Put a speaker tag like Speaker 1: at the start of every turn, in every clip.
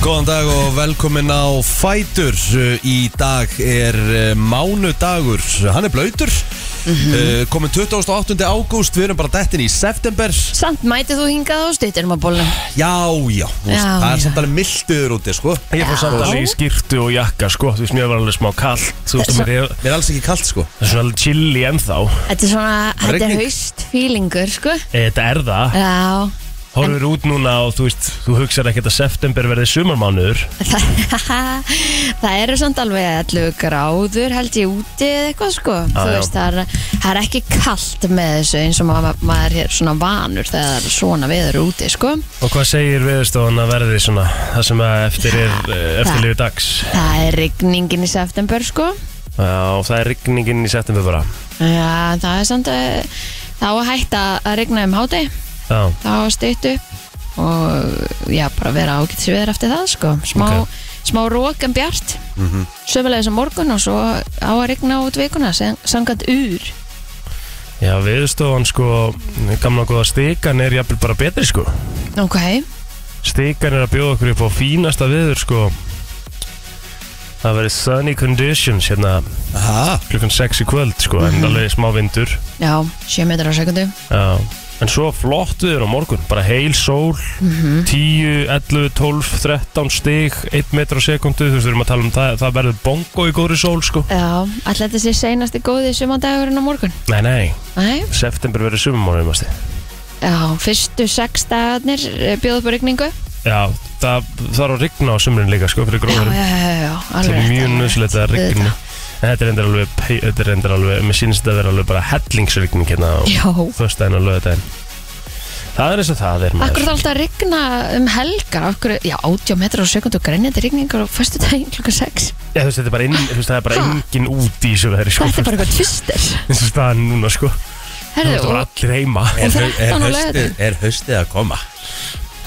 Speaker 1: Góðan dag og velkomin á Fætur Í dag er eh, mánudagur Hann er blöytur mm
Speaker 2: Mhm.
Speaker 1: Komin 28. ágúst Við erum bara dettin í september
Speaker 2: Samt mætið þú hingað á stuttinum að bólnum
Speaker 1: Já, já, þú veist,
Speaker 2: Já,
Speaker 1: það er
Speaker 2: já.
Speaker 1: samt alveg milduður úti sko.
Speaker 3: Ég fór samt
Speaker 2: Já.
Speaker 3: alveg í skýrtu og jakka sko Þú veist, mér var alveg smá kall Þú veist, mér er
Speaker 1: Mér er alls ekki kalt sko
Speaker 3: það er svona alveg chilli ennþá
Speaker 2: Þetta er svona, þetta er
Speaker 1: Rigning.
Speaker 2: haust fílingur sko
Speaker 3: Eh, Þetta er það
Speaker 2: Já,
Speaker 3: Horfur út núna og þú veist, þú hugsar ekkert að september verði sumarmánuður
Speaker 2: það, það eru samt alveg 11 gráður held ég úti eða eitthvað sko Þú
Speaker 3: já.
Speaker 2: veist, það er, það er ekki kalt með þessu eins og maður, maður er svona vanur þegar það er svona viður úti sko
Speaker 3: Og hvað segir viðstofan að verði svona Það sem að eftir er
Speaker 2: Það-
Speaker 3: eftirlífi dags
Speaker 2: Það er rigningin í september sko
Speaker 3: Já, og það er rigningin í september bara
Speaker 2: Já, það er samt eh, þá að hætta að rigna um háti
Speaker 3: Já,
Speaker 2: þá stutt upp og já, bara vera ágætt sveður eftir það sko, smá,
Speaker 3: Ok.
Speaker 2: smá rók en bjart, mm -hmm. sömulegis á morgun og svo á að rigna út vikuna sem- samkvæmt úr
Speaker 3: já viðstofan sko Gamla góða stikan er jafnvel bara betri sko
Speaker 2: ok,
Speaker 3: Stikan er að bjóða okkur upp á fínasta viður sko Það verið sunny conditions hérna
Speaker 1: Aha.
Speaker 3: klukkan 6 í kvöld sko,
Speaker 2: Mhm.
Speaker 3: en alveg smá vindur
Speaker 2: já, 7 metrar á sekundu
Speaker 3: já. en svo flott viður á morgun bara heil sól
Speaker 2: Mhm.
Speaker 3: 10, 11, 12, 13 stig 1 metr á sekundu, þú veist, við erum að tala um það það verður bongo í góðri sól sko
Speaker 2: já, alltaf þetta sé seinasti góði sumandagurinn á morgun
Speaker 3: nei, nei,
Speaker 2: Nei,
Speaker 3: september verður sumumónum
Speaker 2: já, fyrstu sex dagarnir eh, bjóða upp á rigningu
Speaker 3: já, það þarf að rigna á sumrin líka sko, fyrir
Speaker 2: já, já,
Speaker 3: gróður
Speaker 2: já, já,
Speaker 3: það
Speaker 2: alveg
Speaker 3: er
Speaker 2: rétt,
Speaker 3: mjög
Speaker 2: alveg
Speaker 3: nöðsilegt
Speaker 2: rétt,
Speaker 3: að rigna
Speaker 2: auðvitað.
Speaker 3: en þetta er endur alveg, pe- þetta er endur alveg mér sínst að vera alveg bara hellingsrigning hérna á
Speaker 2: já,
Speaker 3: föstudaginn og lögudaginn það er eins og það er
Speaker 2: Akkur þá alltaf að rigna um helgar Akkur, já, 80 metrar á sekundu grænjandi rigningar á fyrstu daginn klukka 6
Speaker 3: Já, þú veist, þetta er bara, inn, þú veist, það er bara
Speaker 2: Ha?
Speaker 3: engin út í þessu veðri, sko.
Speaker 2: Þetta er bara eitthvað tvistir
Speaker 3: Eins og staðan núna, sko. Þú veist,
Speaker 2: Herðu,
Speaker 3: það var
Speaker 2: og
Speaker 3: allir heima.
Speaker 1: er,
Speaker 2: þrettán
Speaker 1: er,
Speaker 2: á
Speaker 1: haustið,
Speaker 2: laugardaginn.
Speaker 1: er haustið að koma?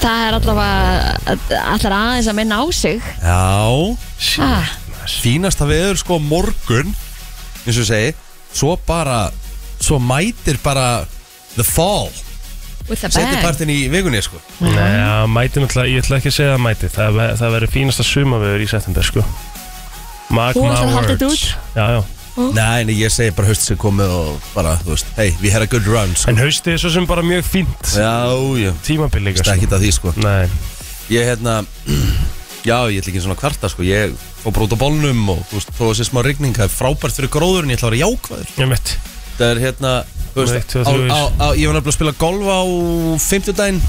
Speaker 2: það er allavega allar aðeins að minna á sig
Speaker 1: Já,
Speaker 2: Ah.
Speaker 3: Shit.
Speaker 1: fínasta veður sko morgun eins og ég segi Svo bara, svo mætir bara the fall
Speaker 2: With the
Speaker 1: Settir
Speaker 2: bag
Speaker 1: partin í vikunni sko
Speaker 3: Nei, já, mæti náttúrulega, ég ætla ekki að segja að mæti. Það, ve- það verður fínasta sumavegur í september, sko. Mark
Speaker 2: Þú
Speaker 3: my
Speaker 2: ætlar að halda
Speaker 3: words.
Speaker 2: þetta út?
Speaker 3: Já, já.
Speaker 1: Nei, nei, ég segi bara haust sem komið og bara, þú veist, hey, we had a good run sko.
Speaker 3: En haustið er svo sem bara mjög fínt.
Speaker 1: Já, já,
Speaker 3: Tímabil líka,
Speaker 1: það er
Speaker 3: sko.
Speaker 1: ekki það því sko
Speaker 3: Nei.
Speaker 1: Ég hérna, já, ég ætla ekki svona kvarta sko Ég fór bara út á bólnum og þú veist, þó þessi smá rigning Það er frábært fyrir gróðurinn, ég ætla að vera jákvæður
Speaker 3: Ég mitt.
Speaker 1: Það er hérna, þú
Speaker 3: Eitt,
Speaker 1: veist,
Speaker 3: tvö,
Speaker 1: á,
Speaker 3: þrjú,
Speaker 1: á, á, ég var nefnilega að spila golf á 50 daginn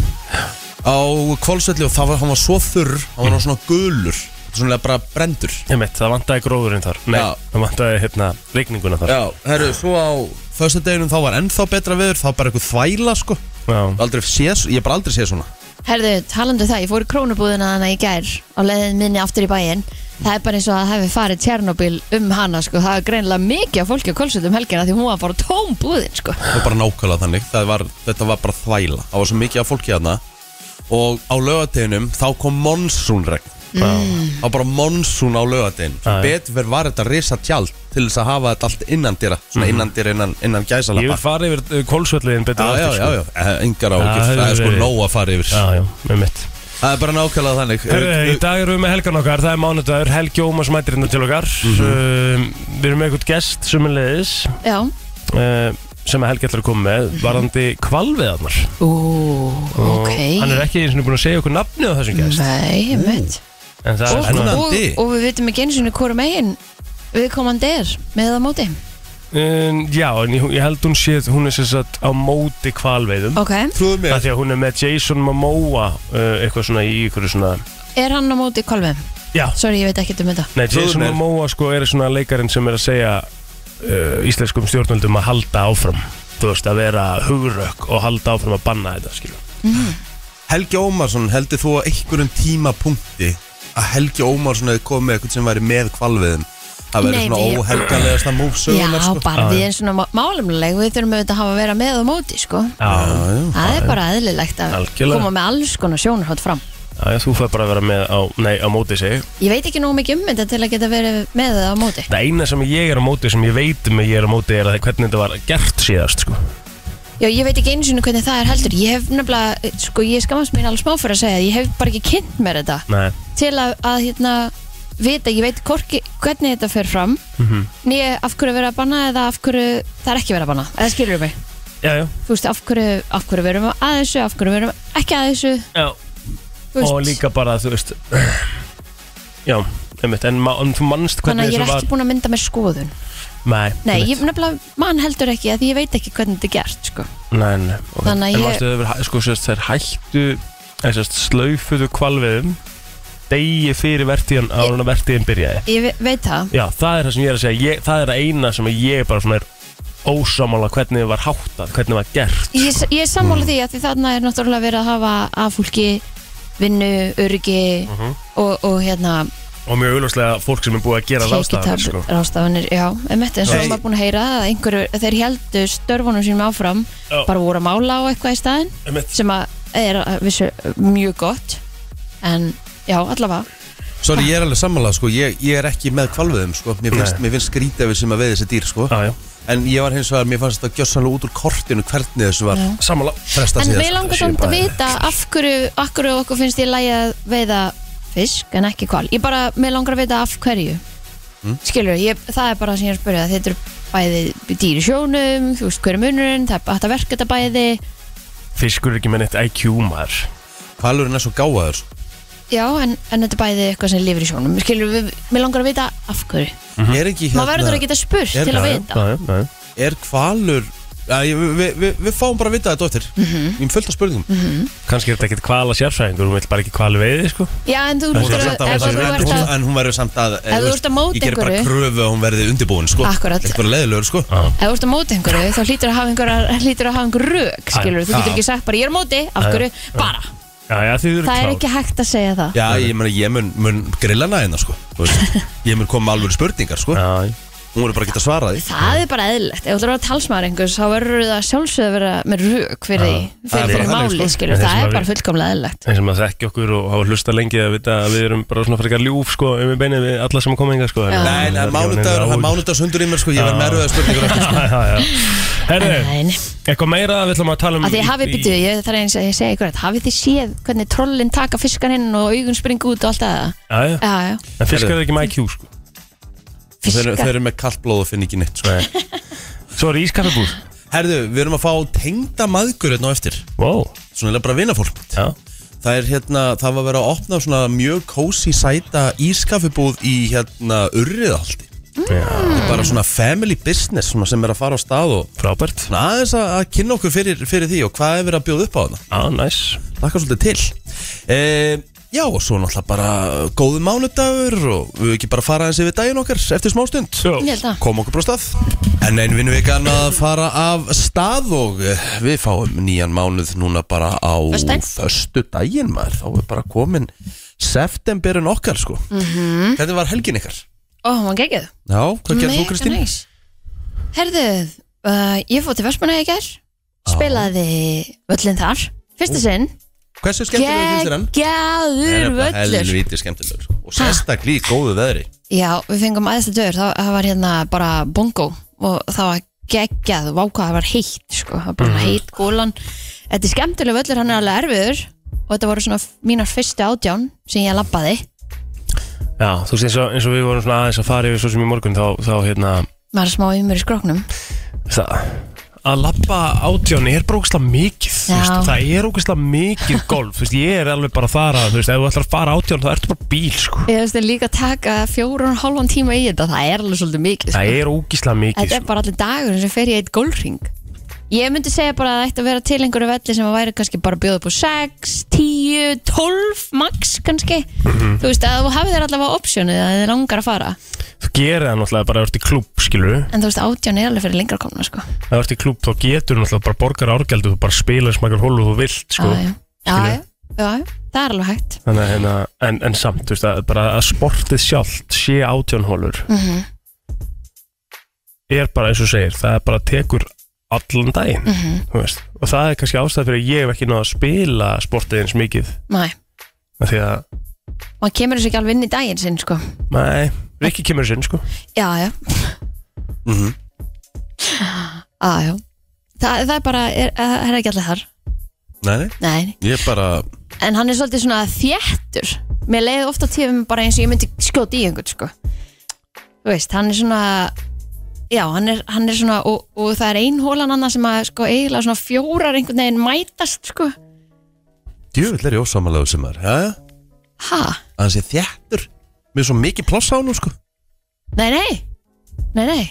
Speaker 1: Á kvolsvelli og það var, hann var svo þurr Hann var svona gulur, svona bara brendur
Speaker 3: Ég mitt, það vantaði gróðurinn þar. Nei,
Speaker 1: Já.
Speaker 3: það vantaði, hérna, rigninguna þar.
Speaker 1: Já, herru, svo á Fösta deginum þá var ennþá betra veður, þá bara eitthvað þvæla sko
Speaker 3: Já.
Speaker 1: aldrei séð, Ég hef bara aldrei séð svona
Speaker 2: Herðu, talandu það, ég fór í krónubúðina hana í gær á leiðin minni aftur í bæinn Það er bara eins og að það hefði farið Tjernobyl um hana sko. Það er greinilega mikið af fólki á kolsutum helgina því hún var bara tóm búðin sko.
Speaker 1: Það var bara nákvæmlega þannig Það var, Þetta var bara þvæla Það var svo mikið af fólki hérna Og á lögadeginum þá kom monsunregn
Speaker 3: Já.
Speaker 1: Það var bara monsun á lögadegin
Speaker 3: Já, já.
Speaker 1: Betur verð var þetta risa tjald Til þess að hafa þetta allt innan dýra Svona innan dýra innan, innan
Speaker 3: Mhm. Ég vil
Speaker 1: gæsalappa
Speaker 3: fara yfir kólsvölliðin betur
Speaker 1: Já, já,
Speaker 3: aftur,
Speaker 1: já,
Speaker 3: sko.
Speaker 1: já, Eh, engar á
Speaker 3: Já,
Speaker 1: Það er
Speaker 3: hefur
Speaker 1: sko
Speaker 3: verið.
Speaker 1: nóg að fara yfir
Speaker 3: Já, já, með mitt.
Speaker 1: Það er bara nákvæmlega þannig
Speaker 3: Herru, í dag erum við með helgan okkar, það er mánudagur, Helgi Ómas mætir hérna til okkar um, Við erum með eitthvað gest sumulegis
Speaker 2: Já,
Speaker 3: uh, sem að Helgi ætlar að koma með varðandi kvalveðarnar
Speaker 2: ú,
Speaker 3: Og
Speaker 2: ok
Speaker 3: Hann er ekki eins og búin að segja okkur nafnið á þessum gest
Speaker 2: Nei, mitt
Speaker 3: En það er
Speaker 2: og,
Speaker 3: svona,
Speaker 2: og,
Speaker 1: Spennandi.
Speaker 2: og við vitum ekki eins og hverju megin viðkomandi er með það móti
Speaker 3: um, já, en ég, ég held hún sé hún er sem sagt á móti kvalveðum
Speaker 2: ok,
Speaker 1: Trúðu
Speaker 3: Það
Speaker 1: mér
Speaker 3: því að hún er með Jason Momoa uh, eitthvað svona í ykkur svona
Speaker 2: er hann á móti kolvum?
Speaker 3: Já,
Speaker 2: sorry, ég veit ekkert um þetta
Speaker 3: nei, Jason
Speaker 1: Trúðu mér.
Speaker 3: Momoa sko er svona leikarinn sem er að segja uh, íslenskum stjórnvöldum að halda áfram þú veist, að vera hugrökk og halda áfram að banna þetta, skilur
Speaker 1: Helgi Ómarsson heldur þú á einhverjum tímapunkti Að Helgi Ómarsson hefði komið með eitthvað sem væri með kvalviðum Það væri
Speaker 2: Nei,
Speaker 1: svona
Speaker 2: nei.
Speaker 1: óhelgalegasta múf
Speaker 2: já,
Speaker 1: sögunar sko.
Speaker 2: bara
Speaker 3: Já,
Speaker 2: við erum svona má- málumleg við þurfum auðvitað að hafa að vera með það móti sko.
Speaker 3: Mm. Já,
Speaker 1: Já, já.
Speaker 2: það er bara eðlilegt að
Speaker 3: Algjörlega.
Speaker 2: koma með alls konar sjónarhótt fram
Speaker 3: já, já, þú fær bara að vera með á, nei, á móti sig
Speaker 2: ég veit ekki nóg mikið um þetta til að geta verið með það á móti
Speaker 3: Það eina sem ég er á móti sem ég veit um að ég er á móti er að hvernig þetta var gert síðast sko.
Speaker 2: Já, ég veit ekki einu sinni hvernig það er heldur Ég hef nefnilega, sko, ég skammast mér alveg smá fyrir að segja að Ég hef bara ekki kynnt mér þetta
Speaker 3: Nei,
Speaker 2: Til að, að hérna, vita, ég veit korki, hvernig þetta fer fram mm
Speaker 3: Mhm.
Speaker 2: af hverju er verið að banna eða af hverju það er ekki verið að banna Eða skilur mig
Speaker 3: já, já,
Speaker 2: Þú veist, af hverju, af hverju verum við að þessu, af hverju verum við ekki að þessu
Speaker 3: já.
Speaker 2: þú veist.
Speaker 3: Og líka bara, þú veist Já, einmitt En, ma en þú mannst
Speaker 2: Þannig
Speaker 3: hvernig
Speaker 2: að ég er
Speaker 3: þessu
Speaker 2: ekki
Speaker 3: var
Speaker 2: búin að mynda mér skoðun
Speaker 3: Nei,
Speaker 2: Nei,
Speaker 3: einmitt.
Speaker 2: ég nefnilega man heldur ekki að því ég veit ekki hvernig þetta er gert sko.
Speaker 3: Nei, nei, ok.
Speaker 2: Þannig að ég-
Speaker 3: En varstu yfir, sko, sérst, þær hættu eða sérst, slaufuðu kvalviðum degi fyrir vertíðan ára en að vertíðin byrjaði
Speaker 2: Ég ve- veit það
Speaker 3: Já, það er það sem ég er að segja ég, það er það eina sem ég bara svona er ósamála hvernig það var háttað, hvernig það var gert
Speaker 2: Ég, ég er
Speaker 3: Mm.
Speaker 2: sammála því að því þarna er náttúrulega verið að hafa að fólki vinnu, öryggi
Speaker 3: Mhm.
Speaker 2: og, og hérna
Speaker 3: og mjög auðvarslega fólk sem er búið að gera ráðstafanir, sko.
Speaker 2: tekjutab- rástafanir já, emett, eins og
Speaker 3: Nei.
Speaker 2: maður búin að heyra að einhverju, þeir heldu störfunum sínum áfram
Speaker 3: Já.
Speaker 2: bara voru að mála á eitthvað í staðinn
Speaker 3: Einmitt.
Speaker 2: sem að er að vissu mjög gott en já, allavega
Speaker 1: Sorry, ég er alveg sammálað, sko, ég, ég er ekki með kvalviðum, sko Mér finnst,
Speaker 3: Nei.
Speaker 1: mér finnst skrítið við sem að veiði þessi dýr, sko
Speaker 3: Já, já,
Speaker 1: En ég var hins vegar, mér fannst þetta gjössanlega út úr kortinu hvernig þessu var
Speaker 2: Já.
Speaker 3: samála
Speaker 1: frestað
Speaker 2: en
Speaker 1: síðast
Speaker 2: við langar samt að vita af hverju, af hverju okkur finnst ég lægi að veiða fisk en ekki kval ég bara, mér langar að vita af hverju skilur, ég, það er bara það sem ég er að spyrja þetta eru bæði dýr í sjónum þú veist hverju munurinn, það er hægt að verka þetta bæði
Speaker 3: Fiskur er ekki með neitt IQ maður
Speaker 1: Hvalurinn er svo gáðaður, sko
Speaker 2: já, en, en þetta er bæði eitthvað sem lifir í sjónum skilur, við, mér langar að vita af hverju
Speaker 3: Mhm.
Speaker 1: Er ekki
Speaker 2: maður verður að geta spurt
Speaker 1: Er-
Speaker 2: til
Speaker 1: Já,
Speaker 2: að
Speaker 1: já,
Speaker 2: vita
Speaker 3: já, já, já.
Speaker 1: Er hvalur Ja, ég- við vi, vi, vi fáum bara að vita þetta eftir mm
Speaker 2: Mhm.
Speaker 1: -hmm. Ég er fullt af spurningum
Speaker 3: Kannski er þetta ekkert kvala sérfræðingur Þú vill bara ekki kvala veiði, sko
Speaker 2: já, en þú
Speaker 1: Hún
Speaker 2: hlýtur
Speaker 1: verður
Speaker 2: að-
Speaker 1: samt að-
Speaker 2: ef þú
Speaker 1: en
Speaker 2: ert
Speaker 1: hún-
Speaker 2: að
Speaker 1: En hún verður samt að eh,
Speaker 2: Ef þú ert að móti
Speaker 1: Ég ger bara
Speaker 2: einhverju-
Speaker 1: kröfu að hún verði undirbúin sko.
Speaker 2: Akkurat.
Speaker 1: Ekki bara leiðilegur sko.
Speaker 3: Ah.
Speaker 2: ef þú ert á móti einhverju þá hlýtur að hafa einhverjar hlýtur að hafa einhver rök skilur, þú
Speaker 1: Já.
Speaker 2: getur ekki sagt bara ég er á móti af
Speaker 3: Já,
Speaker 2: hverju,
Speaker 3: já.
Speaker 2: bara,
Speaker 3: Já, já, þið eru
Speaker 2: það er
Speaker 3: klár.
Speaker 2: ekki hægt að segja það
Speaker 1: Já, ég, meni, ég mun, mun grilla hana hérna sko. Þú veist. Ég mun koma með alveg spurningar sko.
Speaker 3: Já, já.
Speaker 1: Hún verður bara að geta svarað því
Speaker 2: það er bara eðlilegt, ef þú ert að talsmaður einhvers þá verður það sjálfsögð að vera með rök fyrir því,
Speaker 1: Það er
Speaker 2: fyrir
Speaker 1: bara þannig,
Speaker 2: máli
Speaker 1: sko.
Speaker 2: skilur,
Speaker 3: En þeir
Speaker 2: það
Speaker 3: sem
Speaker 2: er
Speaker 3: að
Speaker 2: bara
Speaker 3: við-
Speaker 2: fullkomlega eðlilegt
Speaker 3: þeir sem að þekki okkur og hafa hlusta lengi að vita að við erum bara svona frekar ljúf sko um í beinið við alla sem að koma enga sko
Speaker 2: Já.
Speaker 1: Nei, nei, mánudagur, það er mánudagshundur í mér sko. Ég verð með erfiðar spurningar eftir, sko.
Speaker 3: mánudagur Herru,
Speaker 2: Nein.
Speaker 3: eitthvað meira við ætlum að tala um
Speaker 2: að því
Speaker 3: í-
Speaker 2: hafið
Speaker 3: í-
Speaker 2: býtu, ég þarf eins að ég segja ykkur þetta, hafið þið séð hvernig trollin taka fiskan inn og augun springa út og allt það
Speaker 3: Já, já.
Speaker 2: já, já,
Speaker 3: En fiskar eru ekki með IQ sko
Speaker 1: Þeir eru-
Speaker 2: fiskar
Speaker 1: þeir eru með kallt blóð og finn ekki neitt sko.
Speaker 3: Svo er ískaffebúð
Speaker 1: Herðu, við erum að fá tengda maðgur hérna á eftir
Speaker 3: Wow,
Speaker 1: Svona bara vinafólk
Speaker 3: já
Speaker 1: Það er hérna, það var verið að opna svona mjög kósi sæta ískaffibúð í hérna urriðaldi
Speaker 2: Mm.
Speaker 3: Já,
Speaker 1: bara svona family business svona sem er að fara á stað og
Speaker 3: frábært
Speaker 1: svona aðeins að, að kynna okkur fyrir, fyrir því og hvað er verið að bjóða upp á þarna
Speaker 3: Já, næs
Speaker 1: Þakka svolítið til e, Já, og svo náttúrulega bara góðu mánudagur og við ekki bara fara aðeins yfir daginn okkar eftir smástund
Speaker 3: Jó.
Speaker 2: ég held að
Speaker 1: Kom okkur bara á stað En einn vinnuvikan að fara af stað og eh, við fáum nýjan mánuð núna bara á
Speaker 2: Föstudaginn?
Speaker 1: Föstu daginn maður, þá er bara komin Septemberin okkar sko -hmm. Hvernig var helgin ykkar?
Speaker 2: ó, hann geggjuð
Speaker 1: Já, hvað gerði þú Kristín?
Speaker 2: Mhm. Mega næs. Herðu, uh, ég fór til Vestmanna í gær Spilaði völlin þar Fyrsta sinn
Speaker 1: Hversu skemmtilegur finnst þér hann?
Speaker 2: Geggjaður völlur
Speaker 1: helvítið skemmtilegur sko. Og sérstaklega í góðu veðri
Speaker 2: Já, við fengum aðeins að dör Það var hérna bara bongo Og það var geggjað, vákað Það var heitt, sko, það var bara heitt gólan Þetta er skemmtileg völlur, hann er alveg erfiður Og þetta voru svona f- mínar fyrstu átján Sem ég labbaði
Speaker 3: Já, þú veist eins og, eins og við vorum svona aðeins að fara yfir svo sem í morgun þá, þá hérna
Speaker 2: Maður er smá umur í skróknum
Speaker 3: það að labba átján er bara ógæslega mikið þú veist,
Speaker 2: Já.
Speaker 3: það er ógæslega mikið golf þú veist, ég er alveg bara þar að þú veist, ef þú ætlar að fara átján þá ertu bara bíl sko.
Speaker 2: Ég veist, en líka taka fjórun og hálfan tíma í þetta Það er alveg svolítið mikið sko.
Speaker 3: það er ógæslega mikið
Speaker 2: Þetta er
Speaker 3: sko.
Speaker 2: bara allir dagur sem fer í eitt gólring Ég myndi segja bara að það ætti að vera til einhverju velli sem að væri kannski bara að bjóða upp á 6, 10, 12 max kannski Þú veist að þú hafið þér allavega optionið að þið langar að fara
Speaker 3: þú gerir það náttúrulega bara ef þú ert í klúb skilur
Speaker 2: En þú veist átján er alveg fyrir lengra komna sko
Speaker 3: ef þú ert í klúb þá getur þú náttúrulega bara borgar árgjaldu þú bara spilar smakar hólu þú vilt sko.
Speaker 2: Já, já, já, já, já, það er alveg hægt
Speaker 3: Þannig, að hérna, en, en samt, þú veist, að, bara að sportið sjálft sé átjónhólur er bara eins og þú segir, það er bara tekur allan daginn, þú veist og það er kannski ástæð fyrir að ég hef ekki náð að spila sportið eins mikið,
Speaker 2: Nei,
Speaker 3: af því að
Speaker 2: maður kemur þessu ekki alveg inn í daginn sinn sko
Speaker 3: nei, Rikki kemur sinn, sko
Speaker 2: Já, já
Speaker 1: Mhm.
Speaker 2: Já, já það, það er bara, er, það er ekki allir þar
Speaker 1: Nei, nei,
Speaker 2: Nei,
Speaker 1: ég bara
Speaker 2: en hann er svolítið svona þéttur mér leiði ofta tífum bara eins og ég myndi skjóta í einhvern sko þú veist, hann er svona já, hann er, hann er svona og, og það er ein hólan annað sem að sko eiginlega svona fjórar einhvern veginn mætast sko
Speaker 1: Djöfull er ég ósamalega sem er Jæja,
Speaker 2: ha,
Speaker 1: að hann sé þjættur Mér er svo mikið pláss á honum sko
Speaker 2: nei nei nei nei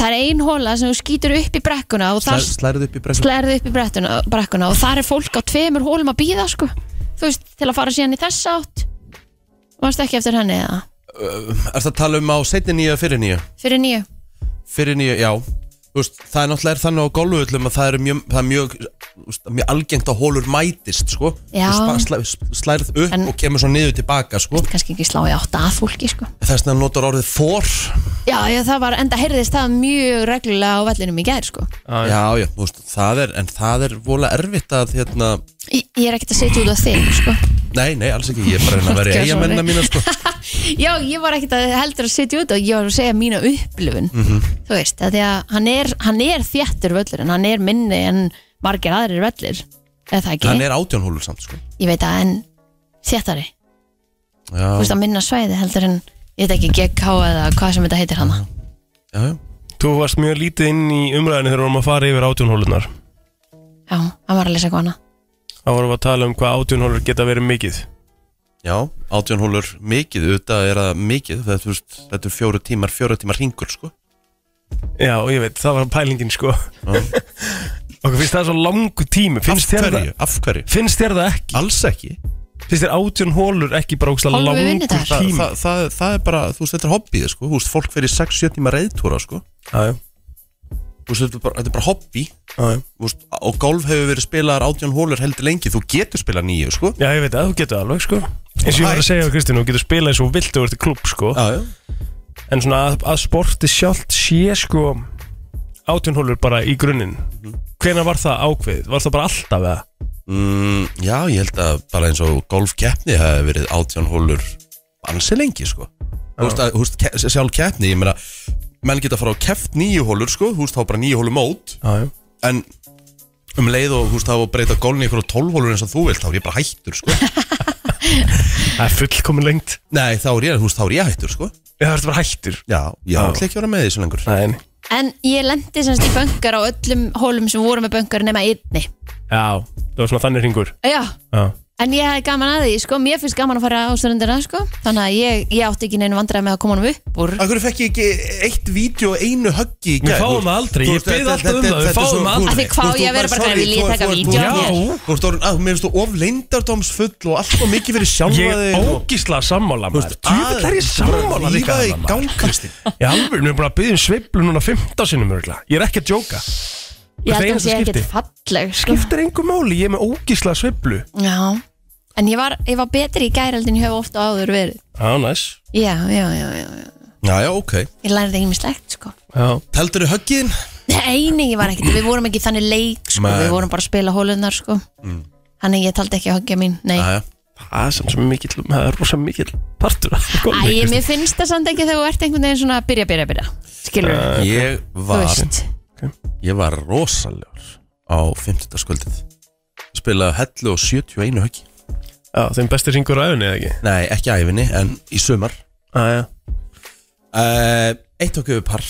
Speaker 2: það er ein hóla sem þú skýtur upp í brekkuna og
Speaker 1: Slær,
Speaker 2: það
Speaker 1: Slærið upp í brekkum
Speaker 2: slærið upp í brettuna, brekkuna og þar er fólk á tveimur hólum að býða sko þú veist, til að fara síðan í þess átt varst ekki eftir henni eða
Speaker 1: Er það að tala um á setni nýja eða fyrir nýja?
Speaker 2: fyrir nýju
Speaker 1: Fyrir nýja, já Þú veist, það er náttúrulega er þannig á golfvöllum að það er mjög, það er mjög, þú veist, mjög algengt að hólur mætist, sko
Speaker 2: Já.
Speaker 1: Þú spa- sla- Slærið upp
Speaker 2: En-
Speaker 1: og kemur svo niður tilbaka, sko
Speaker 2: kannski ekki slá í átta að fólki sko.
Speaker 1: Þess vegna notar orðið for
Speaker 2: já, já, það var enda heyrðist það mjög reglulega á vellinum í gær sko.
Speaker 3: Já,
Speaker 1: Já, já, þú veist, það er, en það er vola erfitt að, hérna
Speaker 2: ég, ég er ekkert að setja út á þig sko.
Speaker 1: Nei, nei, alls ekki, ég er bara að reyna að vera
Speaker 2: Ok,
Speaker 1: í eiga menna
Speaker 2: sorry.
Speaker 1: mína, sko
Speaker 2: já, ég var ekkert að heldur að setja út og ég var að segja mína upplifun
Speaker 1: Mhm.
Speaker 2: þú veist, að því að hann er, hann er þjættur völlur en hann er minni en margir aðrir vellir eða það ekki,
Speaker 1: Hann er átján hólur samt, sko
Speaker 2: ég veit að en þjættari,
Speaker 1: Já,
Speaker 2: þú veist að minna svæði heldur en, ég veit ekki GK eða hvað sem þetta heitir hana
Speaker 1: já, já
Speaker 3: þú varst mjög lítið inn í umræðinu þegar við vorum að fara yfir átjónhólunar
Speaker 2: já, hann var að lesa eitthvað annað
Speaker 3: Þá vorum við að tala um hvað átjónhólur geta verið mikið
Speaker 1: Já, átján hólur mikið, auðvitað er það mikið þetta, þú veist, þetta er fjóru tímar, fjóru tímar ringur sko.
Speaker 3: Já, ég veit, það var pælingin sko Okkur finnst það svo langu tími Finnst
Speaker 1: af
Speaker 3: þér
Speaker 1: hverju,
Speaker 3: það,
Speaker 1: af hverju?
Speaker 3: finnst þér það ekki?
Speaker 1: Alls ekki
Speaker 3: Finnst þér átjónhólur ekki bara ógstlega
Speaker 2: Hálfu
Speaker 3: langu
Speaker 2: vinnudagur.
Speaker 1: Þa,
Speaker 3: tími?
Speaker 1: það, það, það er bara, þú veist, þetta er hobbyið sko. Þú veist, fólk fyrir 6-7 tíma reyðtúra sko.
Speaker 3: Já, já,
Speaker 1: Þú veist, þetta er bara, þetta er bara hobby
Speaker 3: já, já
Speaker 1: Þú veist, og golf hefur verið spilaðar átján hólur heldur lengi, þú getur spilað nýju sko.
Speaker 3: Já, ég veit að þú getur það alveg, sko eins og ég var að segja á Kristín, þú getur spilað eins og þú vilt og ert í klub, sko
Speaker 1: Já, já
Speaker 3: en svona að, að sporti sjálft sé, sko átjónhólur bara í grunninn hvenær var það ákveðið? Var það bara alltaf eða?
Speaker 1: mm, Já, ég held að bara eins og golfkeppni hefur verið átján hólur ansi lengi sko. Þú veist, að, þú veist, ke- sjálf keppni, ég meina menn geta að fara á keft nýju hólur sko, þú veist, þá bara nýju hólur mót
Speaker 3: Já, já
Speaker 1: en um leið og húst hafa breyta golni ykkur á tólfólur eins og þú vilt, þá er ég bara hættur sko.
Speaker 3: Það er fullkomin lengt
Speaker 1: Nei, þá er ég, húst, þá er ég hættur sko.
Speaker 3: Það verður bara hættur
Speaker 1: Já, ég
Speaker 3: Já.
Speaker 1: ætla ekki að vera með því svo lengur
Speaker 3: Nei, nei.
Speaker 2: En ég lendi semst í böngar á öllum hólum sem voru með böngar nema einni.
Speaker 3: Já, það var svona þannig hringur
Speaker 2: Já,
Speaker 3: Já,
Speaker 2: en ég hafði gaman að því, sko, mér finnst gaman að fara á ströndina, sko, þannig að ég, ég átti ekki neinu vandræði með að koma honum upp úr.
Speaker 1: Akkur fekk ég ekki eitt vídeo og einu höggi í
Speaker 3: Við
Speaker 1: gær?
Speaker 3: fáum
Speaker 1: Þú-
Speaker 3: aldrei,
Speaker 1: þú
Speaker 3: ég
Speaker 1: veist,
Speaker 3: bið
Speaker 1: þetta-
Speaker 3: alltaf um
Speaker 1: þetta-
Speaker 3: það, við
Speaker 1: þetta er
Speaker 3: fáum
Speaker 1: svo-
Speaker 3: aldrei.
Speaker 1: þú-
Speaker 2: Af því hvað á
Speaker 1: þú-
Speaker 2: ég að vera
Speaker 1: þú-
Speaker 2: bara
Speaker 1: sorry,
Speaker 2: eitthvað, vil ég
Speaker 1: þú-
Speaker 2: taka
Speaker 1: þú- þú-
Speaker 2: vídeó af
Speaker 1: Já.
Speaker 3: þér?
Speaker 1: Þú veist, orðin- að, mér finnst þú of leindardómsfull og alltaf mikið fyrir sjálfa
Speaker 3: Ég
Speaker 1: þig
Speaker 3: er
Speaker 1: og-
Speaker 3: ógísla sammála maður Tjúfitt er ég sammála
Speaker 1: Bara
Speaker 3: líka
Speaker 1: rífa þig
Speaker 3: þarna,
Speaker 1: í
Speaker 3: maður.
Speaker 1: gang, Kristín
Speaker 3: Í alvöru, við erum bara að byggja um sveiflu núna 15 sinnum örgulega Ég er ekki að djóka
Speaker 2: Ég held að
Speaker 3: einasta
Speaker 2: það sé
Speaker 3: skipti.
Speaker 2: ekkert falleg, sko.
Speaker 3: Skiptir engu máli, ég er með ógísla sveiflu
Speaker 2: Já, en ég var, ég var betri í gæraldin, ég hef ofta áður verið.
Speaker 3: Já, næs
Speaker 2: Já, já, já, já, já.
Speaker 1: Já, já, ok
Speaker 2: ég lærði ekki mislegt, sko.
Speaker 3: Já,
Speaker 1: Teldur þið höggiðin?
Speaker 2: Nei, nei, ég var ekkert, við vorum ekki þannig leik, sko,
Speaker 1: Nei.
Speaker 2: við vorum bara að spila hólunar, sko. Þannig ég taldi ekki að hoggja mín, nei.
Speaker 1: Já, já
Speaker 3: það er samt sem mikill, það er rosa mikill partur af golfi,
Speaker 2: Æ,
Speaker 3: Kristín.
Speaker 2: mér finnst það samt ekki þegar þú ert einhvern veginn svona að byrja, byrja, byrja Skilur
Speaker 1: Ég
Speaker 2: þú
Speaker 1: var
Speaker 2: veist
Speaker 1: Ég var rosalegur á 50. skuldið Spilaði hellu og 71 höggi
Speaker 3: Já, þeim besti syngur ræðunni eða ekki
Speaker 1: Nei, ekki æfinni, en í sumar
Speaker 3: Já, já,
Speaker 1: uh, Eitt okkur við par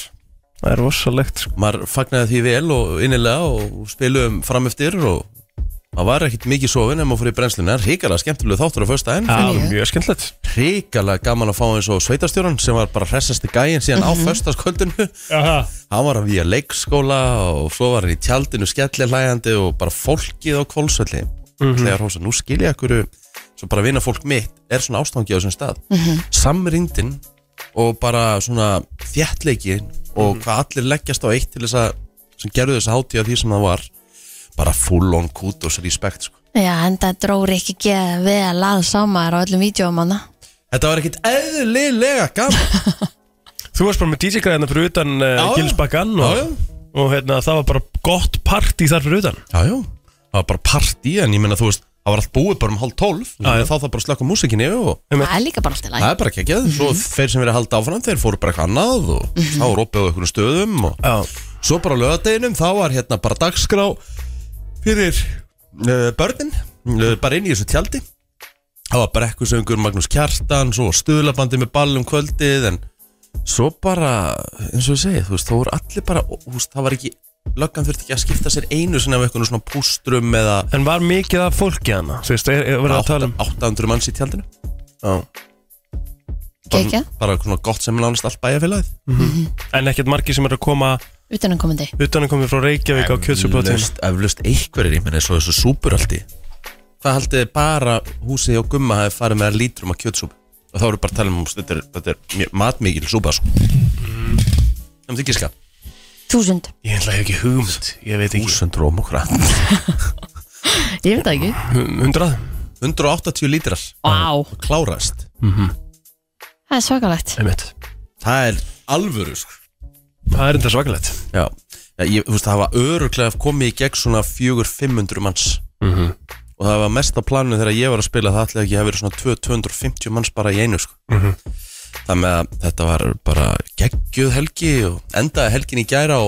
Speaker 3: það er rosalegt sko.
Speaker 1: Maður fagnaði því vel og innilega og spiluðum fram eftir og maður var ekkit mikið sofin en maður fór í brennsluna Ríkala skemmtilegu þáttur á fösta en
Speaker 3: Já,
Speaker 2: Fyrir ég.
Speaker 3: mjög skemmtilegt
Speaker 1: Ríkala gaman að fá eins og sveitastjóran sem var bara hressasti gæin síðan á fösta
Speaker 3: Aha.
Speaker 1: Hann var að vía leikskóla og svo var hann í tjaldinu skellilægandi og bara fólkið á kvolsölli
Speaker 3: Mhm.
Speaker 1: Þegar hósa, nú skil ég akkur svo bara vinna fólk mitt er svona ástangi á þessum stað Samrindin og bara svona þjættleiki og hvað allir leggjast á eitt til þess að sem gerðu þess að hátíða því sem það var bara full on kudos respect sko.
Speaker 2: Já, en það dróri ekki geða við að laða samar á öllum vídjóum hana
Speaker 1: Þetta var ekkit eðlilega gaman
Speaker 3: Þú varst bara með DJ-græðina fyrir utan
Speaker 1: Já,
Speaker 3: uh,
Speaker 1: já.
Speaker 3: Gilsbakkan
Speaker 1: Já, já.
Speaker 3: og, og hérna, það var bara gott partí þar fyrir utan
Speaker 1: Já, já, það var bara partí en ég meina þú veist, það var allt búið bara um hálf tólf
Speaker 3: Já, já.
Speaker 1: þá það bara slökka músikinni og
Speaker 2: Það er líka bara alltaf læg
Speaker 1: Það er bara ekki ekki, svo þeir sem verið að halda áfram þeir fóru bara eitthvað annað og þá er opið á einhvern stöðum og
Speaker 3: Já,
Speaker 1: Svo bara á lögadeginum, þá var hérna bara dagskrá fyrir uh, börnin, uh, bara inn í þessu tjaldi. Það var brekkusöngur Magnús Kjartan, svo var stuðlabandi með ball um kvöldið, en svo bara, eins og ég segi, þú veist, þá voru allir bara, þú veist, það var ekki, löggan þurfti ekki að skipta sér einu sinni af eitthvað svona pústrum eða
Speaker 3: En var mikið af fólki hana? Þú veist, er, er verið að tala um
Speaker 1: 800 manns í tjaldinu. Já.
Speaker 2: Gekja,
Speaker 1: Bara svona gott sem lánast allt bæjarfélagið.
Speaker 3: En ekkert margir sem eru að koma
Speaker 2: utanankomandi
Speaker 3: utan að koma frá Reykjavík á kjötsupplótinu
Speaker 1: Eflaust- Eflaust einhverjir, ég menna, svo þessu súpur alltið Hvað haldið þið bara húsið hjá Gumma hafi farið með lítrum af kjötsúp og þá eru bara að tala um, þetta er, þetta er mjög matmikil súpa sko Það myndi ekki ská
Speaker 2: Þúsund,
Speaker 3: Ég ætla ekki hugmynd, ég veit ekki
Speaker 1: Úsund róm og hvað
Speaker 2: ég veit það ekki
Speaker 3: 100?
Speaker 1: 180 lítrar
Speaker 2: Vá,
Speaker 1: klárast
Speaker 2: það er svakalegt
Speaker 3: Einmitt.
Speaker 1: Það er alvöru sko
Speaker 3: Það er enda svakalegt
Speaker 1: Já, Já ég, þú veist, það var öruglega komið í gegn svona 400-500 manns og það var mest á planu þegar ég var að spila það ætlaði ekki að vera svona 200-250 manns bara í einu sko. þannig að þetta var bara geggjöð helgi og endaði helgin í gæra á,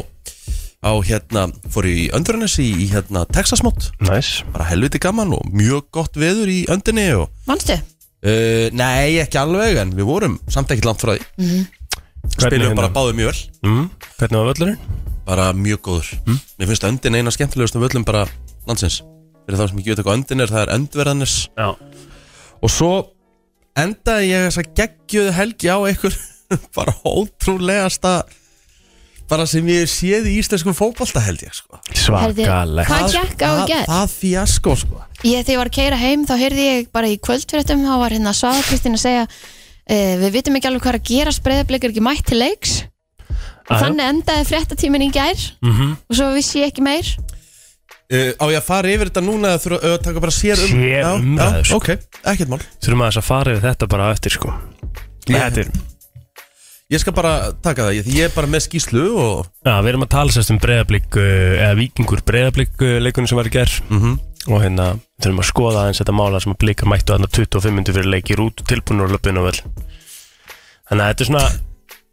Speaker 1: á hérna, fór ég í öndurinnes í, í hérna, Texasmót,
Speaker 3: Næs
Speaker 1: bara helviti gaman og mjög gott veður í öndinni og
Speaker 2: Manstu?
Speaker 1: uh, nei, ekki alveg en við vorum samt ekkert langt frá því spilum bara báðum mjög vel
Speaker 3: mm, hérna? Hvernig var völlurinn?
Speaker 1: bara mjög góður mér finnst öndin eina skemmtilegust um völlum bara landsins fyrir þá sem ekki veit hvað öndin er, það er öndverðanis
Speaker 3: Já
Speaker 1: og svo endaði ég þess að geggjöðu helgi á einhver bara ótrúlegasta bara sem ég hef séð í íslenskum fótbolta held ég sko.
Speaker 2: Herði,
Speaker 3: Svakalegt
Speaker 2: hvað gekk á í
Speaker 1: það,
Speaker 2: gerð?
Speaker 1: það fjasko sko.
Speaker 2: Ég þegar ég var að keira heim þá heyrði ég bara í kvöldfréttum þá var hérna Svaða Kristín að segja e, við vitum ekki alveg hvað er að gera spreðablik er ekki mætt til leiks og
Speaker 3: Aðjá.
Speaker 2: þannig endaði fréttatímin í gær
Speaker 3: Mhm.
Speaker 2: og svo vissi ég ekki meir
Speaker 1: uh, á ég að fara yfir þetta núna eða þurfa að taka bara sér um
Speaker 3: Sér um
Speaker 1: já,
Speaker 3: það,
Speaker 1: já,
Speaker 3: sko.
Speaker 1: ok, ekkert mál
Speaker 3: Þurfum aðeins að fara yfir þetta bara á eftir sko Þetta er
Speaker 1: ég skal bara taka það, ég, því ég er bara með skýslu og
Speaker 3: Já, við erum að tala sérst um breyðablík eða vikingur breyðablík leikunum sem var í gerð
Speaker 1: Mhm.
Speaker 3: og hérna þurfum að skoða aðeins þetta mála sem að blíka mættu þarna 25 minntu fyrir leik í rútu tilbúinu og löpun og vel Þannig að þetta er svona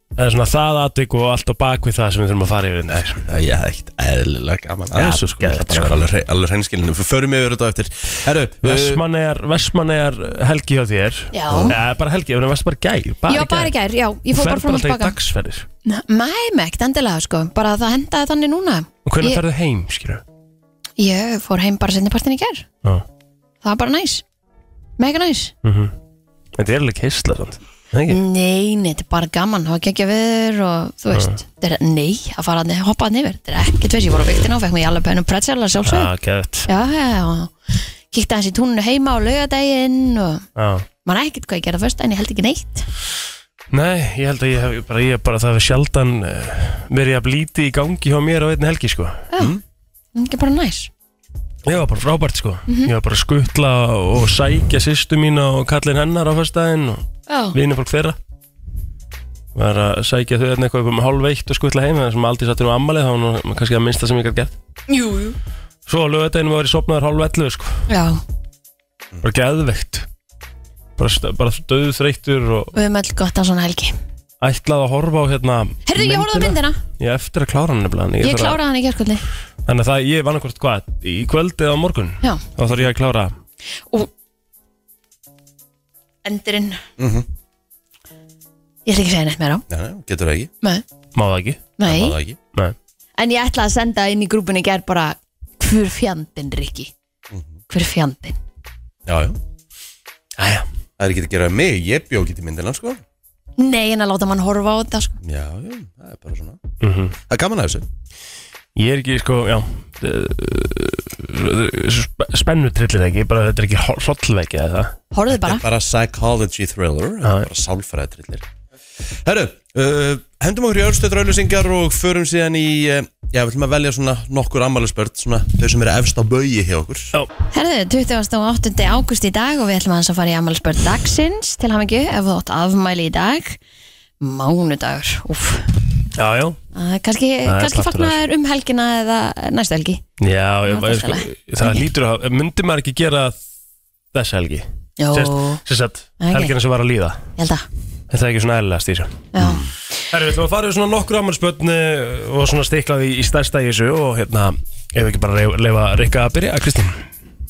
Speaker 3: það er svona það aðdygg og allt á bakvið það sem við þurfum að fara yfir hérna, sko. Nei,
Speaker 1: Það er ekkert eðlilega gaman að
Speaker 3: Já,
Speaker 1: þessu sko,
Speaker 3: geðveikt,
Speaker 1: þetta er bara alveg, hre- alveg hreinskilinu Við förum yfir þetta á eftir Herru,
Speaker 2: Eh,
Speaker 1: uh,
Speaker 3: Vestmannegar, Vestmannegar helgi hjá þér
Speaker 2: Já.
Speaker 3: Eða bara helgi, við erum vest bara gæl
Speaker 2: Já, bara í gær, já, ég
Speaker 3: Þú
Speaker 2: fór bara
Speaker 3: ferð
Speaker 2: fram og
Speaker 3: bara alltaf í
Speaker 2: tilbaka
Speaker 3: dagsferðir
Speaker 2: Mæm ekkert endilega sko, bara það hendaði þannig núna
Speaker 3: Og hvernig
Speaker 2: Ég-
Speaker 3: ferðu heim, skilur
Speaker 2: Ég fór heim bara sendipartin í gær
Speaker 3: Já.
Speaker 2: Það var bara næs Mega næs
Speaker 3: Þetta er alveg keisla samt Það ekki?
Speaker 2: Nei, nei, þetta er bara gaman Það var geggja viður og þú veist þetta er, Nei, að fara að hoppa að neyfir Þetta er ekkert veist, ég voru á viktina og fekk mig í alveg penum pretzel að
Speaker 3: Já,
Speaker 2: sjálfsög
Speaker 3: gæðt
Speaker 2: Já, já, já Kíkti aðeins í túninu heima á laugardaginn og
Speaker 3: Já
Speaker 2: maður er ekkert hvað ég gerði fyrst en ég held ekki neitt
Speaker 3: Nei, ég held að ég hef bara, ég hef bara það hefur sjaldan uh, verið að blíti í gangi hjá mér á einni helgi sko.
Speaker 2: Það er ekki bara næs
Speaker 3: Ég var bara frábært sko.
Speaker 2: Mhm.
Speaker 3: Ég var bara að skutla og sækja sýstu mína og kallin hennar á fyrstæðin og
Speaker 2: Já,
Speaker 3: vinni fólk þeirra. Var að sækja þau hérna eitthvað um hálf eitt og skutla heim þannig sem aldrei sattur um ammalið þá var nú kannski að minnsta sem ég gætt gert.
Speaker 2: jú, jú
Speaker 3: Svo á lögadeginu var ég sopnaður hálf ellu sko.
Speaker 2: Já,
Speaker 3: Bara geðveikt. Bara, st- bara döðu þreyttur og
Speaker 2: við höfum öll gott á svona helgi
Speaker 3: ætlað að horfa á hérna
Speaker 2: Herðu, ég horfði á myndina
Speaker 3: Ég á eftir að klára hann nefnilega en
Speaker 2: Ég
Speaker 3: þarf að-
Speaker 2: kláraði hann í gerkvöldi
Speaker 3: Þannig að það, ég vann hvort hvað, í kvöld eða á morgun
Speaker 2: Já,
Speaker 3: Þá þarf ég að klára
Speaker 2: og Endurinn Ég ætla ekki að segja neitt meira á
Speaker 1: nei, nei, getur það ekki,
Speaker 2: Nei,
Speaker 3: Má það ekki?
Speaker 1: það
Speaker 2: nei
Speaker 1: var það ekki
Speaker 3: Nei
Speaker 2: En ég ætla að senda inn í grúpunni gerð bara Hver fjandinn, Rikki Hver fjandinn
Speaker 1: Já, já,
Speaker 3: Æja
Speaker 1: það er ekki að gera við mig, ég bjó ekki til myndina sko
Speaker 2: Nei, en að láta mann horfa á þetta sko.
Speaker 1: Já, já, það er bara svona
Speaker 3: mm -hmm.
Speaker 1: Það er gaman að þessu
Speaker 3: Ég er ekki, sko, já Spennutrillir ekki, bara þetta er ekki hlollveki eða það
Speaker 2: Horfðu
Speaker 1: Þetta
Speaker 2: bara
Speaker 1: er bara psychology thriller, það
Speaker 3: Já.
Speaker 1: er bara sálfræðatrillir Herru, uh, hendum okkur í örstöður auðlýsingar og förum síðan í uh, Já, við ætlum að velja svona nokkur ammælisbörn Svona þau sem eru efst á bögi hjá okkur
Speaker 2: Herðu, 28. águst í dag og við ætlum aðeins að fara í afmælisbörn dagsins til hamingju ef þú átt afmæli í dag Mánudagur, úff
Speaker 3: Já, já
Speaker 2: Það er Kannski,
Speaker 3: Það er
Speaker 2: kannski
Speaker 3: partur af
Speaker 2: fagnaður um helgina eða næstu helgi
Speaker 3: Já, ég,
Speaker 2: Já, það
Speaker 3: ég, sko, það lítur að Myndi maður ekki gera þessa helgi?
Speaker 2: Jó,
Speaker 3: Sérst, sérst,
Speaker 2: Nei, ekki.
Speaker 3: helgina sem var að líða
Speaker 2: ég held að
Speaker 3: Þetta er ekki svona eðlilega stýra
Speaker 2: já,
Speaker 1: Mm.
Speaker 3: Herru, við ætlum að fara við svona nokkur ámælspötn og svona stiklaði í stærsta í þessu og hérna, ef við ekki bara reyf- leifa Rikka að byrja, Kristín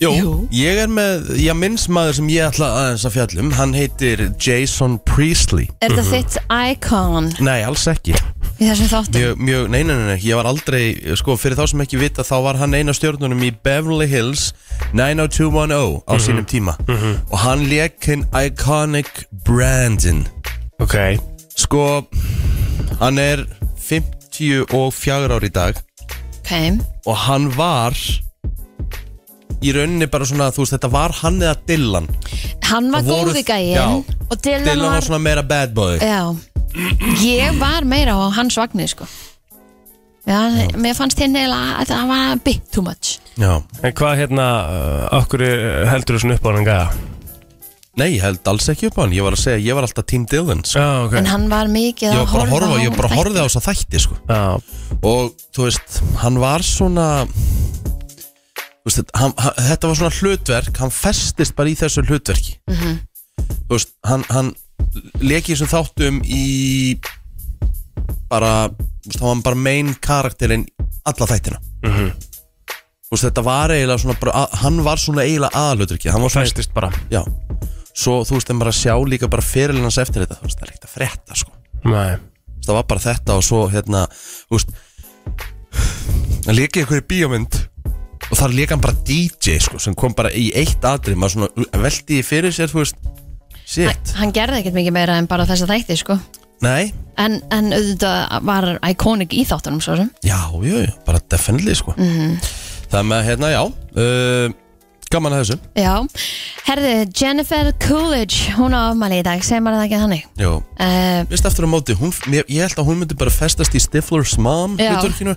Speaker 1: Jú,
Speaker 2: Jú.
Speaker 1: ég er með, ég minns maður sem ég ætla aðeins að fjallum Hann heitir Jason Priestley
Speaker 2: er þetta þitt icon
Speaker 1: Nei, alls ekki
Speaker 2: í þessum þáttum?
Speaker 1: Mjög, mjög, nei, nei, nei, nei, ég var aldrei Sko, fyrir þá sem ekki vita, þá var hann eina stjórnunum í Beverly Hills 90210 á sínum tíma Og hann lék hinn Iconic Brandon
Speaker 3: Ok,
Speaker 1: Sko, hann er 54 ár í dag
Speaker 2: Ok,
Speaker 1: og hann var í rauninni bara svona, þú veist, þetta var hann eða Dylan
Speaker 2: hann var
Speaker 1: Það voru-
Speaker 2: góði gæin
Speaker 1: Já.
Speaker 2: og Dylan,
Speaker 1: Dylan var
Speaker 2: var
Speaker 1: svona meira bad boy
Speaker 2: já, ég var meira á hans vagnir sko já, mér fannst hérna eiginlega að það var a bit too much
Speaker 1: Já.
Speaker 3: en hvað hérna, uh, okkur heldur þú svona upp á hann gæða?
Speaker 1: Nei, ég held alls ekki upp á hann, ég var að segja, ég var alltaf Team Dylan sko.
Speaker 3: Já, ok
Speaker 2: en hann var mikið
Speaker 1: Ég
Speaker 2: að
Speaker 1: var bara að
Speaker 2: horfa
Speaker 1: horfa,
Speaker 2: á
Speaker 1: ég bara
Speaker 2: þætti.
Speaker 1: horfði á þessa þætti sko.
Speaker 3: Já,
Speaker 1: og þú veist, hann var svona þú veist, hann, hann, þetta var svona hlutverk hann festist bara í þessu hlutverki
Speaker 2: Mhm.
Speaker 1: þú veist, hann, hann lekið sem þáttum í bara þú veist, hann var bara main karakterinn alla þættina þú veist, þetta var eiginlega svona bara, að- hann var svona eiginlega aðalutverki, hann var svona
Speaker 3: fæstist bara
Speaker 1: já, svo þú veist, en bara sjá líka bara fyrirlinn hans eftir þetta, þú veist, það er ekkert að frétta sko
Speaker 3: Nei,
Speaker 1: Þú veist, það var bara þetta og svo hérna, þú veist hann leikið einhverju bíómynd og þar leika hann bara DJ sko, sem kom bara í eitt atrið maður svona veldi í fyrir sér, þú veist shit,
Speaker 2: hann gerði ekkert mikið meira en bara þessa þætti sko
Speaker 1: nei,
Speaker 2: en, en auðvitað var iconic í þáttunum svo sem
Speaker 1: já, jú, jú bara definitely sko það með, hérna, já uh, gaman að þessu,
Speaker 2: já, herðu Jennifer Coolidge hún á afmæli í dag, segir maður það ekki þannig
Speaker 1: jú
Speaker 2: uh,
Speaker 1: Vist eftir á móti, hún, mér, ég held að hún myndi bara festast í Stifler's mom
Speaker 2: Já.
Speaker 1: hlutverkinu,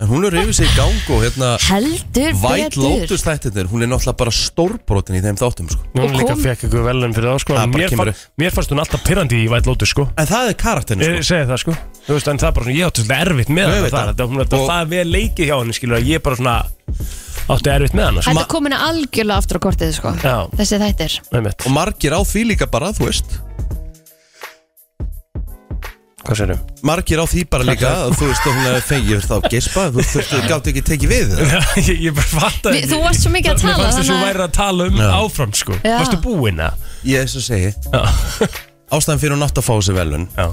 Speaker 1: en hún er yfir sig í gang og hérna,
Speaker 2: heldur
Speaker 1: White
Speaker 2: betur
Speaker 1: Lotus þættirnir, hún er náttúrulega bara stórbrotin í þeim þáttum sko
Speaker 3: hún
Speaker 2: Og
Speaker 3: líka
Speaker 2: kom-
Speaker 3: fekk ykkur velun fyrir það sko
Speaker 1: Það
Speaker 3: en
Speaker 1: bara
Speaker 3: mér,
Speaker 1: kemur
Speaker 3: fa mér fannst hún alltaf pyrrandi í vætt lótu sko
Speaker 1: En það er karakterinu sko
Speaker 3: Ég segi það sko Þú veist, en það er bara svona, ég átti svolítið erfitt með hana
Speaker 1: Auðvitað.
Speaker 3: þar Það, hún, það,
Speaker 1: Og-
Speaker 3: það er vel leikið hjá henni, skilur að ég bara svona átti erfitt með hana sko.
Speaker 2: Þetta er komin algjörlega aftur á kortið sko.
Speaker 3: Já.
Speaker 2: Þessi þættir
Speaker 3: Einmitt.
Speaker 1: og margir á því líka bara, þú veist
Speaker 3: Hvað sérum?
Speaker 1: margir á því bara líka, að þú veist að hún hefði fengið fyrir þá gespa, þú veist, þú gátt ekki tekið við það.
Speaker 3: ég, ég bara fatta
Speaker 2: Við- þú varst svo mikið að tala,
Speaker 3: Mér fannst þess að
Speaker 2: þannig
Speaker 3: þú
Speaker 2: að-
Speaker 3: væri að tala um
Speaker 1: Já.
Speaker 3: áfram sko
Speaker 2: Já.
Speaker 3: Varstu búinn að?
Speaker 1: ég þess að segi,
Speaker 3: Já.
Speaker 1: ástæðan fyrir hún átt að fá þessi velun
Speaker 3: Já,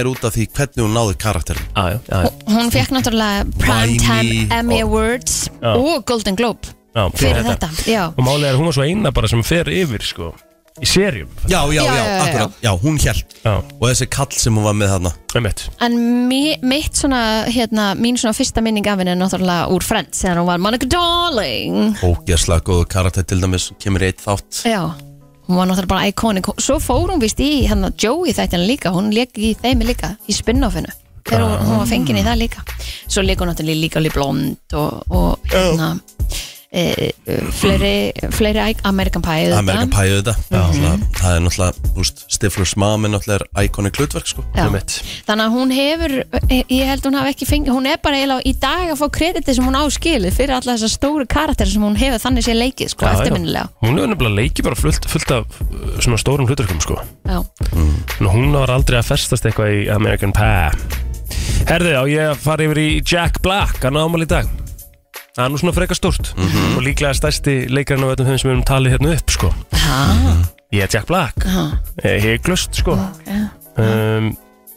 Speaker 1: er út af því hvernig hún náði karakterin
Speaker 3: já, já, já,
Speaker 2: Hún fekk náttúrulega Primetime
Speaker 1: Blimey.
Speaker 2: Emmy Awards
Speaker 3: Já.
Speaker 2: og Golden Globe
Speaker 3: já
Speaker 2: fyrir þetta, Já.
Speaker 3: Og málið er að hún var svo eina bara sem fer yfir sko Í serjum
Speaker 1: já, já, já,
Speaker 2: Já, já, já,
Speaker 1: akkurat, já, hún hjælt
Speaker 3: Já,
Speaker 1: og þessi kall sem hún var með þarna
Speaker 3: einmitt
Speaker 2: En mi, mitt svona, hérna, mín svona fyrsta minning af henni er náttúrulega úr Friends þegar hún var Monica Darling
Speaker 1: ógeðslega góðu karakter til dæmis, kemur í eitt þátt
Speaker 2: Já, hún var náttúrulega bara iconic Svo fór hún vist í hérna Joey þættina líka Hún leik í þeimi líka, í spin-offinu Þegar hún, hún var fengin í það líka Svo leik hún náttúrulega líka alveg blond og, og hérna e, e, fleiri, fleiri æ- American Pie auðvitað.
Speaker 1: Amerikan pæðu þetta Náttúrulega, það er náttúrulega, þú veist, Stifler's mom er náttúrulega íkoni klutverk sko
Speaker 2: Já.
Speaker 3: Einmitt.
Speaker 2: Þannig að hún hefur, eh, ég held hún hafi ekki fengið, hún er bara eiginlega í dag að fá krediti sem hún áskilið fyrir alla þessar stóru karakter sem hún hefur þannig sé leikið, sko,
Speaker 3: Já, já.
Speaker 2: eftirminnilega.
Speaker 3: Hún hefur nefnilega leikið bara fullt, fullt af uh, svona stórum hluturkum sko
Speaker 2: Já.
Speaker 3: En hún var aldrei að festast eitthvað í American Pie Herðu, á ég að fara yfir í Jack Black, hann ámál í dag Það er nú svona frekar stórt Og líklega stærsti leikarinn af öllum þeim sem við erum talið hérna upp sko
Speaker 2: Ha,
Speaker 3: Ég er Jack Black
Speaker 2: ha,
Speaker 3: Heglust sko
Speaker 2: já.
Speaker 3: um,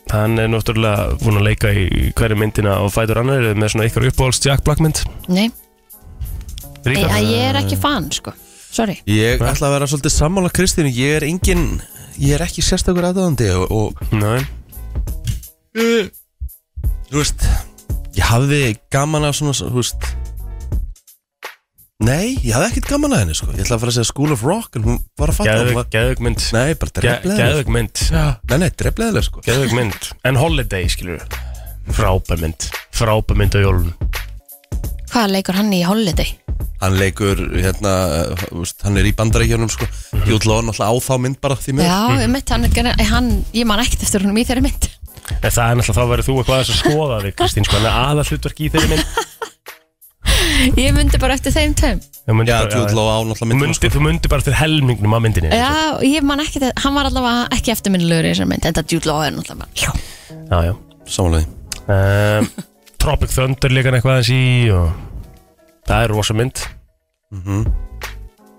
Speaker 3: Hann er náttúrulega búinn að leika í hverju myndina og fætur annar með svona ykkar uppáhalds Jack Black mynd
Speaker 2: Nei, ég,
Speaker 3: Ríka
Speaker 2: ég er ekki fan, sko. Sorry.
Speaker 1: ég ætla að vera svolítið sammála Kristínu, ég er engin ég er ekki sérstakur aðdóðandi og, og
Speaker 3: Nei,
Speaker 1: þú veist ég hafði gaman að svona þú veist nei, ég hafði ekkert gaman að henni sko ég ætla að fara að segja School of Rock en hún var að fatta hún var,
Speaker 3: geðug, geðug mynd
Speaker 1: nei, bara drefleðileg
Speaker 3: Geðug mynd
Speaker 1: nei, nei, drefleðileg sko
Speaker 3: Geðug mynd En Holiday skilur Frábær mynd Frábær mynd á jólun
Speaker 2: Hvað leikur hann í Holiday?
Speaker 1: hann leikur, hérna, uh, þú veist, hann er í bandarækjunum sko Jude Law er náttúrulega á þá mynd bara því mér
Speaker 2: Já, ég mitt, hann, er gera- hann, ég man ekkert eftir húnum í þeirri mynd.
Speaker 3: En það er náttúrulega þá verður þú eitthvað aðeins að skoða þig Kristín sko Hann er aðall hlutverk í þeirri mynd
Speaker 2: Ég myndi bara eftir þeim tveim
Speaker 3: Ég myndi
Speaker 1: Já,
Speaker 3: bara-
Speaker 1: Jude Law á náttúrulega sko,
Speaker 3: Þú
Speaker 1: myndum
Speaker 3: myndir, þú myndir bara fyrir helmingnum á myndinni
Speaker 2: Já, ég man ekki þetta Hann var allavega ekki eftirminnilegur í þessar mynd Þetta Jude Law er náttúrulega bara- Já.
Speaker 3: já, já.
Speaker 1: Samanlega
Speaker 3: Um, Tropic Thunder líka hann eitthvað aðeins í og... Það er rosa mynd
Speaker 1: Mhm.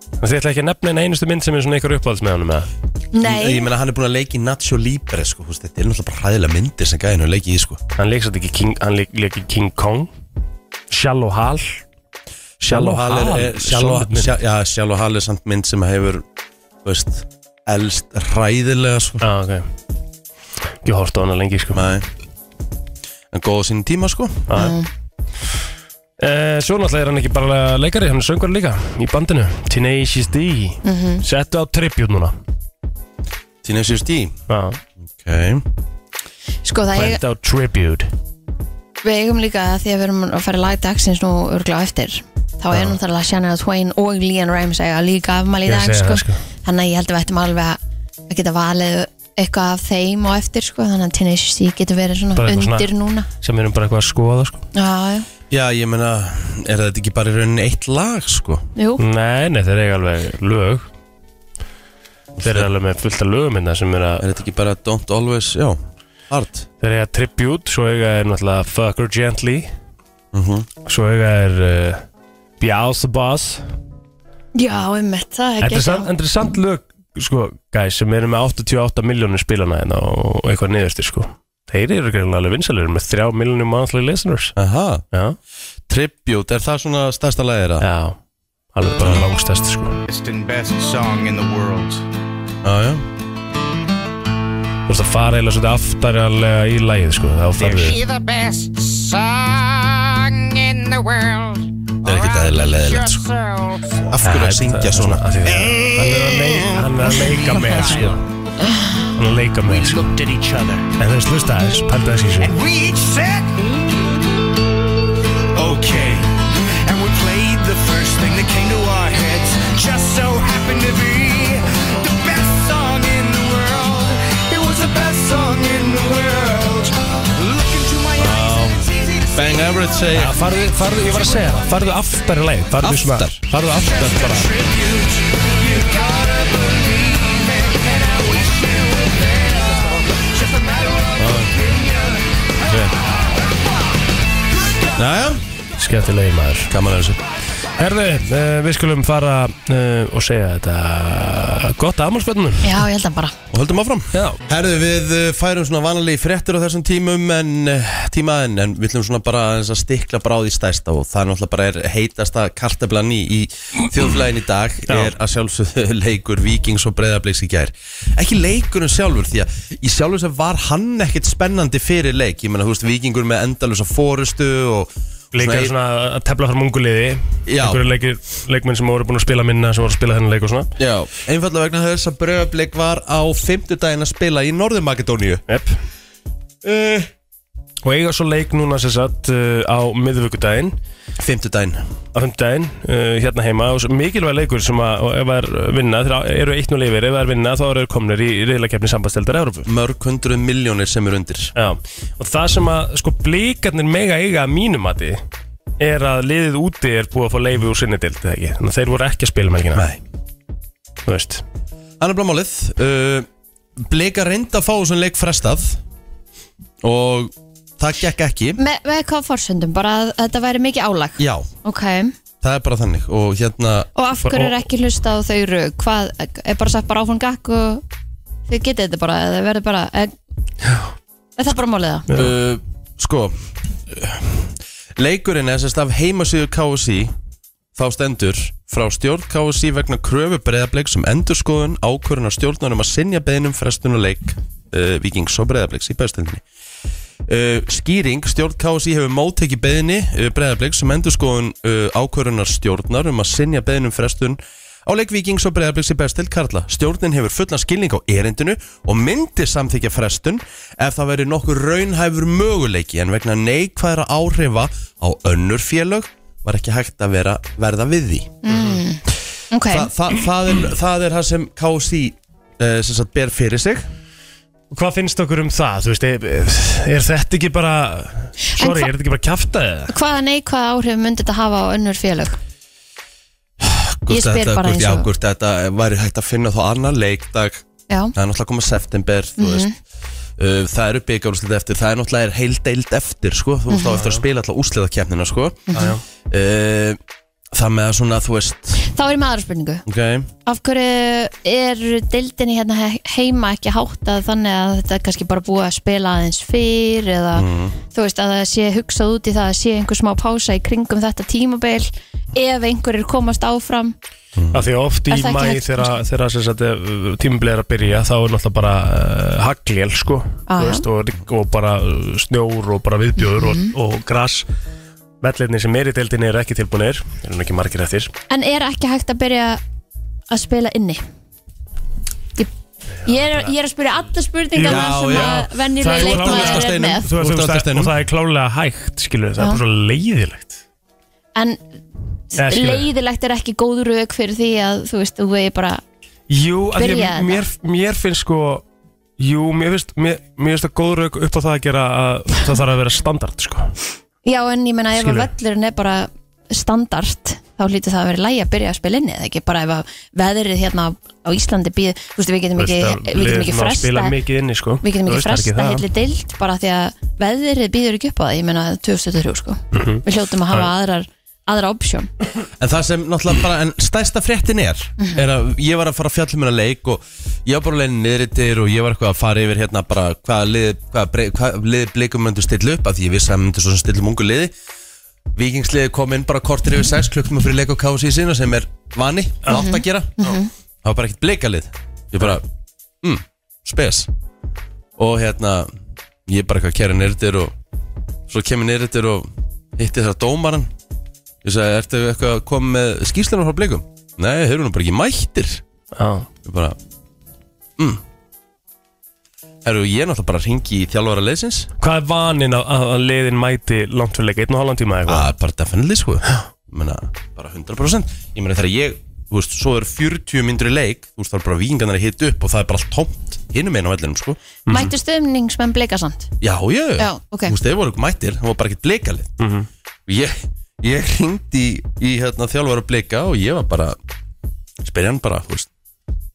Speaker 3: Þannig þið ætla ekki að nefna eina einustu mynd sem er svona ykkur uppáhalds með honum eða?
Speaker 1: Ég
Speaker 2: Nei,
Speaker 1: meina hann er búin að leiki Nacho Libre sko, þú veist, Þetta er náttúrulega bara hræðilega myndir sem gæðin að leiki í sko.
Speaker 3: Hann leik svolítið ekki King, hann leik, leik ekki King Kong Shallow Hall Shallow
Speaker 1: Hall er, er, Shallow,
Speaker 3: solid mynd.
Speaker 1: Sha- já, Shallow Hall er samt mynd sem hefur þú veist, elst hræðilega sko.
Speaker 3: Já, Ah, ok Ég horfst á hana lengi, sko
Speaker 1: Nei. En góð á sínum tíma sko
Speaker 3: uh, Svo náttúrulega er hann ekki bara leikari Hann er söngur líka í bandinu Tenacious D Settu á tribut núna Ah.
Speaker 1: Tína sér stí
Speaker 3: Já,
Speaker 1: okay.
Speaker 2: sko það ég,
Speaker 3: Bent á tribute
Speaker 2: við eigum líka að því að við erum að fara í lag dagsins nú örgla eftir þá er náttúrulega Shannon Twain og Leon Rimes eiga líka afmæli í
Speaker 3: Ég
Speaker 2: dag
Speaker 3: segi
Speaker 2: sko.
Speaker 3: það, sko.
Speaker 2: þannig að ég held að við ættum alveg að, að geta valið eitthvað af þeim og eftir sko. þannig að Teenage D getur verið svona
Speaker 3: Bara eitthvað svona-
Speaker 2: undir núna
Speaker 3: Sem við erum bara eitthvað að skoða, sko
Speaker 2: Já, já,
Speaker 1: Já, ég meina, er þetta ekki bara í rauninni eitt lag sko?
Speaker 2: jú,
Speaker 3: Nei, nei, þeir eru alveg lög Þeir eru alveg með fullt af lögum hérna sem er að
Speaker 1: Er þetta ekki bara Don't Always, já, hard
Speaker 3: Þeir eiga Tribute, svo eiga er náttúrulega Fuck Her Gently
Speaker 1: mm -hmm.
Speaker 3: Svo eiga er uh, Beelzebuzz
Speaker 2: já, einmitt það
Speaker 3: Þetta
Speaker 2: ekki
Speaker 3: er samt- þetta er samt lög, sko, guys sem eru með 88 miljónir spilana hérna og og eitthvað niðursti, sko Þeir eru greinlega alveg vinsalir með 3 miljónir monthly listeners
Speaker 1: Aha,
Speaker 3: Já,
Speaker 1: Tribute, er það svona stærsta lagið það?
Speaker 3: já, alveg bara langstæst, sko
Speaker 4: best and best song in the world.
Speaker 1: Já, já
Speaker 3: Þú veist að fara eða svolítið aftarjalega í lagið, sko Þá
Speaker 4: Is
Speaker 3: ferðu
Speaker 4: she the best song in the world?
Speaker 1: Það er ekkert eðlilega leðilegt sko.
Speaker 4: Yourself.
Speaker 1: Af hverju að syngja svona?
Speaker 3: Af því að- Hann er að leika, hann er að leika með sko. Hann er að leika með sko.
Speaker 4: Looked at each other.
Speaker 3: En þú veist, hlusta aðeins, pælda þessi svo
Speaker 4: And we each said, okay. And we played the first thing that came to our heads. Just so happened to be the best song in the world. It was the best song in the world. Look into my eyes and it's easy to see.
Speaker 1: Bang Average segir
Speaker 3: Já, farðu, farðu, ég var að segja það, farðu aftar í leið Farðu svona,
Speaker 1: Aftar?
Speaker 3: farðu aftar bara
Speaker 4: Tribute, you gotta believe it. And I wish you were there. Just a matter of
Speaker 3: Ah,
Speaker 1: Jæja,
Speaker 3: Skemmtilegi maður
Speaker 1: gaman að þessu
Speaker 3: Herðu, uh, við skulum fara uh, og segja þetta Gott afmálspennunum
Speaker 2: Já, ég held að bara
Speaker 1: Og höldum áfram
Speaker 3: Já
Speaker 1: Herðu, við eh, færum svona vanalegi fréttir á þessum tímum en eh, tímaðin, en við ætlum svona bara aðeins að stikla bara á því stærsta og það er náttúrulega bara er heitasta kartablan í, í þjóðflæðin í dag er að sjálfsögðu leikur Víkings og Breiðabliks í gær. Ekki leikurinn sjálfur því að í sjálfur sem var hann ekkit spennandi fyrir leik, ég meina þú veist Víkingur með endalusa forustu og
Speaker 3: Líka svona að tefla fram unguliði
Speaker 1: Já.
Speaker 3: Einhverju leikir, leikmenn sem voru búin að spila minna sem voru að spila þennan leik og svona
Speaker 1: Já, einfallega vegna þess að Breiðablik var á fimmtudaginn að spila í Norður-Makedóníu
Speaker 3: Jep
Speaker 1: Eh.
Speaker 3: Og eiga svo leik núna sem sagt uh, á miðvíkudaginn
Speaker 1: Fimmtudaginn
Speaker 3: á hundaginn uh, hérna heima og svo mikilvæg leikur sem að og ef það er vinna, þeir eru eitt nú lifir ef það er vinna þá eru þeir komnir í riðlakefni sambandsteldar Európu
Speaker 1: Mörg hundruð miljónir sem eru undir
Speaker 3: Já, og það sem að sko blíkarnir mega eiga að mínum að er að liðið úti er búið að fá leifi úr sinni dild eða ekki, þannig að þeir voru ekki að spila melkina
Speaker 1: Nei
Speaker 3: þú veist,
Speaker 1: Annar blá málið uh, Blika reynda að fá þessum leik frestað Og það gekk ekki
Speaker 2: Me, Með hvað forsöndum, bara að þetta væri mikið álag
Speaker 1: Já,
Speaker 2: Ok,
Speaker 1: það er bara þannig Og hérna,
Speaker 2: og af hverju er ekki hlustað á þau rög Hvað, er bara sagt bara áfram gakk og þið getið þetta bara eða verður bara er, er það bara málið það?
Speaker 1: uh, sko uh, Leikurinn er sérst af heimasíðu KSI Þá stendur frá stjórn KSI vegna kröfu breyðablik sem endurskoðun ákvörunar stjórnar um að sinja beinum frestunuleik uh, Víkings og breyðabliks í bestildinni Uh, skýring, stjórn KSI hefur móttekki beðinni uh, breyðarbleik sem endur skoðun uh, ákvörunar stjórnar um að sinja beðinum frestun á leik Víkings og breyðarbleiks í bestil Karla. Stjórnin hefur fullan skilning á erindinu og myndi samþykja frestun ef það veri nokkur raunhæfur möguleiki en vegna neikvæðra áhrifa á önnur félög var ekki hægt að vera, verða við því.
Speaker 2: Ok,
Speaker 1: eh, Þa, það, það, er, það er það sem KSI uh, sem sagt ber fyrir sig
Speaker 3: Og hvað finnst okkur um það? Þú veist, er, er þetta ekki bara Sorry,
Speaker 2: hva-
Speaker 3: er þetta ekki bara kjaftaðið? eða?
Speaker 2: Hvaða neikvæða áhrif myndi þetta hafa á önnur félög? Ég spyr
Speaker 1: þetta,
Speaker 2: bara
Speaker 1: hvort-
Speaker 2: eins
Speaker 1: já,
Speaker 2: og-
Speaker 1: hvort þetta væri hægt að finna þá annar leikdag
Speaker 2: Já,
Speaker 1: það er náttúrulega komað september þú veist Uh, það eru byggjárúslið eftir, það er náttúrulega er heil deild eftir sko, þú veist þá eftir að spila alltaf úsliðakefnina sko
Speaker 3: Já, já.
Speaker 1: uh, Það með að svona, þú veist
Speaker 2: þá er ég með aðra spurningu
Speaker 1: Ok,
Speaker 2: Af hverju er deildinni hérna he- heima ekki háttað þannig að þetta er kannski bara búið að spila aðeins fyrr eða þú veist að það sé hugsað út í það að sé einhver smá pása í kringum þetta tímabil ef einhverjir komast áfram
Speaker 3: Af því að oft í
Speaker 2: Er það ekki
Speaker 3: mæ
Speaker 2: hægt,
Speaker 3: þegar þegar sem sagt, eh, tímabilið er að byrja þá er náttúrulega bara uh, haglél sko
Speaker 2: Já,
Speaker 3: Þú
Speaker 2: já.
Speaker 3: veist, og, rigning og bara eh, snjór og bara viðbjóður
Speaker 2: Mhm.
Speaker 3: og, og gras Vellinni sem er í deildinni eru ekki tilbúinir eru nú ekki margir eftir
Speaker 2: en er ekki hægt að byrja að spila inni ég, ég, er, ég er að spyrja alla spurningar
Speaker 1: Já,
Speaker 2: sem
Speaker 1: já.
Speaker 2: að
Speaker 3: Það er
Speaker 2: venjulega
Speaker 1: klálega
Speaker 2: leikmaður er
Speaker 1: steinum.
Speaker 2: með
Speaker 3: Þú veist,
Speaker 1: Þú
Speaker 3: þú
Speaker 1: ert á
Speaker 3: veist,
Speaker 1: steinum.
Speaker 3: og það er klálega hægt skilur, það
Speaker 2: Já.
Speaker 3: er bara svo leiðilegt
Speaker 2: en
Speaker 3: Eða, skilur.
Speaker 2: leiðilegt er ekki góð rauk fyrir því að þú veist, þú vegi bara
Speaker 3: Jú, af því
Speaker 2: Byrjaði
Speaker 3: að mér, mér finnst sko Jú, mér finnst, mér, mér finnst það góð rauk upp á það að gera að það þarf að vera standard sko.
Speaker 2: Já, en ég meina ef að
Speaker 3: Skilurðu?
Speaker 2: völlurinn er bara standard þá hlýtur það að vera lægi að byrja að spila inni eða ekki bara ef að veðrið hérna á Íslandi býð, þú veist við getum ekki, við getum ekki
Speaker 3: að
Speaker 2: fresta
Speaker 3: spila mikið inni sko.
Speaker 2: við getum ekki
Speaker 3: Þú veist, það er
Speaker 2: fresta
Speaker 3: það.
Speaker 2: heilir deild bara því að veðrið býður ekki upp á það ég meina 2023 sko
Speaker 3: Mhm.
Speaker 2: við hljótum að hafa aðrar aðra option
Speaker 1: En það sem náttúrulega bara, en stærsta fréttin er er að ég var að fara að fjalla um hérna leik og ég var bara að leiðin niðritir og ég var eitthvað að fara yfir hérna bara hvaða liði, hvaða, bre- hvaða liði blikum myndu stilla upp af því ég vissi að það myndu svo sem stilla um ungu liði Víkingsliði kom inn bara kortir yfir 6 klukkum fyrir leik og kási í sinna sem er vani, látt að gera það var bara ekkert blikalið ég bara, mm, spes og hérna ég bara eitthvað kæra nýrðir og svo kemur nýrðir og hitti það dómaran Ég sagði, ertu eitthvað að koma með skýrslunum frá blikum? Nei, þeir eru nú bara ekki mættir
Speaker 3: Já.
Speaker 1: Ég bara, mm Herru, ég er náttúrulega bara að ringi í þjálfara leysins
Speaker 3: Hvað er vaninn að, að að liðin mæti langt fyrir leik, einn og halvan tíma eða eitthvað?
Speaker 1: Það er bara definitely, sko Ég meina, bara 100% Ég meina, þegar ég, þú veist, svo eru 40 myndur í leik Þú veist, það er bara vingarnar að hita upp og það er bara allt tómt hinum einu á vellinum, sko
Speaker 3: Mhm.
Speaker 2: mættu stöðningsmenn blikasand
Speaker 1: Já, já,
Speaker 2: Já, ok.
Speaker 1: Þú veist, þeir voru ekki mættir, það var bara ekkert blikalið mm -hmm. Ég, ég hringdi í, í hérna, þjálfara blika og ég var bara spyrja hann bara, þú veist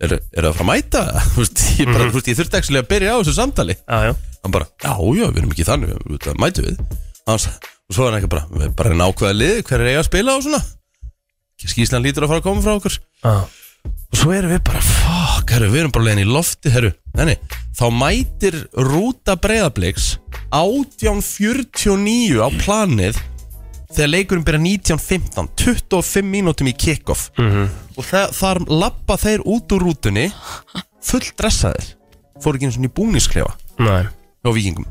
Speaker 1: Er, er það að fara að mæta? Þú veist, ég, bara, þú veist, ég þurfti ekki að byrja á þessu samtali
Speaker 3: Já, já.
Speaker 1: Hann bara, já, já, við erum ekki þannig við, við, það mætum við Hann s- Og svo er hann ekki bara, við erum bara nákvæða lið Hver er eiga að spila á svona? Skíslan lítur að fara að koma frá okkur
Speaker 3: Já.
Speaker 1: Og svo erum við bara, fuck, herru, við erum bara leiðin í lofti, herru Nei, nei, þá mætir rúta breyðabliks 18.49 á planið Þegar leikurinn byrja 19.15 25 mínútum í kickoff -hmm. Og það, þar lappa þeir út úr rútunni Fulldressaðir Fóru ekki eins og í búningsklefa
Speaker 3: Nei.
Speaker 1: Á vikingum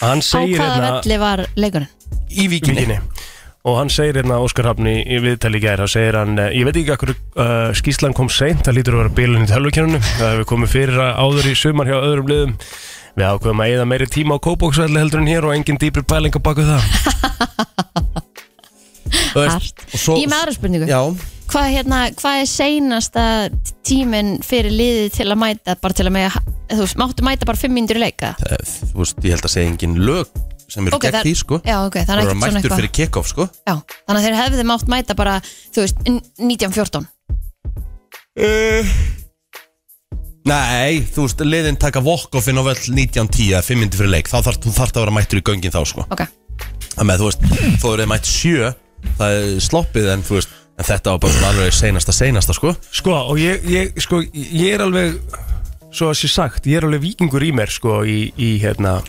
Speaker 3: Hann
Speaker 2: á
Speaker 3: segir
Speaker 2: hvaða
Speaker 3: hérna
Speaker 2: velli var leikurinn?
Speaker 1: Í vikinni,
Speaker 3: vikinni og hann segir hérna Óskar Hafni í viðtali í gær þá segir hann, eh, ég veit ekki hvað uh, skýslan kom seint, það lítur að vera bílun í tölvukerninu það hefur komið fyrir að- áður í sumar hjá öðrum liðum við ákveðum að eða meiri tíma á kópóksvelli heldur en hér og engin dýpri pæling á baku það
Speaker 1: Þú veist,
Speaker 2: Hart.
Speaker 1: og svo-
Speaker 2: Ég er með aðra spurningu
Speaker 1: Já,
Speaker 2: hvað, hérna, hvað er seinasta tíminn fyrir liðið til að mæta bara til að mega, þú veist, máttu mæta bara 5 mínútur í leika
Speaker 1: eh, þú veist, ég held að segja engin lög sem eru gegn því, sko
Speaker 2: já, ok, það
Speaker 1: Það eru
Speaker 2: er ekkert svona
Speaker 1: mættur
Speaker 2: eitthvað
Speaker 1: fyrir kickoff, sko
Speaker 2: já, þannig að þeir hefðu mátt mæta bara þú veist, n- 1914
Speaker 1: Uh, nei, þú veist, liðin taka walk-offin á völl 19.10 eða 5 mindir fyrir leik, þá þarf þú þarft að vera mættur í göngin þá, sko.
Speaker 2: ok,
Speaker 1: Það með, þú veist, þú eru mætt sjö, það er sloppið, en þú veist, en þetta var bara svona alveg seinasta, seinasta, sko.
Speaker 3: Sko, og ég, ég, sko, ég er alveg svo að sé sagt, ég er alveg vikingur í mér sko, í, í hérna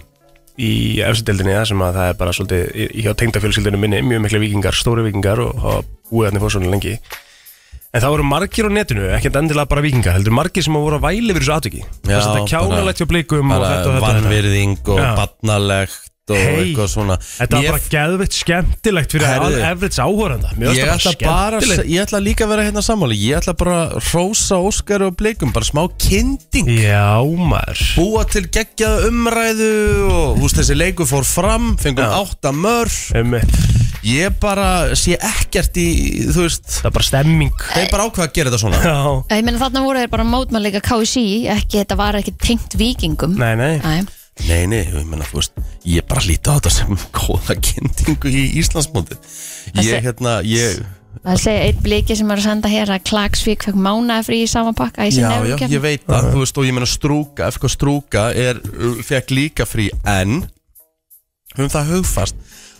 Speaker 3: í efstideldinni það sem að það er bara svolítið í- hjá tengdafjölskyldinu minni, mjög mikla vikingar stóri vikingar og hafa búið hann í fórsvonu lengi en það voru margir á netinu ekkert endilega bara vikingar, heldur margir sem voru að væli við þessu atviki, þess að þetta
Speaker 1: bara-
Speaker 3: kjánalegt hjá blikum og
Speaker 1: Bara
Speaker 3: þetta og þetta og þetta.
Speaker 1: vanvirðing og
Speaker 3: Já.
Speaker 1: barnalegt og
Speaker 3: Hey.
Speaker 1: eitthvað svona
Speaker 3: Þetta var bara geðvitt skemmtilegt fyrir
Speaker 1: Herðu.
Speaker 3: all efrits áhóranda Mér
Speaker 1: ég ætla,
Speaker 3: finnst þetta
Speaker 1: bara,
Speaker 3: bara skemmtilegt
Speaker 1: ég ætla líka að vera hérna sammáli Ég ætla bara að rósa Óskar og Blikum Bara smá kynding
Speaker 3: Já maður
Speaker 1: Búa til geggjaða umræðu Og húst þessi leiku fór fram Fengum
Speaker 3: Já.
Speaker 1: átta mörf
Speaker 3: Einmitt.
Speaker 1: Ég bara sé ekkert í Þú veist,
Speaker 3: Það er bara stemming
Speaker 1: þeir bara ákveða að gera þetta svona
Speaker 3: Já
Speaker 2: Ég meina þarna voru þeir bara mótmæleika KSI ekki, þetta var ekki tengt vikingum
Speaker 3: Nei, nei
Speaker 2: Æ,
Speaker 1: Nei, nei, ég meina, þú veist Ég bara líti á þetta sem góða kyndingu í Íslandsmóti Ég,
Speaker 2: Þessi-
Speaker 1: hérna, ég
Speaker 2: Það segja eitt bliki sem er að senda hér að Klagsvík fekk mánaði frí í sama pakka í
Speaker 1: Já, já, ég veit það, þú veist, og ég meina strúka FK strúka er, fekk líka frí en höfum það hugfast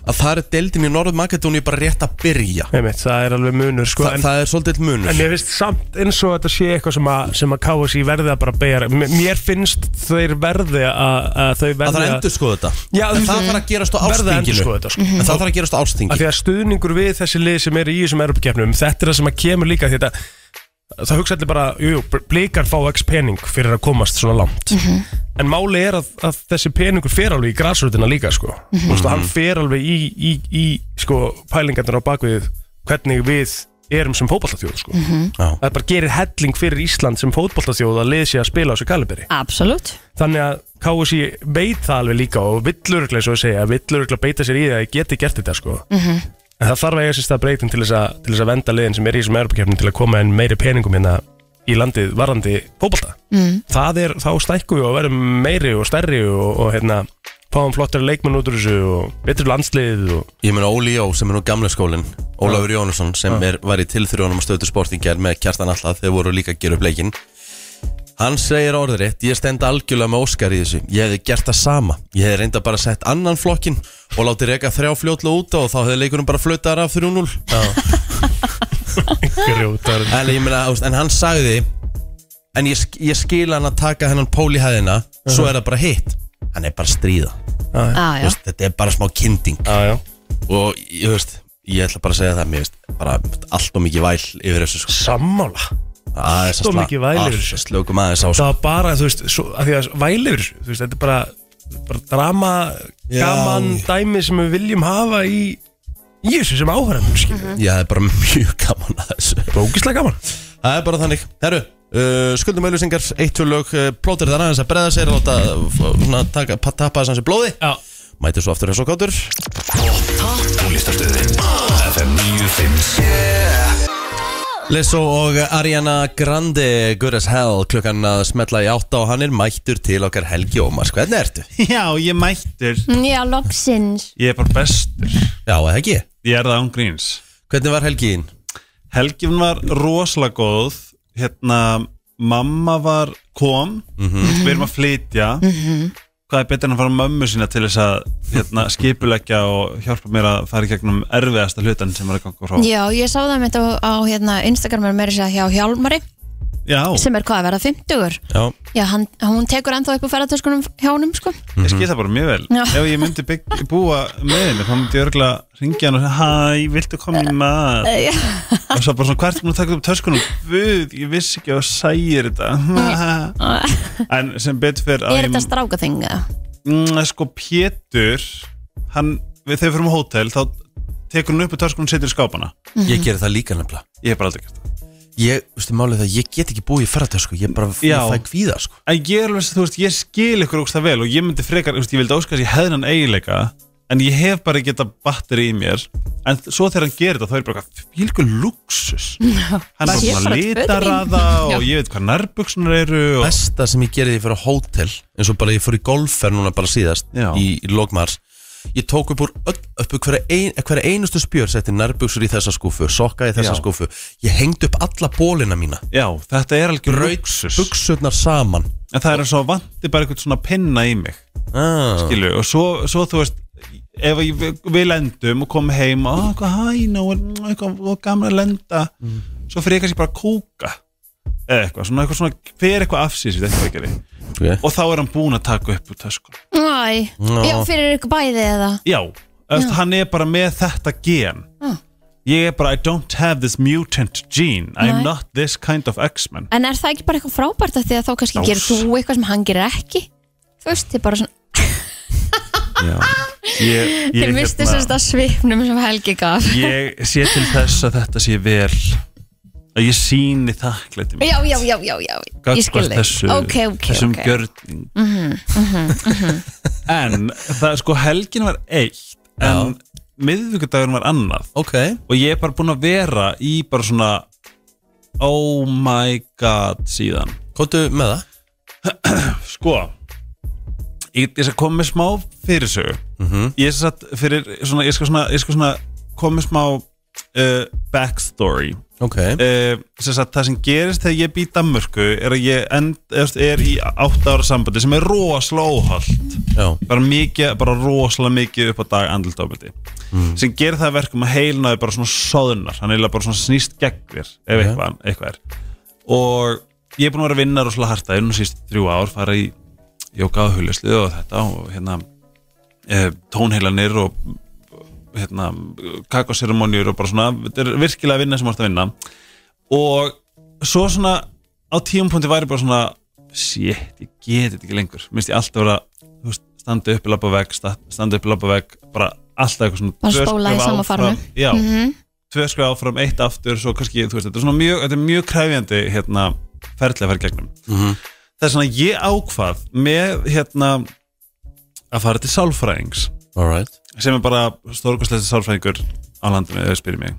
Speaker 1: að það er deildin í Norður Makedóni bara rétt að byrja
Speaker 3: Einmitt, það er alveg munur sko
Speaker 1: Þa,
Speaker 3: en,
Speaker 1: það er svolítið munur
Speaker 3: en mér finnst samt eins og þetta sé eitthvað sem að, sem að KSI verði að bara beira Mér mér finnst þeir verði að, að þau verði
Speaker 1: að það er endur skoða þetta
Speaker 3: Já,
Speaker 1: En það þarf að gerast á
Speaker 3: verði að
Speaker 1: ástinginu
Speaker 3: endur sko þetta sko
Speaker 1: En það þarf að gerast á
Speaker 3: af
Speaker 1: ástingi
Speaker 3: því að stuðningur við þessi lið sem eru í þessum erupkefnum, þetta er það sem að kemur líka því að það hugsa allir bara jú, jú, blikar fá x pening fyrir að komast svona langt en máli er að, að þessi peningur fer alveg í græsrutina líka sko. mm -hmm. hann fer alveg í, í, í sko, pælingarnar á bakvið hvernig við erum sem fótballtafjóð sko.
Speaker 1: Já.
Speaker 3: það bara gerir helling fyrir Ísland sem fótballtafjóð að lið sér að spila á þessu kaliberi
Speaker 2: Absolutt
Speaker 3: þannig að KSI veit það alveg líka og villuruglega svo að segja, villuruglega beita sér í það að ég geti gert þetta sko -hmm. en það þarf að eiga sér stað breytum til þess að, til þess að venda liðin sem er í þessum erupakefnum til að koma en meiri peningum hérna í landið varandi fótbolta mm. það er, þá stækku við og verðum meiri og stærri og, og hérna fáum flottari leikmenn út úr þessu og betur landslið og
Speaker 1: Ég meina Óli Jó sem er nú gamle skólin Ólafur Jónusson sem er, var í tilþrjónum að stöðu sportingar með kjartan alltaf þegar voru líka að gera upp leikinn Hann segir orðrétt, ég stend algjörlega með Óskar í þessu Ég hefði gert það sama Ég hefði reynda bara sett annan flokkin og látið reka þrjá fljótla út og þá hefði leikunum bara flötaðar af 3-0
Speaker 3: grjótar
Speaker 1: en, ég meina, þú veist, en hann sagði En ég, sk- ég skil hann að taka hennan pól í hæðina Svo er það bara hitt Hann er bara að stríða
Speaker 2: ah,
Speaker 1: Þú veist, Þetta er bara smá kynding
Speaker 3: ah, já.
Speaker 1: og ég veist ég ætla bara að segja það, mér veist bara allt og mikið væl yfir þessu sko.
Speaker 3: sammála
Speaker 1: allt
Speaker 3: of mikið væl yfir þessu.
Speaker 1: slökum aðeins á
Speaker 3: það
Speaker 1: sko.
Speaker 3: var bara, þú veist, svo, að því að vælifur, þú veist, þetta er bara, bara drama,
Speaker 1: Já.
Speaker 3: gaman dæmi sem við viljum hafa í í þessu sem áhverjum, skiljum mm -hmm.
Speaker 1: ég hef bara mjög gaman að þessu
Speaker 3: Bókislega gaman
Speaker 1: það er bara þannig, herru Uh, skuldum auðlýsingar, eitt tvö lög uh, plótir þar aðeins að breða sér láta, uh, svona, taka, pa- tappa þess hans í blóði
Speaker 3: Já.
Speaker 1: mæti svo aftur eins og kátur
Speaker 4: Tónlistarstöðin FM 957
Speaker 1: Lizzo og Ariana Grande good as hell klukkan að smetla í átta og hann er mættur til okkar Helgi Ómars hvernig ertu?
Speaker 5: Já, ég mættur
Speaker 2: Mm, Já, loksins
Speaker 5: Ég er bara bestur
Speaker 1: Já, eða ekki?
Speaker 5: Ég er það án gríns
Speaker 1: Hvernig var Helgiðin?
Speaker 5: Helgin var rosalega góð Hérna, mamma var kom Við erum að flytja
Speaker 2: Mhm.
Speaker 5: Hvað er betur en að fara mömmu sína til þess að hérna, skipuleggja og hjálpa mér að fara í gegnum erfiðasta hlutan sem er að ganga frá
Speaker 2: Já, ég sá það mitt á, á hérna, Instagramur meira sér hjá Hjálmari
Speaker 5: Já,
Speaker 2: sem er hvað að vera 50
Speaker 1: Já,
Speaker 2: Já, hann, hún tekur ennþá upp á ferðartöskunum hjá honum sko.
Speaker 5: ég skil það bara mjög vel
Speaker 2: Já.
Speaker 5: Ef ég myndi bygg, búa með henni þá myndi ég örgulega ringja hann og segja Hæ, viltu koma í mat?
Speaker 2: Já.
Speaker 5: Og svo bara svona hvert mér að taka upp töskunum Guð, ég vissi ekki að þú sægir þetta En sem betur fyrir að
Speaker 2: Er
Speaker 5: ég-
Speaker 2: þetta stráka þinga?
Speaker 5: Mm, sko Pétur hann, við þegar við fyrir á hótel þá tekur hann upp í törskunum og setur í skápana
Speaker 1: ég gerði það líka nefnilega
Speaker 5: ég hef bara aldrei gert það
Speaker 1: Ég, veistu, málið er það, ég get ekki búið í ferðartösku Ég bara,
Speaker 5: Já.
Speaker 1: ég fæ kvíða, sko
Speaker 5: en ég er alveg, þú veist, ég skil ykkur ógst það vel og ég myndi frekar, þú veist, ég vildi óska þess að ég hefði hann eiginleika en ég hef bara geta batteri í mér en svo þegar hann gerir þetta þá er bara fylgur luxus hann
Speaker 2: Ég er
Speaker 5: er svona
Speaker 2: bara
Speaker 5: litaraða og ég veit hvað nærbuksunar eru og
Speaker 1: Besta sem ég gerði fyrir hótel eins og bara ég fór í golfferð núna bara síðast
Speaker 5: Já.
Speaker 1: Í, í lokmars Ég tók upp úr öll, upp úr hverja, ein, hverja einustu spjör Setti nærbuksur í þessa skúfu, sokka í þessa
Speaker 5: Já.
Speaker 1: skúfu Ég hengd upp alla bólina mína
Speaker 5: já, þetta er algjör
Speaker 1: Braut
Speaker 5: luxus
Speaker 1: buksurnar saman
Speaker 5: en það er eins og vanti bara eitthvað svona pinna í mig
Speaker 1: ah.
Speaker 5: skilu, og svo, svo þú veist ef ég, við lendum og komum heim og hvað hæna og eitthvað og gamla lenda svo fyrir ég kannski bara að kúka eða eitthvað, svona eitthvað svona fyrir eitthvað afsýs við þetta ekki gerir
Speaker 1: okay.
Speaker 5: og þá er hann búin að taka upp úr töskun
Speaker 2: Æ,
Speaker 1: Ná.
Speaker 2: já, fyrir ykkur bæði eða
Speaker 5: já, eftir, hann er bara með þetta gen
Speaker 2: Já.
Speaker 5: ég er bara I don't have this mutant gene
Speaker 2: Nei.
Speaker 5: I'm not this kind of X-Men
Speaker 2: En er það ekki bara eitthvað frábært af því að þá kannski
Speaker 5: Ás.
Speaker 2: gerir þú eitthvað sem hann gerir ekki? Þú veist, þið bara svona
Speaker 5: Já. ég, ég,
Speaker 2: Þið misti
Speaker 5: hérna-
Speaker 2: sérst að svipnum sem Helgi gaf
Speaker 5: ég sé til þess að þetta sé vel að ég síni þakklæti mitt
Speaker 2: Já, já, já, já, já Ég skil
Speaker 5: gagnvart
Speaker 2: þig
Speaker 5: þessu,
Speaker 2: Ok, ok, Mhm,
Speaker 5: þessum
Speaker 2: ok
Speaker 5: gjörning en það sko helgin var eitt en miðvíkudagur var annað
Speaker 1: Ok,
Speaker 5: og ég er bara búin að vera í bara svona oh my god síðan
Speaker 1: komdu með það
Speaker 5: sko ég, ég skal koma með smá fyrir sögu ég, sem sagt fyrir, svona, ég skal svona, ég skal svona koma með smá uh, backstory
Speaker 1: Ok,
Speaker 5: uh, sem sagt, það sem gerist þegar ég být Danmörku er að ég end, efst, er í átt ára sambandi sem er rosalega óholt
Speaker 1: já,
Speaker 5: bara, mikið, bara rosalega mikið upp á dag andlutofbildi sem gerir það að verkum að heilnaði bara svona soðunar hann eiginlega bara svona snýst gegn þér ef eitthvað, eitthvað er og ég er búin að vera að vinna rosalega harta einu síst þrjú ár fara í jóka og hulislu og þetta og hérna eh, tónheilanir og hérna, kakoseremonjur og bara svona, þetta er virkilega vinna sem þú ert að vinna og svo svona á tíumpunkti væri bara svona shit, ég geti þetta ekki lengur minnst ég alltaf vera, þú veist, standa upp lappa veg, standa upp lappa veg bara alltaf eitthvað svona
Speaker 2: Bara
Speaker 5: tvö
Speaker 2: spóla í
Speaker 5: skref
Speaker 2: sama
Speaker 5: áfram.
Speaker 2: farinu. Mhm.
Speaker 5: já, tvö skrifa áfram, eitt aftur svo kannski, þú veist, þetta er svona mjög, þetta er mjög kræfjandi hérna, ferðlega að fara í gegnum það er svona ég ákvað með hérna að fara til sálfræðings
Speaker 1: alright
Speaker 5: sem er bara stórkostlega sálfræðingur á landinu, eða spyrir mig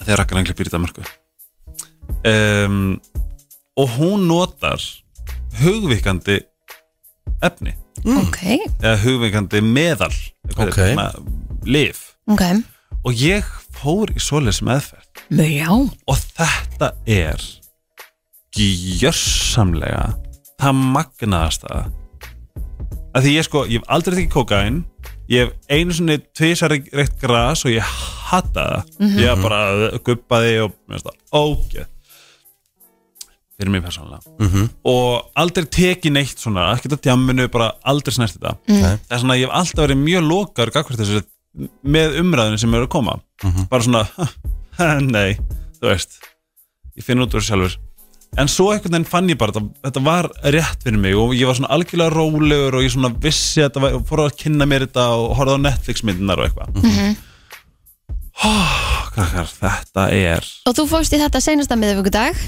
Speaker 5: þegar rakkar angli býr í Danmarku um, og hún notar hugvikandi efni
Speaker 2: Ok,
Speaker 5: eða hugvikandi meðal
Speaker 1: Ok.
Speaker 5: lif
Speaker 2: ok
Speaker 5: og ég fór í svoleiðis meðferð
Speaker 2: Mjö, Já,
Speaker 5: og þetta er gjörsamlega það magnaðast það að því ég sko, ég hef aldrei tekið kókain ég hef einu svona tvisar reitt gras og ég hata það ég hef bara guppaði og mér finnst það ógeð fyrir mig persónulega og aldrei tekið neitt svona ekkert að djamminu, bara aldrei snert þetta það er svona, ég hef alltaf verið mjög lokar gagvart þessu með umræðinu sem eru að koma bara svona, nei þú veist, ég finn út úr þessu sjálfur en svo einhvern veginn fann ég bara þetta, þetta var rétt fyrir mig og ég var svona algjörlega rólegur og ég svona vissi að þetta var, fór að kynna mér þetta og horfði á Netflix myndinar og eitthvað mm krakkar, þetta er
Speaker 2: og þú fórst í þetta senasta miðvikudag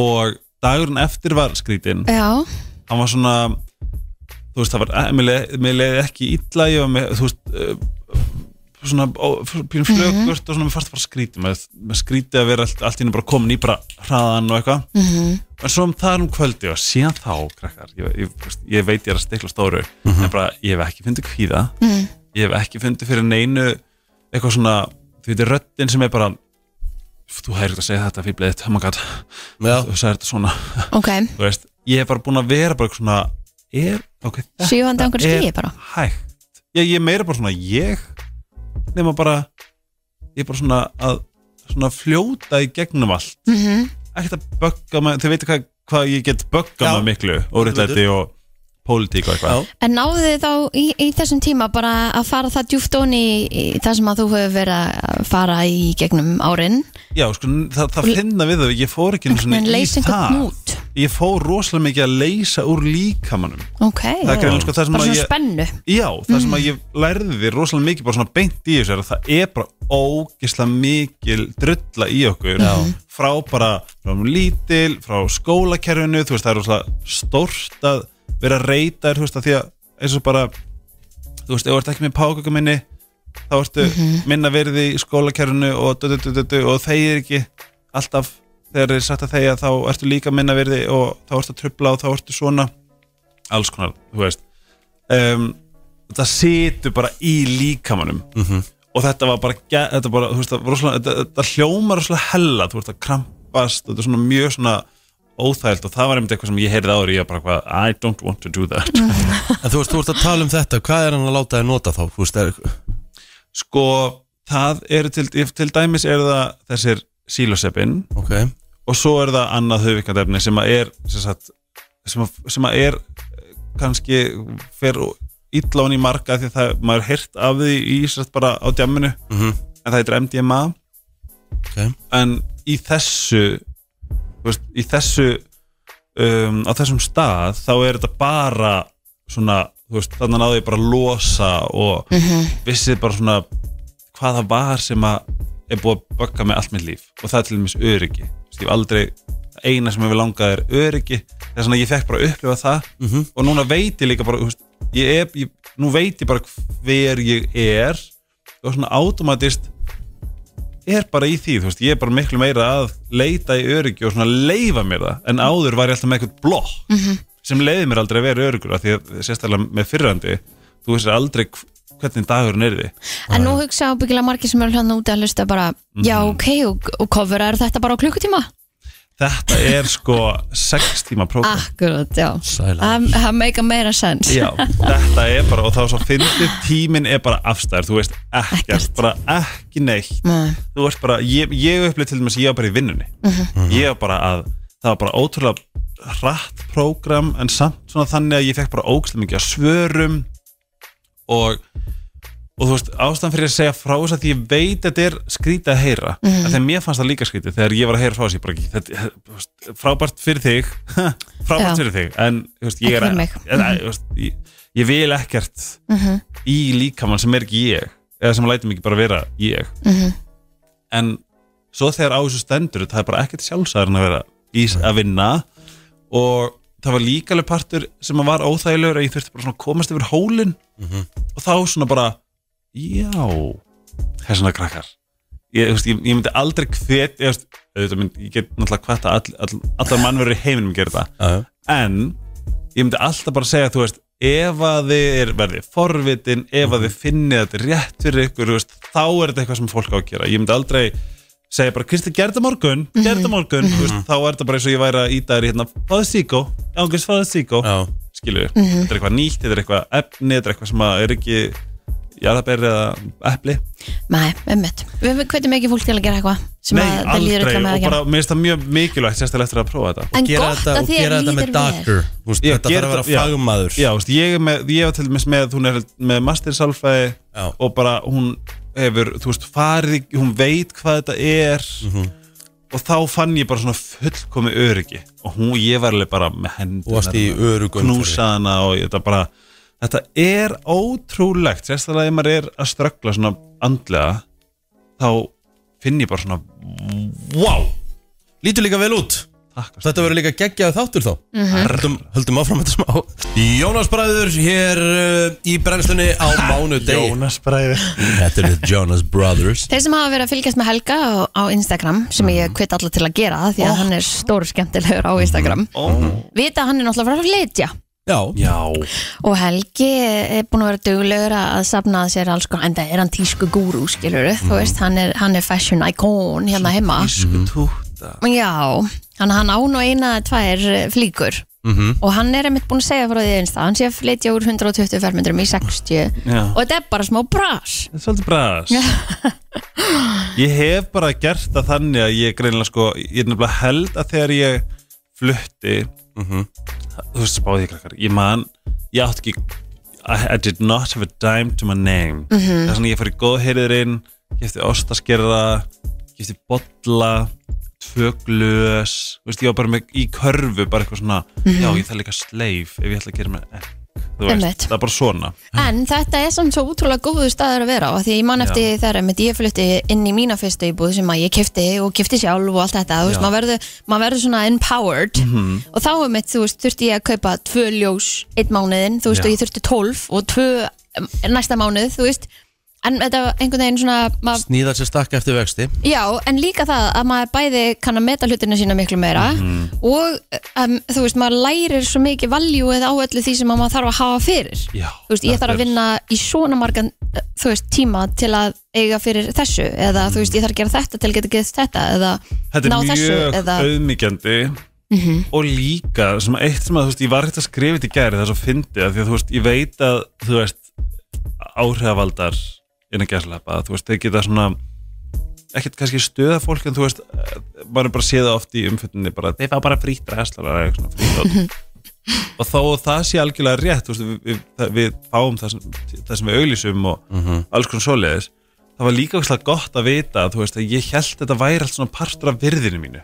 Speaker 5: og dagurinn eftir var skrítinn
Speaker 2: Já,
Speaker 5: hann var svona þú veist, það var, eh, mér leið, mér leið ekki illa, ég var með, þú veist eh, svona, ó, pínum flögurt og svona, mér fannst bara skrítið með, með skrítið að vera allt, allt inni bara komin í bara hraðan og eitthvað,
Speaker 2: Mhm,
Speaker 5: en svo um það er um kvöldi og síðan þá, krakkar ég, ég, þú veist, ég veit ég er að stikla á stóru en bara, ég hef ekki fundið kvíða
Speaker 2: mhm,
Speaker 5: ég hef ekki fundið fyrir neinu eitthvað svona, þú veitir, röddin sem er bara þú hefur ekki að segja þetta fíblið þitt, oh my god,
Speaker 1: Já,
Speaker 5: þú sagði þetta svona
Speaker 2: ok
Speaker 5: þú veist, ég hef bara búin að vera bara eitthvað svona, er, ok, þetta
Speaker 2: Svífandi á einhverju skýi bara
Speaker 5: hægt ég, ég er meira bara svona, ég nema bara, ég er bara svona að svona fljóta í gegnum allt
Speaker 2: mm -hmm.
Speaker 5: ekkert að bögga með, þið veitir hvað, hvað ég get bögga
Speaker 1: Já.
Speaker 5: með miklu, óriðlæti og pólitík og eitthvað
Speaker 1: já,
Speaker 2: En náðu þið þá í, í þessum tíma bara að fara það djúft onni í, í það sem að þú hefur verið að fara í gegnum árin
Speaker 5: já, sko, það, það
Speaker 2: Og-
Speaker 5: finna við þau, ég fór ekki einu sinni
Speaker 2: en
Speaker 5: í
Speaker 2: leysa einhvern
Speaker 5: það
Speaker 2: út
Speaker 5: ég fór rosalega mikið að leysa úr líkamanum
Speaker 2: Ok,
Speaker 5: það er greinlega sko það sem
Speaker 2: bara
Speaker 5: að
Speaker 2: svona
Speaker 5: ég
Speaker 2: spennu
Speaker 5: Já, það sem að ég lærði rosalega mikið bara svona beint í þessu er að það er bara ógislega mikil drulla í okkur Já. frá bara frá lítil, frá skólakerfinu þú veist, það er rosalega stórt að vera reytar, þú veist, að því að eins og bara, þú veist, ef þú ert ekki með pákökuminni, þá ertu minna verði í skólakerfinu og du, du, du, du, du, og þeir ekki alltaf þegar þeir sagt að þeir þá ertu líka minna verði og þá ertu að trubla og þá ertu svona alls konar, þú veist um, það situr bara í líkamanum -hmm. og þetta var bara, ge- þetta bara þú veist, það, var rosalega, þetta, þetta hljómar rosalega hella þú veist að krampast og þetta er svona mjög svona óþægilt og það var einmitt eitthvað sem ég heyrði ári ég var bara hvað, I don't want to do that
Speaker 1: en þú veist, þú ert að tala um þetta Hvað er hann að láta þið nota þá? Þú veist, er,
Speaker 5: sko, það eru til, til dæmis eru það þessir sílosepin
Speaker 1: ok,
Speaker 5: og svo er það annað höfvikandefni sem að er sem, sagt, sem, að, sem að er eh, kannski fer illa hún í marga því að það, maður er heyrt af því í sem sagt, bara á djamminu
Speaker 1: Mhm.
Speaker 5: en það heitir MDMA
Speaker 1: ok
Speaker 5: en í þessu þú veist, í þessu um, á þessum stað þá er þetta bara svona þú veist, þannig náði ég bara að losa og vissi bara svona hvað það var sem að er búið að bögga með allt mitt líf og það er til dæmis öryggi Þú veist, ég hef aldrei, það eina sem hefur langað er öryggi þess að ég fekk bara að upplifa það og núna veit ég líka bara þú veist, ég er, ég, nú veit ég bara hver ég er og svona automatist er bara í því, þú veist, ég er bara miklu meira að leita í öryggi og svona leifa mér það en áður var ég alltaf með eitthvað blokk sem leiði mér aldrei að vera öryggur af því að sérstaklega með fyrrandi þú veist aldrei hv- hvernig dagurinn er því
Speaker 2: En nú hugsa ábyggilega margir sem eru hljóðan úti að hlusta bara,
Speaker 5: Mhm.
Speaker 2: já ok, og, og cover er þetta bara á klukkutíma?
Speaker 5: þetta er sko 6 tíma prógram
Speaker 2: Ah. Akkurat, já.
Speaker 1: Sæla.
Speaker 2: Það það make a meira sense.
Speaker 5: Já, þetta er bara, og þá svo fyndið tíminn er bara afstæður, þú veist ekkert,
Speaker 2: Ekkert.
Speaker 5: bara ekki neitt
Speaker 2: Nei.
Speaker 5: þú veist bara, ég, ég upplið til dæmis ég var bara í vinnunni, ég var bara að það var bara ótrúlega hratt prógram, en samt svona þannig að ég fekk bara ógslum mikið að svörum og og þú veist, ástæðan fyrir að segja frá þess að því ég veit að þetta er skrítið að heyra mm -hmm. þegar mér fannst það líka skrítið, þegar ég var að heyra frá þess ég bara ekki, þetta, þú veist, frábært fyrir þig frábært
Speaker 2: Já.
Speaker 5: fyrir þig en, þú veist, ég
Speaker 2: Ekki
Speaker 5: er
Speaker 2: fyrir mig. Mhm.
Speaker 5: en, þú veist, ég, ég vil ekkert í líkamann sem er ekki ég eða sem lætur mig ekki bara vera ég
Speaker 2: Mhm.
Speaker 5: en svo þegar á þessu stendur það er bara ekkert sjálfsæður en að vera í, að vinna og það var líka alveg partur sem að var óþægilegur að ég þurfti bara svona að komast yfir hólinn og þá svona bara já, þessuna krakkar ég, þú veist, ég, ég myndi aldrei hvet ég, veist, auðvitað mynd, ég get náttúrulega hvata all, all, allar mannverður í heiminum að gera það
Speaker 1: Já,
Speaker 5: en ég myndi alltaf bara segja þú veist, ef að þið er verðið forvitin, ef að þið finnið þetta rétt fyrir ykkur, þú veist, þá er þetta eitthvað sem fólk á að gera, ég myndi aldrei segja bara, Kristi, gerð þetta morgun,
Speaker 2: Mhm.
Speaker 5: gerð þetta morgun mm veist, þá er þetta bara eins og ég væri að íta þér í hérna, fáðu síkó, ángust fáðu síkó
Speaker 1: já,
Speaker 5: skilur,
Speaker 2: Mhm.
Speaker 5: þetta er eitthvað nýtt, þetta er eitthvað efni, þetta er eitthvað sem að er ekki jarðabæri eða epli
Speaker 2: Nei, einmitt. Við hvetjum ekki fólk til að gera eitthvað sem að það líður
Speaker 5: aldrei,
Speaker 2: illa með að
Speaker 5: og
Speaker 2: gera.
Speaker 5: bara, mér finnst það mjög mikilvægt sérstaklega eftir að prófa þetta
Speaker 2: En
Speaker 1: gera
Speaker 2: gott
Speaker 1: þetta,
Speaker 2: að
Speaker 1: og
Speaker 2: þér
Speaker 1: gera þetta með
Speaker 2: líður vel.
Speaker 1: dagur Þú veist,
Speaker 5: Já,
Speaker 1: þetta
Speaker 5: gera
Speaker 1: þarf að vera
Speaker 5: þetta- já.
Speaker 1: fagmaður
Speaker 5: Já, þú veist, ég, er með, ég var til dæmis með hún er með master sálfæði
Speaker 1: Já.
Speaker 5: og bara hún hefur, þú veist, farið í- hún veit hvað þetta er
Speaker 1: Mhm.
Speaker 5: og þá fann ég bara svona fullkomi öryggi og hún, ég var alveg bara með hendur
Speaker 1: Þú varst í öruggum
Speaker 5: knúsaðana og ég- þetta bara þetta er ótrúlegt sérstaklega ef maður er að ströggla svona andlega þá finn ég bara svona wow,
Speaker 1: Lítur líka vel út
Speaker 5: takk
Speaker 1: Þetta verður líka geggjaðu þáttur þá höldum, höldum áfram þetta smá Jónas Bræður hér uh, í brennslunni á mánudegi
Speaker 3: Jónas bræði
Speaker 1: Þetta eru The Jonas Brothers
Speaker 2: Þeir sem hafa verið að fylgjast með Helga á, á Instagram sem
Speaker 5: Mhm.
Speaker 2: ég hvet alla til að gera það
Speaker 5: Oh.
Speaker 2: því að hann er stór skemmtilegur á
Speaker 5: Mhm.
Speaker 2: Instagram
Speaker 1: Mhm.
Speaker 2: vita að hann er náttúrulega frá að flytja
Speaker 1: Já,
Speaker 5: já,
Speaker 2: og Helgi er búin að vera duglegur að að safna að sér alls konar en það er hann tísku gúrú skilur þú
Speaker 5: Mhm.
Speaker 2: veist, hann er, hann er fashion icon hérna heima
Speaker 5: ísku túta
Speaker 2: Já, hann, hann án og eina eða tvær eh, flíkur
Speaker 5: Mhm.
Speaker 2: og hann er einmitt búin að segja frá því einst að hann sé að flytja úr 120 fermetrum í 60 og
Speaker 5: já.
Speaker 2: þetta er bara smá bras
Speaker 5: Þetta er svolítið bræðast Ég hef bara gert það þannig að ég greinilega sko, ég er nefnilega held að þegar ég flutti þú veist spáði ég krakkar ég man, ég átti ekki I, I did not have a dime to my name mm -hmm. þess að ég fór í góðheyriðurinn gefti ostaskerra gefti bolla tvö glös, þú veist, ég var bara með, í körfu bara eitthvað svona, já ég þarf líka sleif ef ég ætla að gera með ekk þú
Speaker 2: Einmitt.
Speaker 5: veist, það er bara svona
Speaker 2: En þetta er samt svo útrúlega góðu staður að vera á af Því að ég man
Speaker 5: Já.
Speaker 2: eftir þegar einmitt ég flutti inn í mína fyrstu íbúð sem að ég kefti og kefti sjálf og allt þetta Þú veist,
Speaker 5: Já. Mhm.
Speaker 2: maður verður, maður verður svona empowered og þá einmitt, þú veist, þurfti ég að kaupa tvö ljós einn mánuðin, þú veist,
Speaker 5: Já.
Speaker 2: og ég þurfti tólf og tvö em, næsta mánuð, þú veist En þetta var einhvern veginn svona, maður,
Speaker 1: snýðar sér stakka eftir vexti
Speaker 2: já, en líka það að maður bæði kann að meta hlutina sína miklu meira
Speaker 5: Mhm.
Speaker 2: og um, þú veist, maður lærir svo mikið valjúið á öllu því sem að maður þarf að hafa fyrir
Speaker 5: já,
Speaker 2: þú veist, ég
Speaker 5: þetta
Speaker 2: þarf að
Speaker 5: er-
Speaker 2: vinna í svona margan eh, þú veist, tíma til að eiga fyrir þessu eða þú veist, ég þarf að gera þetta til að geta geðst þetta eða
Speaker 5: þetta
Speaker 2: ná
Speaker 5: er
Speaker 2: þessu
Speaker 5: mjög
Speaker 2: eða, Mhm.
Speaker 5: auðmyggjandi og líka sem eitt sem að þú veist, ég var hægt að skrifa þetta í gæri það er svo fyndið af því að þú veist, ég veit að þú veist, áhrifavaldar innan gæslepa, þú veist, þeir geta svona ekkert kannski stöða fólk en þú veist, eh, maður er bara séð það oft í umfjöldinni bara, þeir fá bara frýtt ræslar og þó að það sé algjörlega rétt, þú veist, við, við, það- við fáum það sem, það sem við auglýsum og alls konar svoleiðis það var líka ógeðslega gott að vita þú veist, að ég held þetta væri allt svona partur af virðinu mínu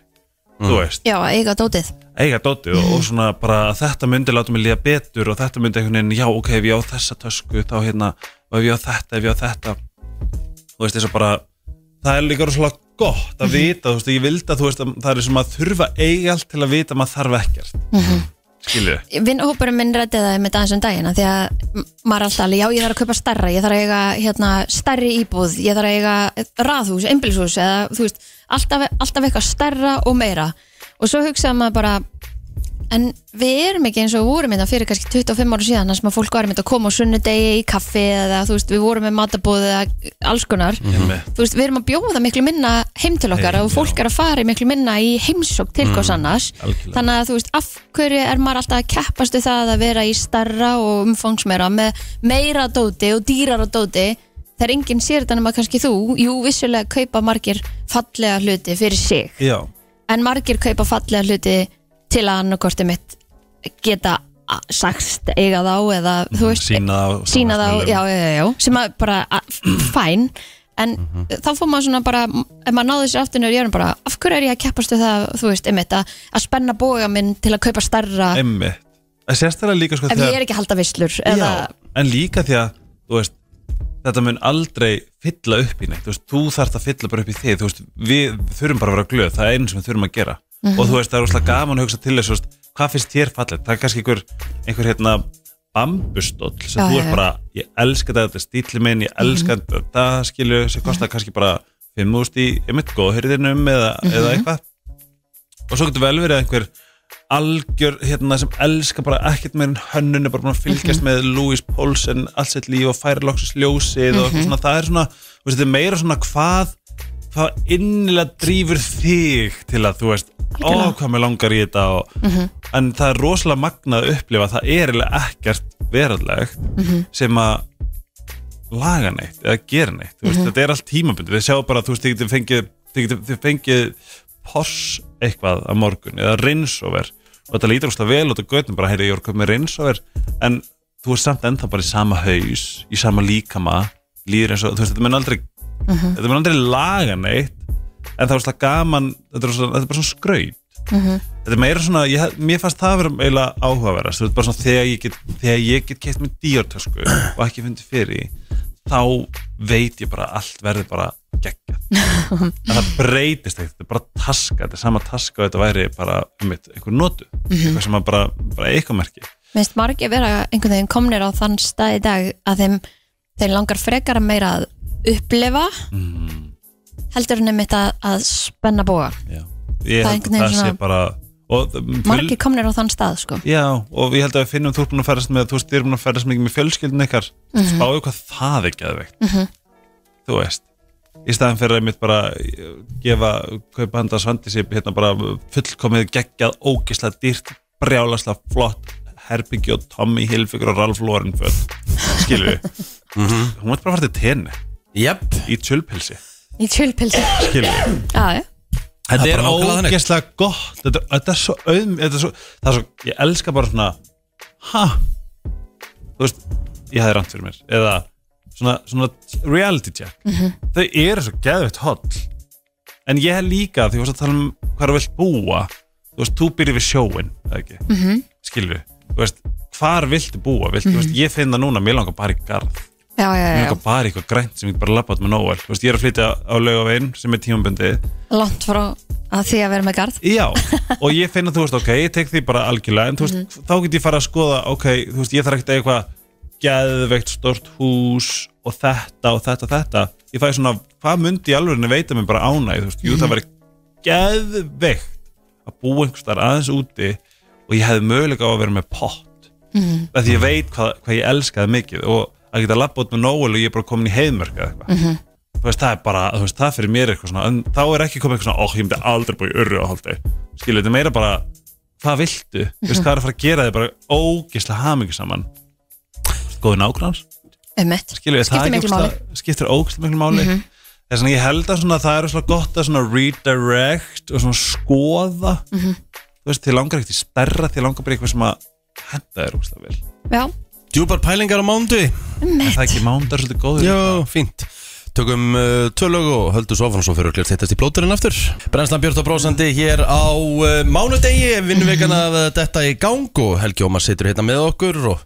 Speaker 5: þú veist,
Speaker 2: Já, að eiga dótið
Speaker 5: eiga dóti og, og svona bara að þetta myndi láta mig líða betur og þetta myndi einhvern veginn, já ok, ef ég á þessa tösku þá hérna, og ef ég á þetta, ef ég á þetta þú veist, þess að bara það er líka rosalega gott að vita þú veist, ég vildi að þú veist, að, það er sem að þurfa að eiga allt til að vita að maður þarf ekkert mm skilju,
Speaker 2: vinnhópurum minn rætti það með dansum dagina því að m- maður er alltaf alveg, já ég þarf að kaupa starra ég þarf að eiga hérna, starri íbúð ég þarf að eiga raðhús, einbilshús eða þú veist, alltaf, alltaf eitthvað starra og meira og svo hugsaði maður bara en við erum ekki eins og við vorum þetta fyrir kannski 25 ára síðan þar sem að fólk var einmitt að koma á sunnudegi í kaffi eða þú veist, við vorum með matabóð eða alls konar þú veist, við erum að bjóða miklu minna heim til okkar og fólk er að fara í miklu minna í heimsók til hvers annars þannig að þú veist, af hverju er maður alltaf að keppast við það að vera í starra og umfangsmeira með meira dóti og dýrar dóti þegar enginn sér þetta nema kannski þú jú, vissulega kaupa margir fallega hluti fyrir sig
Speaker 5: já,
Speaker 2: en margir kaupa fallega hluti til að annarkorti mitt geta a- sagst eiga þá eða þú veist,
Speaker 5: sína það á
Speaker 2: sína þá
Speaker 5: samfélagsmiðlum.
Speaker 2: já, já, já, já, sem að bara a- fæn en þá fór maður svona bara ef maður náði sér aftur nöður ég erum bara af hverju er ég að keppast við það, þú veist, einmitt að, að spenna boga minn til að kaupa starra
Speaker 5: einmitt en sérstaklega líka sko
Speaker 2: ef ég er ekki að halda vislur eða,
Speaker 5: já, en líka því að þú veist, þetta mun aldrei fylla upp í neitt, þú veist, þú þarft að fylla bara upp í þig, þú veist, við þurfum bara að vera glöð það er einu sem við þurfum að gera
Speaker 2: Mhm.
Speaker 5: og þú veist, það er úrslega gaman að hugsa til þess þú veist, hvað finnst þér fallet, það er kannski einhver einhver hérna bambustóll sem
Speaker 2: Já,
Speaker 5: þú
Speaker 2: já,
Speaker 5: er
Speaker 2: já. Mhm.
Speaker 5: bara, ég elska þetta, þetta er stíli minn, ég elska þetta, það skilju sem kostar kannski bara 5.000 í einmitt góðhörðinum eða, eða
Speaker 2: Mhm.
Speaker 5: eitthvað og svo getur vel verið að einhver algjör hérna sem elska bara ekkert meir en hönnun er bara búin að fylgjast með Louis Paulsen allt sitt líf og færi loksins ljósið og eitthvað svona, það er svona, þú veist, þetta er meira svona hvað, hvað innilega drýfur þig til að þú veist ó hvað mér langar í þetta og, en það er rosalega magnað að upplifa að það er eiginlega ekkert veraldlegt sem að laga neitt eða gera neitt, þú veist, þetta er allt tímabundi við sjáum bara, þú veist, þið getum fengið þið getum þið fengið Porsche eitthvað á morgun eða Rinsover og þetta lítur úrslega vel út á göttum bara, heyrðu, ég er komið með Rinsover en þú er samt ennþá bara í sama haus í sama líkama, líður eins og þú veist, þetta mun aldrei þetta mun aldrei laga neitt en það er úrslega gaman þetta er, svona, þetta er bara svona skraut Þetta er meira svona, ég, mér fannst það að vera eiginlega áhugaverðast, þú veist bara svona þegar ég get, þegar ég get keitt með dýjartösku og ekki fundið fyrir því, þá veit ég bara að allt verður bara geggjað en það breytist ekkert, þetta er bara taska, þetta er sama taska og þetta væri bara um eitt, einhver notu
Speaker 2: Mhm.
Speaker 5: eitthvað sem að bara, bara eitthvað merki
Speaker 2: minnst margir vera einhvern veginn komnir á þann stað í dag að þeim, þeim langar frekar að meira að upplifa
Speaker 5: Mm.
Speaker 2: heldur en einmitt að, að spenna boga
Speaker 5: ég
Speaker 2: Það er einhvern
Speaker 5: held að það
Speaker 2: veginn
Speaker 5: sé
Speaker 2: svona-
Speaker 5: bara og, það-
Speaker 2: margir komnir á þann stað sko
Speaker 5: Já, og ég held að við finnum þú ert búin að ferast með þú veist, þið er búin að ferast mikið með fjölskyldin ykkar mm -hmm. spáðu hvað það er geðveikt þú veist í staðan fyrir að mitt bara eh, gefa kaupa handa svandisip hérna bara fullkomið geggjað, ógislega dýrt brjálaslega flott Herbyggi og Tommy Hilfiger og Ralph Lauren föt skilur við hún veit bara að fara til tenni
Speaker 1: Jep,
Speaker 5: í tjölpilsi
Speaker 2: í tjölpilsi
Speaker 5: skilur við
Speaker 2: já, já.
Speaker 5: Þetta
Speaker 1: Það er
Speaker 5: er
Speaker 1: bara nákvæmlega þannig.
Speaker 5: ógeðslega gott þetta, þetta er svo auðm þetta er svo, Það er svo, ég elska bara svona Ha Þú veist, ég hefði rand fyrir mér Eða svona, svona reality check Þau eru svo geðveitt hot En ég hef líka, því þú varst að tala um Hvað þú vilt búa Þú veist, þú byrjir við sjóin, eða ekki mm -hmm. Skilur, þú veist, hvar viltu búa vilt, Þú veist, ég finn það núna, mér langar bara í garð
Speaker 2: Já, já,
Speaker 5: Mér
Speaker 2: já,
Speaker 5: langar bara í eitthvað grænt sem ég get bara labbað með nóvel Þú veist, ég er að flytja á laugavegin sem er tímabundið
Speaker 2: já langt frá að því að vera með garð
Speaker 5: Já, og ég finn að þú veist, ok, ég tek því bara algjörlega, en þú veist, þá get ég fara að skoða, ok, þú veist, ég þarf ekkert eitthvað geðveikt stort hús og þetta og þetta og þetta ég fæði svona, hvað myndi ég alveg veita mér bara ánægð, þú veist, jú, það væri geðveikt að búa einhvers þar aðeins úti og ég hefði möguleika á að vera með pott mm því ég veit hvað, hvað ég elskaði mikið og að geta labba út með Nóel og ég er bara komin í heiðmörk eða eitthvað þú veist, það er bara, þú veist, það fyrir mér er eitthvað svona, en þá er ekki komið eitthvað svona, ó, ég myndi aldrei búið í urru á haldi, skilur, þetta er meira bara hvað viltu, þú veist, hvað er að fara að gera þig bara ógislega hamingi saman góði nágrans,
Speaker 2: um mitt,
Speaker 5: skilur, er það
Speaker 2: skiptir
Speaker 5: ekki
Speaker 2: miklu máli Mhm.
Speaker 5: ógeðslega- skiptir ógislega miklu máli þess vegna ég held að svona, það er svona gott að svona redirect og svona skoða
Speaker 2: Mhm.
Speaker 5: þú veist, þið langar ekkert í stærra þið langar bara í eitthvað sem að henda þér ógislega vel,
Speaker 2: já,
Speaker 1: djúpar pælingar á mándu
Speaker 2: um
Speaker 5: en það er
Speaker 2: mitt
Speaker 5: ekki mándar svolítið góður
Speaker 1: Já, fínt Tökum uh, tölög og höldum svo áfram svo fyrir okkur Þetta er plóturinn aftur Brennslan Björn og Brósandi hér á uh, mánudegi Vinnvegan af uh, þetta í gang Og Helgi Ómar situr hérna með okkur Og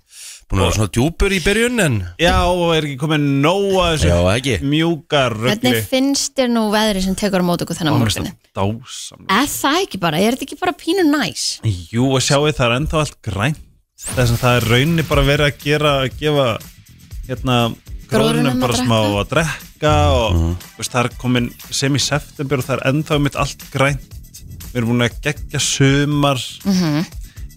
Speaker 1: búin að vera svona djúpur í byrjun En
Speaker 5: Já, og er ekki komið nóg að þessu
Speaker 1: Já, ekki.
Speaker 5: mjúka röggli
Speaker 2: Hvernig finnst þér nú veðri sem tekur á mót okkur þennan morgunni?
Speaker 5: Dásamlega
Speaker 2: Er það ekki bara? Er þetta ekki bara pínu næs?
Speaker 5: Jú, og sjáu það er ennþá allt grænt Þess að það er rauninni bara verið að gera að gefa hérna
Speaker 2: Gróðrinum
Speaker 5: gróðrunum
Speaker 2: um að
Speaker 5: bara
Speaker 2: drekka. Mhm.
Speaker 5: smá að drekka og þú veist, það er komin sem í september og það er ennþá mitt allt grænt við erum búin að gegja sumar
Speaker 2: Mhm.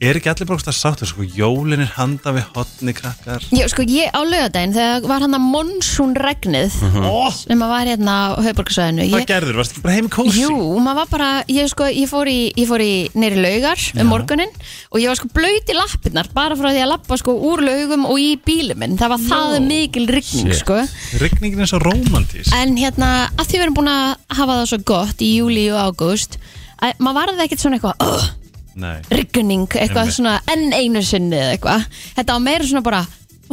Speaker 5: er ekki allir bara ógeðslega sáttur sko, jólin er handa við hotni krakkar
Speaker 2: Já, sko, ég á laugardaginn þegar var hann að monsun regnið sem að var hérna á höfborgarsvæðinu
Speaker 5: hvað
Speaker 2: ég,
Speaker 5: gerður, varst ekki bara heim í kósi
Speaker 2: Jú, maður var bara, ég sko, ég fór í, ég fór í neyri laugar um morguninn og ég var sko blöyt í lappirnar bara frá því að lappa sko úr laugum og í bílum minn, það var það mikil rigning
Speaker 1: Shit.
Speaker 2: sko,
Speaker 5: rigningin er svo rómantís
Speaker 2: en hérna að því við erum búin að hafa það svo gott í júli og ágúst, að maður varði ekkert svona eitthvað, oh,
Speaker 5: nei,
Speaker 2: rigning eitthvað
Speaker 5: Einmitt.
Speaker 2: svona enn einu sinni eða eitthvað, þetta var meira svona bara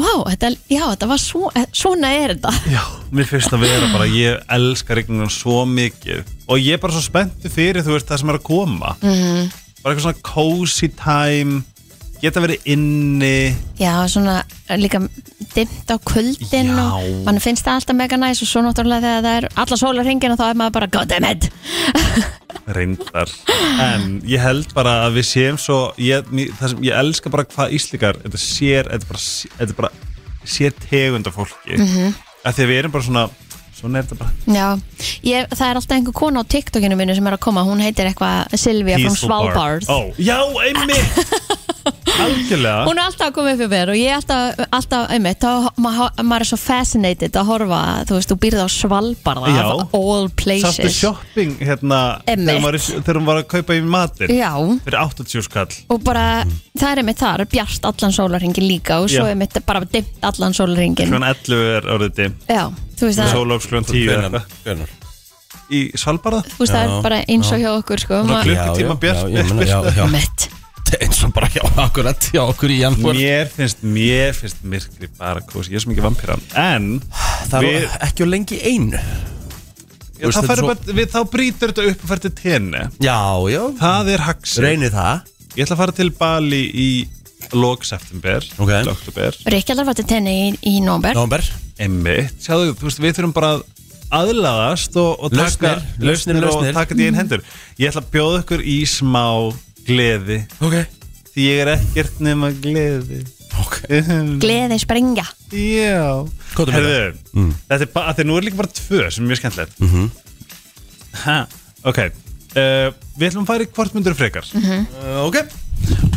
Speaker 2: Vá, þetta, já, þetta var svo, eh, svona er þetta
Speaker 5: já, mér finnst að vera bara ég elska rigningin svo mikið og ég er bara svo spenntu fyrir þú veist það sem er að koma -hmm. bara eitthvað svona cozy time geta verið inni
Speaker 2: Já, svona eh, líka dimmt á kvöldin
Speaker 5: Já.
Speaker 2: og mann finnst það alltaf mega næs og svo náttúrulega þegar það er alla sólar hringin og þá er maður bara goddammit
Speaker 5: reyndar en ég held bara að við séum svo ég, mér- það sem, ég elska bara hvað Íslikar þetta sér, þetta er bara, þetta er bara sér tegund af fólki mm -hmm. að því að við erum bara svona svona er þetta bara
Speaker 2: Já, ég, það er alltaf einhver kona á TikTokinu mínu sem er að koma, hún heitir eitthvað Silvia frá
Speaker 5: peaceful Oh. bar.
Speaker 2: Svalbard
Speaker 5: Ó, já, einmitt algjörlega
Speaker 2: Hún er alltaf að koma upp fyrir mér og ég er alltaf, alltaf einmitt, þá, ma maður er svo fascinated að horfa, þú veist, þú býrð á Svalbard
Speaker 5: Já.
Speaker 2: of all
Speaker 5: Sástu
Speaker 2: places
Speaker 5: shopping hérna
Speaker 2: Einmitt.
Speaker 5: þegar, maður, er- þegar hún var að kaupa í matinn
Speaker 2: Já,
Speaker 5: fyrir 80 skall
Speaker 2: og bara, það er einmitt þar, bjart allan sólarhingin líka og svo
Speaker 5: Já.
Speaker 2: einmitt bara dimmt allan sólarhingin
Speaker 5: kljóðan 11 er orðið dim
Speaker 2: Já, þú veist það
Speaker 5: sólóks kljóðan 10 eða
Speaker 1: Hvenær-
Speaker 5: eitthvað.
Speaker 1: hvenær?
Speaker 5: í Svalbara
Speaker 2: Þú veist, það
Speaker 1: Já,
Speaker 2: er bara eins og hjá okkur sko
Speaker 5: Svona
Speaker 2: maður-
Speaker 5: klukk- Klukkutíma bjart-
Speaker 1: já, já, ég meina, já, já.
Speaker 2: Mitt
Speaker 1: Eins og bara hjá akkurat hjá okkur í janúar
Speaker 5: mér finnst, mér finnst myrkri bara kósi, ég er svo mikið vampýra en
Speaker 1: Það
Speaker 5: við,
Speaker 1: er ekki á lengi í einu
Speaker 5: já,
Speaker 1: veist, þetta
Speaker 5: þá, svo...
Speaker 1: er svo-
Speaker 5: bara, við, þá brýtur þetta upp og fer til tenni
Speaker 1: Já, já
Speaker 5: það er haxi
Speaker 1: Reynið það
Speaker 5: ég ætla að fara til Bali í lok september
Speaker 1: Ok.
Speaker 5: til oktober
Speaker 2: Ríkjaldar var til tenni í, í nómber
Speaker 1: Nómber
Speaker 5: Einmitt, sjáðu, þú veist, við þurfum bara að aðlaðast og, og taka
Speaker 1: Lausnir, lausnir, lausnir.
Speaker 5: og taka þetta í einn hendur Ég ætla að bjóða ykkur í smá gleði
Speaker 1: Ok
Speaker 5: því ég er ekkert nema gleði
Speaker 1: Ok
Speaker 2: Gleði springa
Speaker 5: Já
Speaker 1: Hvað er
Speaker 5: Herðu, mm. þetta er bara, þegar nú er líka bara tvö sem er mjög skemmtilegt mm Ok, uh, við ætlum að fara í hvort myndur frekar Eh,
Speaker 1: Uh, Ok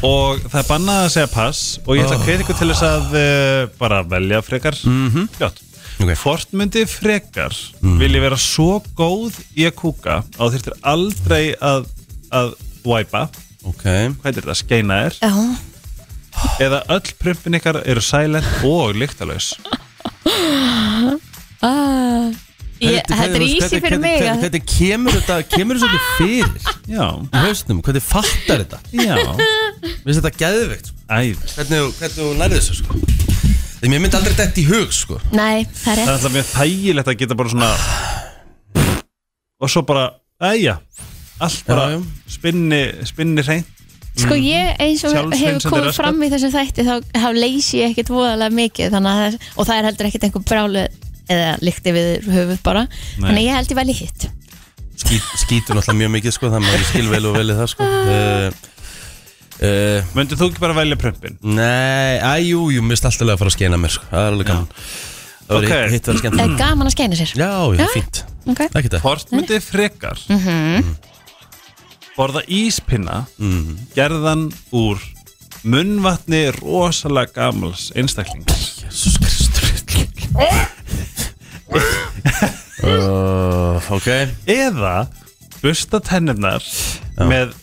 Speaker 5: og það er bannað að segja pass og ég ætla að hvetja ykkur til þess að uh, bara velja frekar mm -hmm. fljótt
Speaker 1: Ok.
Speaker 5: Hvort myndi frekar vilji vera svo góð í að kúka að þú þurftir aldrei að, að wipa
Speaker 1: Ok
Speaker 5: hvað er þetta, skeina er
Speaker 2: Já,
Speaker 5: eða öll prumpin ykkar eru silent og lyktalös
Speaker 2: ég, þetta er ísi fyrir mig að-
Speaker 1: Þetta kemur þetta Kemur þetta svolítið fyrir
Speaker 5: Já,
Speaker 1: Í hausnum Hvernig fattar þetta
Speaker 5: já
Speaker 1: Mér finnst þetta geðveikt sko.
Speaker 5: Æ,
Speaker 1: Hvernig þú- hvernig þú nærði þessu sko Því mér myndi aldrei dætt í hug sko
Speaker 2: Nei, það
Speaker 5: það er
Speaker 2: er
Speaker 5: alltaf mjög þægilegt að geta bara svona og svo bara, æja allt bara
Speaker 1: Já, já.
Speaker 5: spinni, spinni reynd
Speaker 2: Sko ég eins og
Speaker 5: Sjálfsmynd
Speaker 2: hefur
Speaker 5: sem þér
Speaker 2: komið
Speaker 5: öskar.
Speaker 2: fram í þessu þætti þá, þá leysi ég ekkert voðalega mikið þannig að það, og það er heldur ekkert einhver brálu eða líkti við höfuð bara þannig að ég held ég vel í hitt
Speaker 1: Skít, Skítur náttúrulega mjög mikið sko Þannig að ég skil vel og vel í það sko uh, uh,
Speaker 5: Möndið þú ekki bara velja prumpin?
Speaker 1: Nei, æjú, jú, mér finnst alltaf að fara að skeina mér sko. Það er alveg gaman Það var
Speaker 5: Ok.
Speaker 1: hitt- hitt verið
Speaker 2: Það er
Speaker 1: skemmt
Speaker 2: gaman að skeina sér
Speaker 1: Já, já,
Speaker 2: Já.
Speaker 1: fínt
Speaker 2: okay.
Speaker 1: Ekki það
Speaker 5: Hvort myndið frekar borða íspinna
Speaker 1: Mhm.
Speaker 5: gerðan úr munnvatni rosalega gamals einstaklings
Speaker 1: Jesus Kristur uh, Ok
Speaker 5: eða busta tennirnar með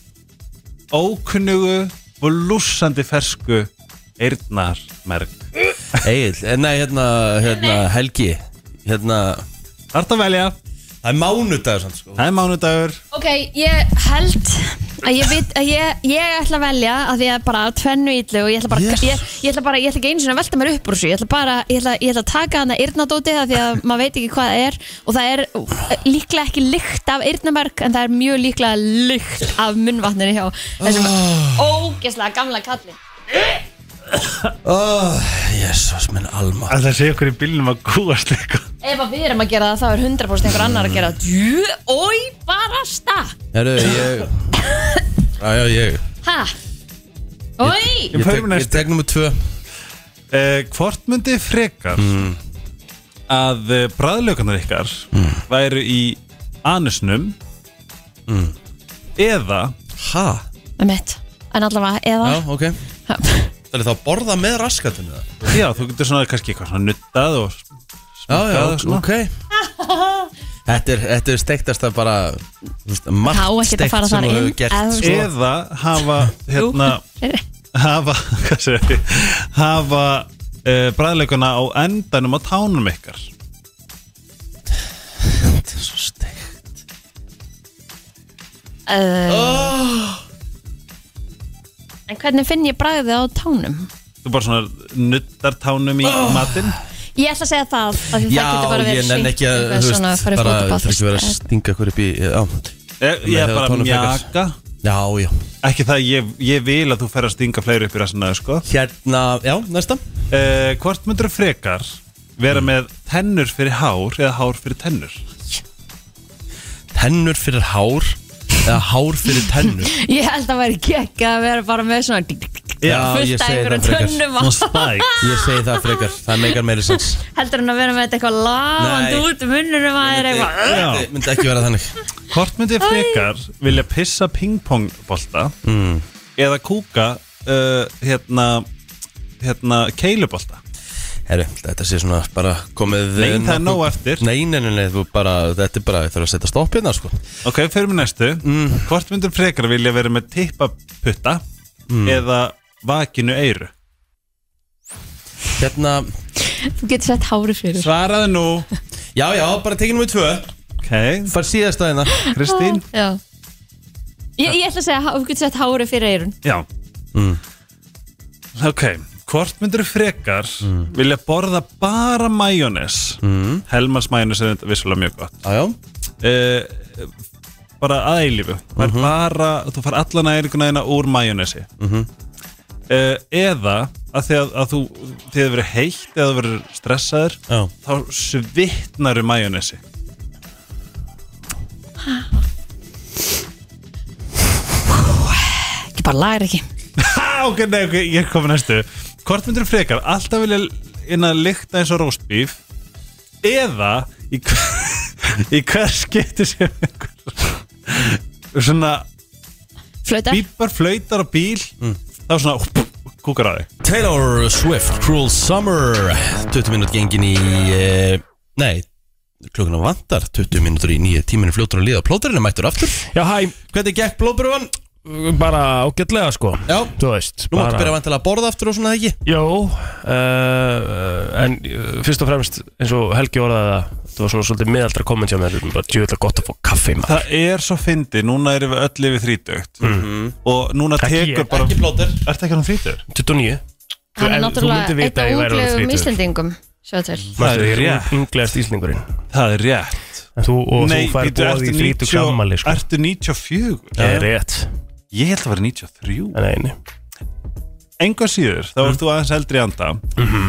Speaker 5: ókunnugu og lúsandi fersku eyrnar
Speaker 1: Egil, nei hérna, hérna Helgi Hérna
Speaker 5: Þart að velja,
Speaker 1: Það er mánudagur sann sko
Speaker 5: það er mánudagur
Speaker 2: ok, ég held að ég, vit, að ég, ég ætla að velja að því að bara tvennu illu og ég ætla bara,
Speaker 1: Jesus.
Speaker 2: ég, ég ætla bara, ég ætla ekki einu sinni að velta mér upp úr þessu, ég ætla bara, ég ætla, ég ætla að taka hana yrnadóti það því að maður veit ekki hvað það er og það er uh, líklega ekki lykt af yrnamerk en það er mjög líklega lykt af munnvatninu hjá þessum
Speaker 1: Ah.
Speaker 2: ógeslega gamla kalli.
Speaker 1: Jésús minn alma
Speaker 5: að það sé okkur í bílnum að kúast líka
Speaker 2: Ef að við erum að gera það þá er 100% einhver annar að gera það. Djú, oi, bara stað.
Speaker 1: Herru, ég Æja, ég
Speaker 2: Hæ? Oi!
Speaker 1: Ég
Speaker 5: förum
Speaker 1: tek, ég
Speaker 5: næst.
Speaker 1: tek nummer tvö
Speaker 5: Eh, Hvort myndi frekar
Speaker 1: Mm.
Speaker 5: að bræðlökunar ykkar væru í anusnum
Speaker 1: Mm.
Speaker 5: eða
Speaker 1: Ha?
Speaker 2: Einmitt. En allavega,
Speaker 1: Já,
Speaker 2: eða
Speaker 1: ok Það er þá að borða með raskatinu það
Speaker 5: já, þú getur svona kannski eitthvað svona nuttað og
Speaker 1: Já, já,
Speaker 5: smakkað og svona.
Speaker 1: ok Þetta er, þetta er steiktast að bara þú veist,
Speaker 2: Á,
Speaker 1: margt
Speaker 2: ekkert að
Speaker 1: steikt
Speaker 2: fara
Speaker 1: sem
Speaker 2: þar
Speaker 1: þú hefur
Speaker 2: inn,
Speaker 1: gert
Speaker 2: eða-
Speaker 1: sko.
Speaker 5: eða hafa hérna,
Speaker 2: Heyrðu.
Speaker 5: hafa hvað segir þið hafa uh, bræðlökuna á endanum á tánum ykkar
Speaker 1: Þetta er svo steikt
Speaker 2: Uh,
Speaker 1: Oh!
Speaker 2: En hvernig finn ég bragðið á tánum?
Speaker 5: þú bara svona nuttar tánum í
Speaker 1: Oh.
Speaker 5: matinn
Speaker 2: Ég ætla að segja það að því
Speaker 1: Já,
Speaker 2: það getur bara verið
Speaker 1: ég nenn
Speaker 2: sýnt
Speaker 1: ekki að,
Speaker 2: eitthvað
Speaker 1: þú
Speaker 2: svona
Speaker 1: veist,
Speaker 2: farið
Speaker 1: bara
Speaker 2: fótaball.
Speaker 1: Það er ekki verið að stinga hver upp í Já,
Speaker 5: ég, Eh, ég er
Speaker 1: hefur
Speaker 5: bara
Speaker 1: tánum frekar.
Speaker 5: mjaka
Speaker 1: já, já.
Speaker 5: ekki það, ég, ég vil að þú fer að stinga fleiri upp í rassinu sko.
Speaker 1: Hérna, já, næsta
Speaker 5: uh, hvort myndur frekar vera með tennur fyrir hár eða hár fyrir tennur
Speaker 1: Tennur fyrir hár Eða hár fyrir tennur
Speaker 2: Ég held að það væri gekk að vera bara með svona dík, dík, dík,
Speaker 1: Já, ég
Speaker 2: fullt af
Speaker 1: segi
Speaker 2: einhverjum
Speaker 1: það frekar
Speaker 2: tönnum á
Speaker 5: spæk
Speaker 1: Ég segi það frekar, það meikar meiri sens
Speaker 2: heldur en að vera með þetta eitthvað lafandi
Speaker 1: Nei.
Speaker 2: út um munnunum að er eitthvað
Speaker 5: Já.
Speaker 1: Þetta myndi ekki vera þannig
Speaker 5: hvort myndur frekar vilja pissa pingpongbolta
Speaker 1: mm.
Speaker 5: eða kúka uh, hérna hérna keilubolta
Speaker 1: Herru, þetta sé svona bara komið
Speaker 5: Nei, það er
Speaker 1: nokkuð-
Speaker 5: nóg eftir.
Speaker 1: Nei, nei, nei, nei, þú bara, þetta er bara, það er að setja stopp hérna, sko
Speaker 5: ok, fyrir mig næstu hvort myndur frekar vilja vera með tippaputta eða vakinu eyru
Speaker 1: Hérna,
Speaker 2: Þú getur sett hári fyrir
Speaker 5: svaraðu nú
Speaker 1: já, já, bara tekinum við tvö
Speaker 5: ok,
Speaker 1: Far síðast að hérna
Speaker 5: Kristín
Speaker 2: Já Ég, ég ætla að segja, há- þú getur sett hári fyrir eyrun
Speaker 5: Já
Speaker 1: Mm.
Speaker 5: Ok, hvort myndur frekar vilja borða bara majónes mm. Helmars majónes er þetta vissulega mjög gott
Speaker 1: Já, já,
Speaker 5: uh, Bara að eilífu mm
Speaker 1: Mhm.
Speaker 5: bara, Þú far allan næringuna þína úr majónesi mm
Speaker 1: Mhm.
Speaker 5: Eða að því að, að þú þið hefur verið heitt eða þú verið stressaður
Speaker 1: já
Speaker 5: þá svitnaru majónesi
Speaker 2: Ekki bara lagar ekki
Speaker 5: Ha, ok, nei, ok, ég er komið næstu Hvort myndur frekar, alltaf vilja inn að lykta eins og róstbíf eða í, hver- í hver skipti sem einhver svona
Speaker 2: Flauta
Speaker 5: bípar, flautar á bíl þá svona hú, kúkar á þig
Speaker 1: Taylor Swift, Cruel Summer 20 minút gengin í eh, Nei, klukkuna vantar 20 mínútur í nýju tíminu fljótur að líða Plóturinn er mættur aftur
Speaker 3: Já, hæ,
Speaker 1: Hvernig gekk blóðbrúan?
Speaker 3: bara ágætlega sko
Speaker 1: Já,
Speaker 3: Þú veist
Speaker 1: nú máttu
Speaker 3: bara-
Speaker 1: byrja vantilega að borða aftur og svona eða ekki
Speaker 3: Jó, uh, en uh, fyrst og fremst eins og Helgi orðaði það þetta var svona svolítið miðaldra komment hjá mér bara djúðlega gott að fá kaffi maður
Speaker 5: Það er svo fyndi, núna erum við öll yfir þrítugt og núna
Speaker 3: Ekki
Speaker 5: tekur
Speaker 3: ég.
Speaker 5: bara
Speaker 1: plótur
Speaker 5: Ertu ekki hann þrítugur?
Speaker 3: 29
Speaker 2: Hann er
Speaker 3: En þú myndir
Speaker 2: náttúrulega
Speaker 3: vita
Speaker 2: eitt
Speaker 3: að
Speaker 2: af
Speaker 3: ég væri alveg
Speaker 2: unglegum
Speaker 3: þrítugur.
Speaker 2: Íslendingum Sjá til
Speaker 5: Það er
Speaker 3: Þú
Speaker 5: rétt,
Speaker 3: er unglegast íslendingurinn
Speaker 5: það er rétt
Speaker 3: En þú, og
Speaker 5: Nei,
Speaker 3: þú fær
Speaker 5: býtu,
Speaker 3: bóð í
Speaker 5: ertu
Speaker 3: 30
Speaker 5: 90
Speaker 3: kammali sko.
Speaker 5: Ertu 94?
Speaker 3: Það er rétt
Speaker 5: Ég held að vera 93
Speaker 3: En einu
Speaker 5: enga síður, þá ert þú aðeins eldri í anda
Speaker 1: Mhm.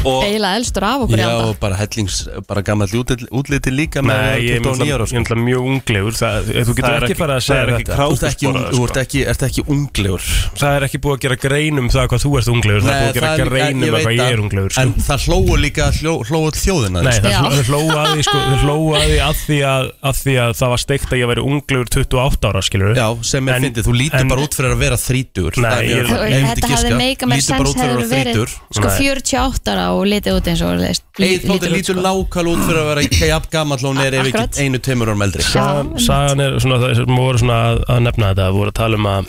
Speaker 5: og
Speaker 2: Eila elstur af okkur í
Speaker 1: Já,
Speaker 2: anda
Speaker 1: og bara hellings, bara gammal útliti líka með
Speaker 3: Nei, ég
Speaker 1: 29 ára
Speaker 3: er náttúrulega- ég er
Speaker 1: sko.
Speaker 3: náttúrulega mjög unglegur það, Þú
Speaker 5: Það
Speaker 3: getur
Speaker 5: er
Speaker 3: ekki
Speaker 5: ekki-
Speaker 3: fara að
Speaker 5: það
Speaker 3: segja
Speaker 5: er ekki
Speaker 3: þetta
Speaker 5: krá-
Speaker 1: Þú ert ekki,
Speaker 5: Ágústborðaður,
Speaker 1: þú ert
Speaker 3: sko.
Speaker 1: ekki, ert ekki unglegur
Speaker 3: Það er ekki búið að gera grein um það hvað þú ert unglegur Það er búið að gera
Speaker 1: en-
Speaker 3: grein
Speaker 1: ég
Speaker 3: um
Speaker 1: veit
Speaker 3: hvað ég
Speaker 1: það,
Speaker 3: er unglegur sko.
Speaker 1: En það hlóu líka, hljó, hlóu þjóðina
Speaker 3: Nei,
Speaker 1: sko.
Speaker 3: það
Speaker 2: Já.
Speaker 3: er hlóaði sko, þau hlógu að því að því að, að því að það var steikt að ég væri unglegur 28 ára skilur
Speaker 1: Já, sem er
Speaker 3: En-
Speaker 1: fyndið, þú lítur
Speaker 3: en-
Speaker 1: bara út fyrir að vera þrítur
Speaker 3: Nei, ég-
Speaker 2: Þú- Þetta hefði meika mér sens hefur verið sko
Speaker 3: Nei.
Speaker 2: 48 ára og litið út eins og leist,
Speaker 1: Egil Plóter lítur lákal út fyrir að vera ekki jafn gammal og hún er ef
Speaker 2: sko. Akkurat.
Speaker 1: ekki einu tveimur árum eldri
Speaker 3: Sagan, sagan er svona, það sem voru svona að, að nefna þetta, voru að tala um að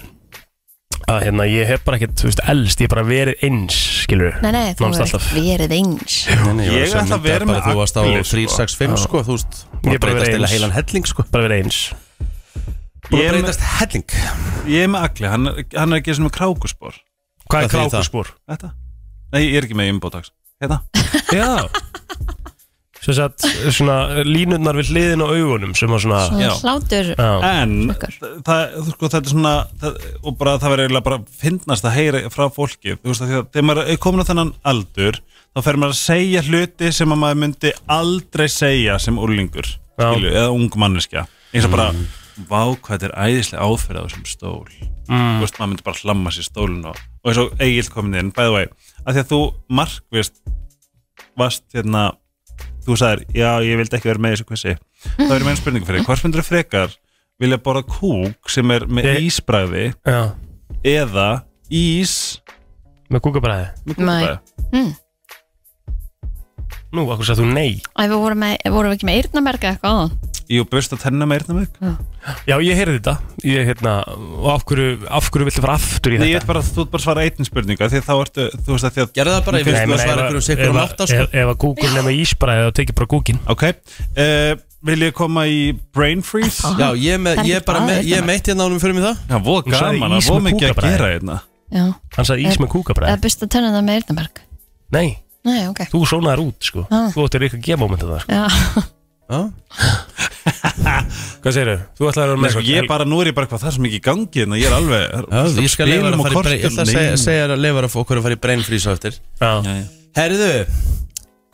Speaker 3: að hérna, ég hef bara ekkert, þú veist, elst ég hef bara verið eins, skilur
Speaker 2: Nei, nei, þú
Speaker 3: Nánast
Speaker 2: hefur
Speaker 3: alltaf.
Speaker 2: verið eins
Speaker 1: Nei, nei,
Speaker 5: Ég
Speaker 1: var að
Speaker 5: ætla að
Speaker 1: segja
Speaker 5: vera
Speaker 1: bara
Speaker 5: með
Speaker 1: Þú varst á
Speaker 5: Agli, sko.
Speaker 1: 365 sko, þú veist
Speaker 3: Ég
Speaker 1: Ég
Speaker 3: bara
Speaker 1: breytast
Speaker 3: verið
Speaker 1: eða
Speaker 3: eins.
Speaker 1: heilan helling sko
Speaker 3: bara verið eins
Speaker 1: Búin
Speaker 5: Ég
Speaker 1: að
Speaker 5: er með-
Speaker 1: breytast helling
Speaker 5: Ég er með agli, hann, er- hann er að gera svona með krákuspor
Speaker 3: Hvað er
Speaker 1: Hvað þýðir það?
Speaker 3: krákuspor?
Speaker 5: Þetta? Nei, ég er ekki með Hérna. inbotax Þetta?
Speaker 3: Já Svo satt svona línurnar við hliðin á augunum sem var svona
Speaker 5: Já.
Speaker 2: Svona hlátur
Speaker 3: Já,
Speaker 5: En
Speaker 2: Smekkar.
Speaker 5: það, þú sko, þetta er svona það, og bara það verður eiginlega bara finnast að heyra frá fólki þú veist að því að þegar maður er komin á þennan aldur þá fer maður að segja hluti sem að maður myndi aldrei segja sem úrlingur
Speaker 3: Já.
Speaker 5: skilju, eða ung manneskja eins og bara, vá hvað þetta er æðislega áferð á þessum stól þú veist, maður myndi bara hlamma sér stólun og, og eins og eigil komin inn, by the way að því að þú markvist varst hérna þú sagðir, já, ég vildi ekki vera með í þessu kvissi þá er mér einn spurning fyrir, þig. hvort myndir frekar vilja borða kúk sem er með
Speaker 3: Ég-
Speaker 5: ísbræði
Speaker 3: já
Speaker 5: eða ís
Speaker 3: Með kúkabræði
Speaker 5: með
Speaker 2: Nei.
Speaker 5: kúkabræði
Speaker 3: Nú, akkur sagði þú nei
Speaker 2: Æ, við vorum, með, vorum við ekki með eyrnamerka eitthvað áðan
Speaker 5: Jú, bust að tenna með eyrnamögg
Speaker 3: Já, ég heyrði þetta Ég, hérna, og af hverju, af hverju viltu fara aftur í
Speaker 5: Nei, ég er
Speaker 3: þetta?
Speaker 5: bara, þú ert bara að svara einn spurningu af því að þá ertu, þú veist að því að
Speaker 1: Gerðu það bara, ég finnst
Speaker 3: Nei,
Speaker 1: þú að
Speaker 3: meina,
Speaker 1: svara
Speaker 3: ef-
Speaker 1: ykkur um sikur
Speaker 3: ef-
Speaker 1: um átta sko.
Speaker 3: Ef, ef að kúkur nema ísbræði þá tekið bara kúkin
Speaker 5: ok, uh, vil ég koma í brain freeze?
Speaker 1: Já, ég er með,
Speaker 2: Það er
Speaker 1: ég er
Speaker 2: ekki
Speaker 1: bara
Speaker 2: bara
Speaker 1: með, ég er
Speaker 2: eyrnamerk.
Speaker 1: meitt hérna ánum fyrir mig það
Speaker 5: Já, voða
Speaker 3: Hún sagði
Speaker 5: gaman, það
Speaker 3: ís
Speaker 5: er voða
Speaker 3: með
Speaker 5: mikið að
Speaker 3: kúkabræði.
Speaker 5: gera hérna
Speaker 2: Já,
Speaker 3: Hann sagði ís
Speaker 2: Eða-
Speaker 3: með kúkabræði
Speaker 2: eða byrst að tönna það með eyrnamerk
Speaker 3: Nei,
Speaker 2: Nei, ok
Speaker 3: þú sónaðar út, sko
Speaker 2: Já.
Speaker 3: Þú ættir eitthvað sko. G-moment að það,
Speaker 2: Já,
Speaker 1: Já,
Speaker 3: sko Hvað segirðu? Þú ætlaði að vera
Speaker 5: Nei,
Speaker 3: með
Speaker 5: sko, ég bara, nú er ég bara hvað það er sem ekki í gangi en ég er alveg
Speaker 1: Já, ég skal leifa þér
Speaker 5: Spilum
Speaker 1: að
Speaker 5: og
Speaker 1: fara í brain- ég ætla að
Speaker 5: kortum,
Speaker 1: segja-
Speaker 5: nei.
Speaker 1: segja þér að leifa þér að fá okkur að fara í brain freeze á eftir
Speaker 3: Já,
Speaker 5: já.
Speaker 1: Herðu,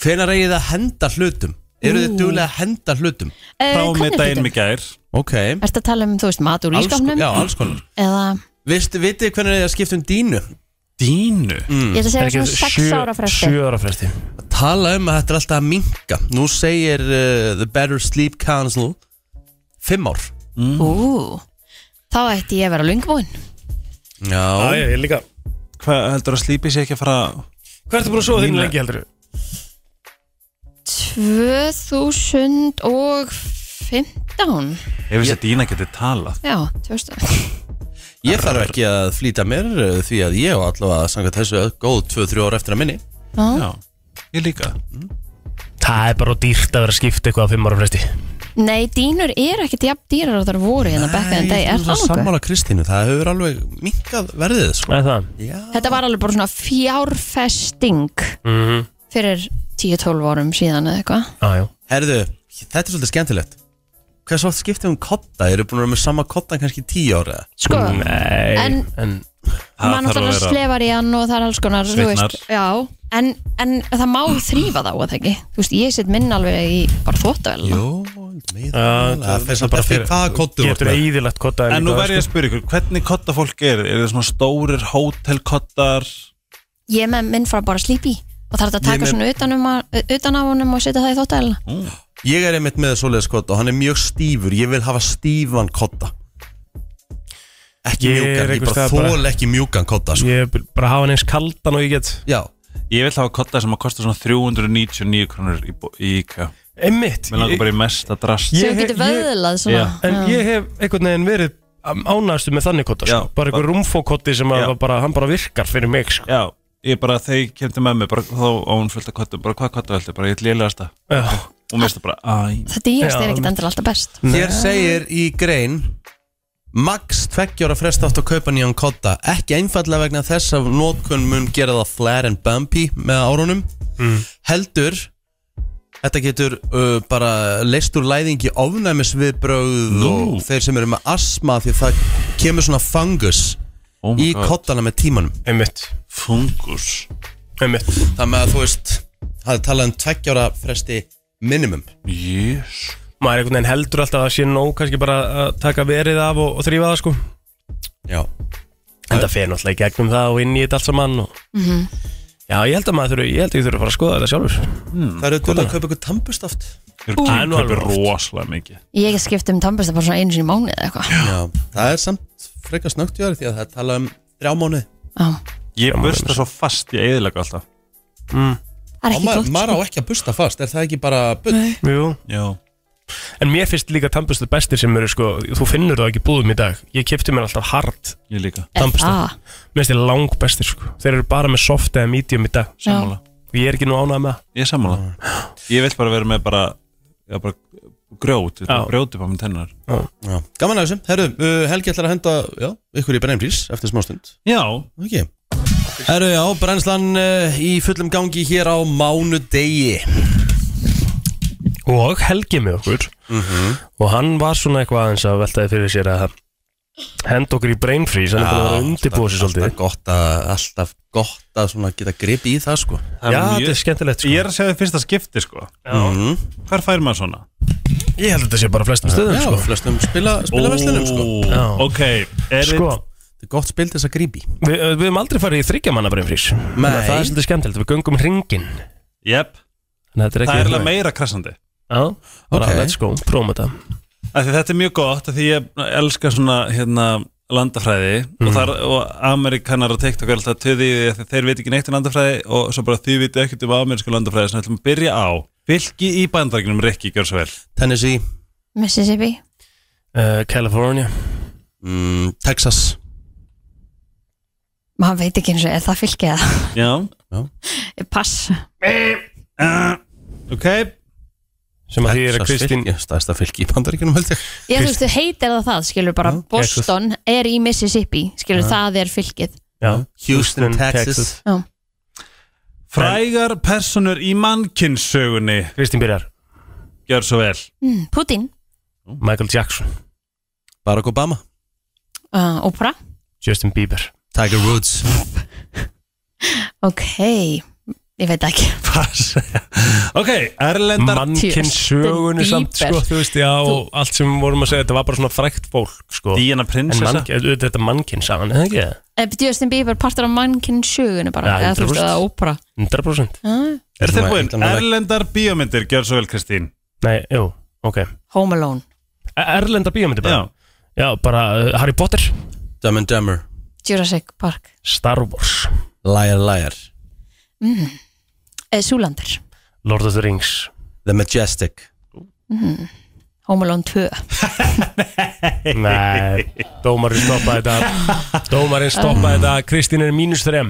Speaker 1: hvenær eigið þið að henda hlutum? Eru þið duglega að henda hlutum?
Speaker 2: Eh,
Speaker 5: Frá með daginn mig gær
Speaker 1: Ok, alls,
Speaker 2: Erst að tala um, þú veist, mat úr ískapnum
Speaker 1: já, alls konar
Speaker 2: Eða,
Speaker 1: Vistu, vitið þið hvernig er að skipta um dínu?
Speaker 5: Dínu?
Speaker 1: Mm.
Speaker 2: ég ætla að
Speaker 3: Er
Speaker 2: segja
Speaker 3: ekki
Speaker 2: svona 6
Speaker 3: sjö-
Speaker 2: ára fresti
Speaker 3: sjö ára fresti
Speaker 1: Að tala um að þetta er alltaf að minka Nú segir uh, The Better Sleep Council Fimm ár
Speaker 2: Ú, þá ætti ég að vera lungbúinn
Speaker 1: Já,
Speaker 3: ég líka
Speaker 5: Hvað heldur að slípi sé ekki að fara
Speaker 3: Hvað ertu búin að sofa þínu
Speaker 5: Mínu-
Speaker 3: lengi heldur?
Speaker 2: 2015
Speaker 5: Ef þess að Dína getur talað
Speaker 2: Já, 2000
Speaker 1: ég þarf ekki að flýta mér uh, Því að ég og allavega sangat þessu góð 2-3 ár eftir að minni
Speaker 5: Já, ég líka
Speaker 3: Það er bara dýrt að vera að skipta eitthvað á fimm ára fresti
Speaker 2: Nei, dýnur eru ekkert jafn dýrar að þar voru hérna back in the day, er
Speaker 1: það
Speaker 2: það nokkuð?
Speaker 1: sammála Kristínu Það hefur alveg minkað verðið sko.
Speaker 3: Það er það
Speaker 1: Já,
Speaker 2: Þetta var alveg bara svona fjárfesting fyrir 10-12 árum síðan eða eitthvað
Speaker 3: Já, já
Speaker 1: herðu, þetta er svolítið skemmtilegt Hvað svo oft skiptum um kotta? Eru búin að vera með sama kotta kannski 10 ár eða?
Speaker 2: Sko,
Speaker 3: Nei, en,
Speaker 2: En- maður
Speaker 5: þarf að
Speaker 2: náttúrulega
Speaker 5: vera-
Speaker 2: slefar í hann og það er alls konar, þú
Speaker 5: Svitnar.
Speaker 2: veist Já, en, en það má þrýfa þá að það ekki Þú veist, ég set minn alveg í bara þvóttavel
Speaker 1: Jó, meira
Speaker 3: Já,
Speaker 1: Það
Speaker 3: það
Speaker 1: fyrir samt eftir hvaða kottu þú ert
Speaker 3: Getur
Speaker 1: með.
Speaker 3: eðilegt kotta
Speaker 5: En nú
Speaker 3: sko.
Speaker 5: verð ég að sko- spyrja ykkur, hvernig kotta fólk er? Er það svona stórir hótelkottar?
Speaker 2: Ég er með minn fara bara að slípi og þarf þetta að
Speaker 1: Ég
Speaker 2: taka
Speaker 1: með-
Speaker 2: svona utan, um að, utan af honum og setja það í þvóttavel
Speaker 1: Ég er einmitt með svoleiðis kotta og hann er mjög stífur Ég vil hafa stífan kotta Ekki
Speaker 3: Ég er
Speaker 1: mjúkan, ég
Speaker 3: einhvers
Speaker 1: bara
Speaker 3: staðar bara-
Speaker 1: þól ekki mjúkan kotta sko.
Speaker 3: Ég vil bara hafa hann eins kaldan og ég get
Speaker 1: Já,
Speaker 5: Ég vil hafa kotta sem að kosta svona 399 krónur í, bó- í IKEA
Speaker 3: Einmitt
Speaker 5: Mér langar
Speaker 3: ég-
Speaker 5: bara í mesta drast
Speaker 3: Ég-
Speaker 2: sem þú getur vöðlað svona
Speaker 5: Já.
Speaker 3: En ég hef einhvern veginn verið ánæðastu með þannig kotta sko.
Speaker 5: Já.
Speaker 3: Bara einhver rúmfókotti sem að
Speaker 5: Já.
Speaker 3: var bara, hann bara virkar fyrir mig sko.
Speaker 5: Já, ég bara, þegar ég kemdi með mig bara, þá á hún fullt af kottum, bara hvað kotta veldi? Bara ég lélegast það
Speaker 3: Já.
Speaker 5: og mér finnst það bara, æ
Speaker 2: Það dýrast
Speaker 3: Já,
Speaker 2: er ekkert
Speaker 3: mitt.
Speaker 2: endur alltaf best
Speaker 1: þér segir í grein Max tveggjóra frest átt að kaupa nýjan kotta Ekki einfallega vegna þess að nótkun mun gera það flare and bumpy með árunum
Speaker 5: Mm.
Speaker 1: Heldur Þetta getur uh, bara leist úr læðingi ofnæmisviðbrögð og þeir sem eru með asma því það kemur svona fungus
Speaker 5: oh my
Speaker 1: í
Speaker 5: god.
Speaker 1: kottana með tímanum
Speaker 3: Einmitt
Speaker 5: Fungus
Speaker 3: Einmitt
Speaker 1: Það með að þú veist Það er talað um tveggjára fresti minimum
Speaker 5: Jés
Speaker 3: Maður einhvern veginn heldur alltaf að það sé nóg kannski bara að taka verið af og, og þrýfa það sko
Speaker 1: Já
Speaker 3: En það fer náttúrulega í gegnum það og inn í þetta allt saman og... Já, ég held að maður þurfi, ég held að ég þurfi að fara að skoða þetta sjálfur
Speaker 5: Mm.
Speaker 1: Það eru dölur að kaupa ykkur tampustaft
Speaker 5: Það
Speaker 3: Það er
Speaker 5: er
Speaker 3: nú alveg oft.
Speaker 5: rosalega mikið
Speaker 2: Ég get skipt um tannbesta bara svona einu sinni í mánuði eða eitthvað
Speaker 1: Já Það er samt frekar snögt í aðri því að það er talað um þrjá mánu
Speaker 2: Já.
Speaker 5: Ég bursta svo fast, ég eðilega alltaf
Speaker 2: Það er
Speaker 1: Og
Speaker 2: ekki
Speaker 1: maður
Speaker 2: gott
Speaker 1: maður
Speaker 2: sko.
Speaker 1: á ekki að busta fast Er það ekki bara bull? Nei
Speaker 3: Jú
Speaker 5: Já
Speaker 3: En mér finnst líka tannbustu bestir sem eru sko Þú finnur það ekki í búðum í dag Ég kipti mér alltaf hard
Speaker 5: Ég líka,
Speaker 2: Er
Speaker 3: tannbursta.
Speaker 2: það?
Speaker 3: Mér finnst þið lang bestir sko Þeir eru bara með soft eða medium í dag Sko,
Speaker 5: sammála
Speaker 3: Og ég er ekki nú ánað með það
Speaker 5: Ég er sammála Ég vil bara vera með bara, já, bara og grjót, þetta
Speaker 3: Já.
Speaker 5: var grjóti bara með tennar
Speaker 1: Já. Gaman að þessu, herru, uh, Helgi ætlar að henda já, ykkur í Brennbrís eftir smástund
Speaker 5: Já,
Speaker 1: Ok Herru, já, brennslan uh, í fullum gangi hér á mánudegi
Speaker 3: og Helgi með okkur og hann var svona eitthvað aðeins að veltaði fyrir sér að henda okkur í brain freeze hann er búin að vera undirbúið sér svolítið
Speaker 1: Ah, Alltaf gott að, alltaf gott að svona geta gripi í það sko
Speaker 5: það
Speaker 3: Já,
Speaker 5: mjög-
Speaker 3: þetta er skemmtilegt sko.
Speaker 5: Ég er að segja því fyrsta skipti sko
Speaker 1: mm.
Speaker 5: Hvar fær maður svona?
Speaker 3: ég held að þetta sé bara á flestum stöðum
Speaker 1: Já,
Speaker 3: sko.
Speaker 1: flestum spila, spila sko
Speaker 3: Já.
Speaker 5: Ok, er
Speaker 3: Sko,
Speaker 1: Þetta er gott spil til þess að gripi
Speaker 3: við, eh, við höfum aldrei farið í þryggja manna brain freeze Þannig að það er svolítið skemmtilegt, við göngum hringin
Speaker 5: Jep,
Speaker 3: það
Speaker 5: það er alveg meira krassandi
Speaker 3: hérna. Já, bara
Speaker 1: Ok.
Speaker 3: let's go, prófum þetta
Speaker 5: Af því Þetta er mjög gott af því ég elska svona hérna, landafræði
Speaker 3: Mhm.
Speaker 5: og, þar, og Amerikanar og TikTok er alltaf töði því að þeir veit ekki neitt um landafræði og svo bara þið veit ekkert um amerísku landafræði sem við ætlum að byrja á Vilki í bandarækjunum Rikki, gjör svo vel
Speaker 1: Tennessee,
Speaker 2: Mississippi
Speaker 3: uh, California
Speaker 1: mm, Texas
Speaker 2: maður veit ekki eins og er það fylgið eða?
Speaker 5: Já,
Speaker 2: Eh, pass
Speaker 5: ok
Speaker 3: sem að því er að
Speaker 1: Texas
Speaker 3: Kristín
Speaker 1: fylki, stærsta fylki í bandaríkjunum held ég
Speaker 2: ég þú veistu heitir það það skilur bara Boston er í Mississippi skilur það er fylgið
Speaker 3: Já.
Speaker 1: Houston, Texas.
Speaker 5: Frægar personur í mannkynnsögunni
Speaker 3: Kristín byrjar,
Speaker 5: Gjör svo vel
Speaker 2: mm, Putin
Speaker 3: Michael Jackson
Speaker 1: Barack Obama,
Speaker 2: uh, Oprah
Speaker 3: Justin Bieber
Speaker 1: Tiger Woods
Speaker 2: ok ég veit ekki
Speaker 5: Pass Ok, Erlendar
Speaker 3: mannkinn sögunni
Speaker 2: Justin
Speaker 3: samt sko,
Speaker 2: Bieber.
Speaker 3: þú veist, já, og allt sem við vorum að segja þetta var bara svona frækt fólk sko.
Speaker 5: Diana
Speaker 3: en
Speaker 5: prinsessa
Speaker 3: mann, auðvitað er þetta mannkinn sagan, eða ekki?
Speaker 2: Eh, Justin Bieber partur af mannkinn sjögunni bara
Speaker 3: Já,
Speaker 2: eða þú veist
Speaker 3: 100%.
Speaker 2: eða Oprah
Speaker 3: 100%
Speaker 2: uh,
Speaker 5: Er
Speaker 1: Svona
Speaker 5: þið búin?
Speaker 1: engan veginn.
Speaker 5: Erlendar bíómyndir, gjör svo vel Kristín
Speaker 3: nei, jú, ok
Speaker 2: Home Alone
Speaker 3: E- Erlenda bíómyndi bara,
Speaker 5: Já,
Speaker 3: já, bara uh, Harry Potter,
Speaker 1: Dumb and Dumber,
Speaker 2: Jurassic Park
Speaker 3: Star Wars
Speaker 1: Liar Liar
Speaker 2: eh, Súlandur
Speaker 3: Lord of the Rings
Speaker 1: The Majestic
Speaker 2: Home Alone 2
Speaker 3: nei, dómarinn stoppaði þetta dómarinn stoppaði þetta Kristín er mínus 3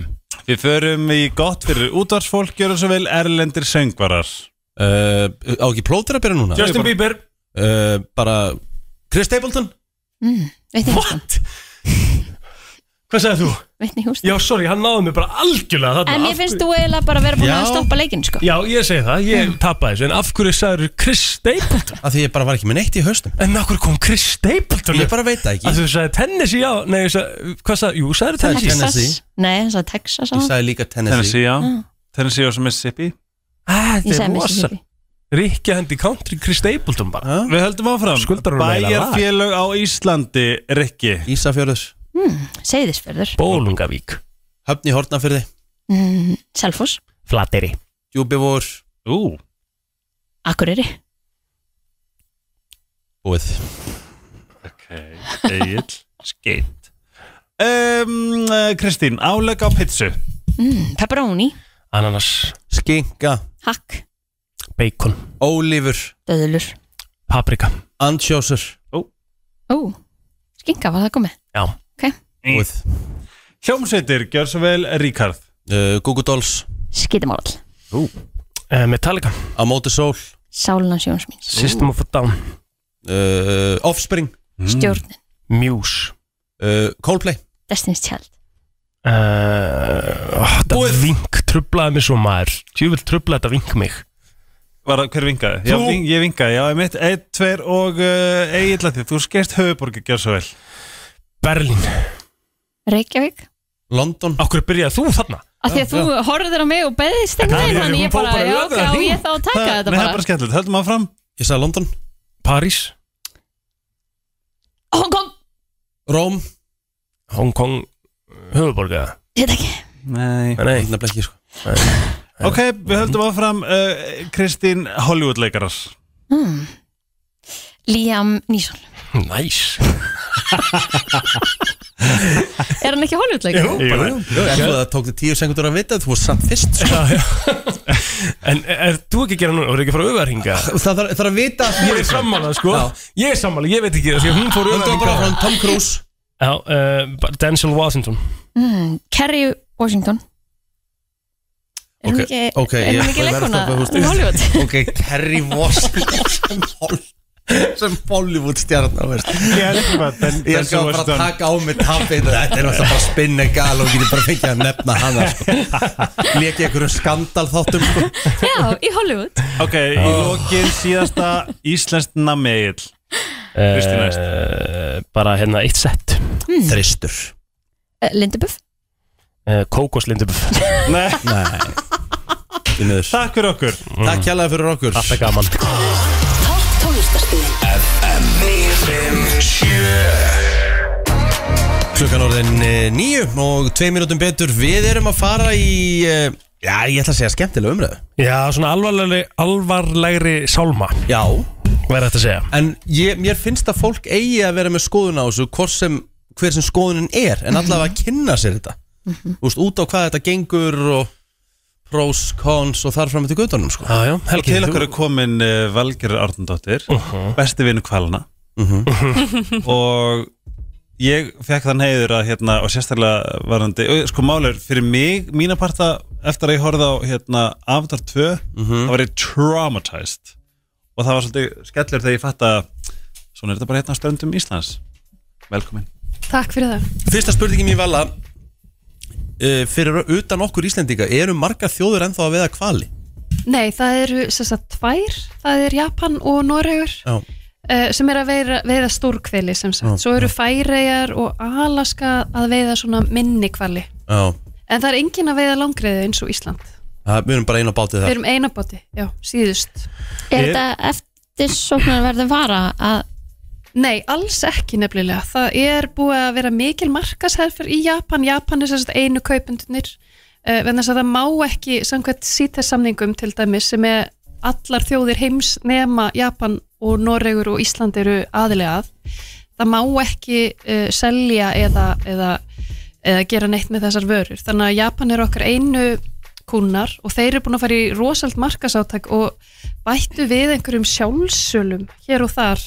Speaker 5: Við förum í gott fyrir útvarsfólk, gjöru svo vel erlendir söngvarar.
Speaker 1: uh, Á ekki plótur að byrja núna?
Speaker 3: Justin Bieber
Speaker 1: uh, Bara Chris Stapleton
Speaker 2: Vitni Húston
Speaker 3: What? Hvað sagðið þú?
Speaker 2: Vitni Húston
Speaker 3: Já, sorry, hann náði mig bara algjörlega þarna
Speaker 2: En mér
Speaker 3: Af
Speaker 2: finnst Mm.
Speaker 3: hverju-
Speaker 2: þú eiginlega bara vera búin að
Speaker 1: Já.
Speaker 2: stoppa leikinn sko
Speaker 3: Já, ég segi það, ég tapaði þessu En af hverju sagður Chris Stapleton?
Speaker 1: Af því ég bara var ekki með neitt í haustum
Speaker 3: En af hverju kom Chris Stapleton?
Speaker 1: Ég bara veit það ekki
Speaker 3: Að þú sagði Tennessee, já Nei, ég sagði, hvað sagði, jú, sagði
Speaker 1: Það er
Speaker 3: Tennessee
Speaker 1: Tennessee.
Speaker 2: Nei, hann sagði Texas á
Speaker 1: Ég sagði líka Tennessee
Speaker 5: Tennessee, já.
Speaker 2: Mm.
Speaker 5: Tennessee og svo Mississippi.
Speaker 3: Ah,
Speaker 2: Ég
Speaker 3: Þetta
Speaker 2: sagði
Speaker 3: er rosa
Speaker 2: Mississippi
Speaker 3: Rikki hendi country Chris Stapleton bara
Speaker 1: Já.
Speaker 5: Við höldum áfram.
Speaker 3: Skuldar hún eiginlega lag?
Speaker 5: Bæjarfélög á Íslandi, Rikki.
Speaker 1: Ísafjörðus
Speaker 2: Hmm, Seyðisfjörður
Speaker 3: Bólungavík
Speaker 1: Höfni Hortnafyrði
Speaker 2: mm, Selfoss
Speaker 3: Flateri
Speaker 1: Djúbivór
Speaker 5: Ú,
Speaker 2: Akureyri
Speaker 1: Búið
Speaker 5: ok. Egil, skeitt. Um, eh, Kristín, áleg á pizzu.
Speaker 2: mm, Pepperoni
Speaker 3: Ananas
Speaker 1: Skinka
Speaker 2: Hakk
Speaker 3: Bacon
Speaker 1: Ólífur
Speaker 2: Döðlur
Speaker 3: Paprika
Speaker 1: Andjósur
Speaker 2: Ó, skinka var það komið
Speaker 3: Já
Speaker 5: Mm.
Speaker 1: Búið
Speaker 5: Hljómsveitir, gjör svo vel Ríkard.
Speaker 1: uh, Google Dolls
Speaker 2: Skitamál
Speaker 3: Eh, Metallica
Speaker 1: Á móti sól
Speaker 2: Sálina sjóns mín
Speaker 3: System of a Down
Speaker 1: uh, Offspring
Speaker 2: Stjórnin
Speaker 3: Muse
Speaker 1: uh, Coldplay
Speaker 2: Destiny's Child
Speaker 3: Uh, oh, það
Speaker 1: Búið.
Speaker 3: vink trublaði mig svo maður Tjúvill trublaði þetta vink mig
Speaker 5: Var, það- hver vingaði? Já,
Speaker 1: Þú.
Speaker 5: ving, ég vingaði, já, ég mitt, einn, tveir og uh, Egil að því. Þú skeist höfuborgi, gjör svo vel.
Speaker 3: Berlín
Speaker 2: Reykjavík
Speaker 1: London
Speaker 3: Akkur byrjaði þú þarna?
Speaker 2: Af því að þú horfður á mig og beðist einhvern
Speaker 3: Það er-
Speaker 2: veginn Þannig
Speaker 3: hún
Speaker 2: ég
Speaker 3: fór
Speaker 2: bara,
Speaker 3: bara
Speaker 2: já
Speaker 3: öfuga
Speaker 2: ok, á
Speaker 3: því.
Speaker 2: ég þá að taka
Speaker 5: Það-
Speaker 2: þetta
Speaker 5: Nei, það er
Speaker 2: bara
Speaker 5: bara skemmtilegt. Höldum áfram.
Speaker 1: Ég sagði London
Speaker 3: París
Speaker 2: Hong Kong,
Speaker 1: Róm
Speaker 3: Hong Kong höfuborga
Speaker 2: ég veit ekki
Speaker 5: Nei.
Speaker 3: Nei,
Speaker 1: Þetta blekki sko
Speaker 5: Ok, við höldum áfram uh, Kristín Hollywood-leikarar
Speaker 2: mm. Liam Neeson
Speaker 3: næs
Speaker 2: Er hann ekki hollywoodleik?
Speaker 3: bara
Speaker 1: Jú, ef þú- Það tók þið tíu sekundur að vita Þú varst samt fyrst sko.
Speaker 3: En er þú ekki að gera núna? Þú er ekki að fara að auðvarhinga?
Speaker 1: Það þarf þarf að vita að
Speaker 3: Ég er sammála sko
Speaker 1: Já.
Speaker 3: Ég er sammála, ég veit ekki það Því að hún fór
Speaker 1: Höldu bara
Speaker 3: auðvarhinga
Speaker 1: frá Tom Cruise
Speaker 3: Já, uh, bara Denzel Washington
Speaker 2: mm. Kerry Washington Er hann
Speaker 1: Ok,
Speaker 2: ekki,
Speaker 1: ok,
Speaker 2: er
Speaker 1: ég-
Speaker 2: hann ekki
Speaker 1: ég verð að
Speaker 2: leikona?
Speaker 1: stoppa, þú veist.
Speaker 2: Hún Hollywood
Speaker 1: Ok, Kerry Washington sem Bollywood stjarnar veist. Ég er ekki að fara að taka á mig tapið Þetta er náttúrulega bara spinn en gal og getur bara fengið að nefna hana sko. Lekið einhverjum skandal þáttum sko.
Speaker 2: Já, í Hollywood
Speaker 5: Ok, í
Speaker 1: Ah.
Speaker 5: lokin síðasta Íslenskt nammeigil Kristín næst.
Speaker 3: Eh, Bara hérna eitt sett
Speaker 1: Þristur
Speaker 2: Eh, Lindebuff
Speaker 3: Eh, Kókoslindubuf
Speaker 5: Nei,
Speaker 1: Nei Því miður.
Speaker 5: takk fyrir okkur
Speaker 1: Takk kjærlega fyrir okkur
Speaker 3: Alltaf gaman
Speaker 6: Topp tónlistarstíðin
Speaker 1: Klukkan orðin eh, níu og tvei mínútum betur Við erum að fara í eh, Já, ég ætla að segja skemmtilega umræðu
Speaker 3: Já, svona alvarlegri, alvarlegri sálma
Speaker 1: Já
Speaker 3: Hvað er þetta að segja?
Speaker 1: En ég, mér finnst að fólk eigi að vera með skoðun á þessu Hvort sem, hver sem skoðunin er En allavega að kynna sér þetta Þú veist, út á hvað þetta gengur og Pros, cons og þar fram til gautunum sko.
Speaker 3: Já, já,
Speaker 5: Og
Speaker 3: Helgi
Speaker 5: til okkur er komin uh, Valger Árnandóttir Besti vinnu kvalina Og ég fekk þann heiður að hérna Og sérstaklega varandi og, Sko málur, fyrir mig, mína parta Eftir að ég horfði á hérna Avatar 2 Það var ég traumatized Og það var svolítið skellur þegar ég fatt að Svona er þetta bara hérna á stöndum Íslands Velkomin
Speaker 7: Takk fyrir það
Speaker 1: Fyrsta spurningin mín vala uh, Fyrir utan okkur Íslendinga Eru margar þjóður ennþá að veða kvali?
Speaker 7: Nei, það eru sem sagt tvær Það er Japan og Noregur
Speaker 1: Já.
Speaker 7: eh, sem er að veiða, veiða stórkvili sem sagt, svo eru Færeyjar og Alaska að veiða svona minni kvali
Speaker 1: Já,
Speaker 7: en það er engin að veiða langriðu eins og Ísland
Speaker 1: það, við erum bara einu á bátið
Speaker 7: við
Speaker 1: það
Speaker 7: erum einabóti, já, síðust
Speaker 2: Er þetta eftir sóknarverðin vara að
Speaker 7: Nei, alls ekki nefnilega. Það er búið að vera mikil markasherfer í Japan. Japan er sérst einu kaupendunir. Uh, Venna þess að það má ekki samkvæmt sítesamningum til dæmis sem er allar þjóðir heims nema Japan og Noregur og Ísland eru aðilega að. Það má ekki uh, selja eða, eða, eða gera neitt með þessar vörur. Þannig að Japan eru okkar einu kúnar og þeir eru búin að fara í rosalt markasáttak og bættu við einhverjum sjálfsölum hér og þar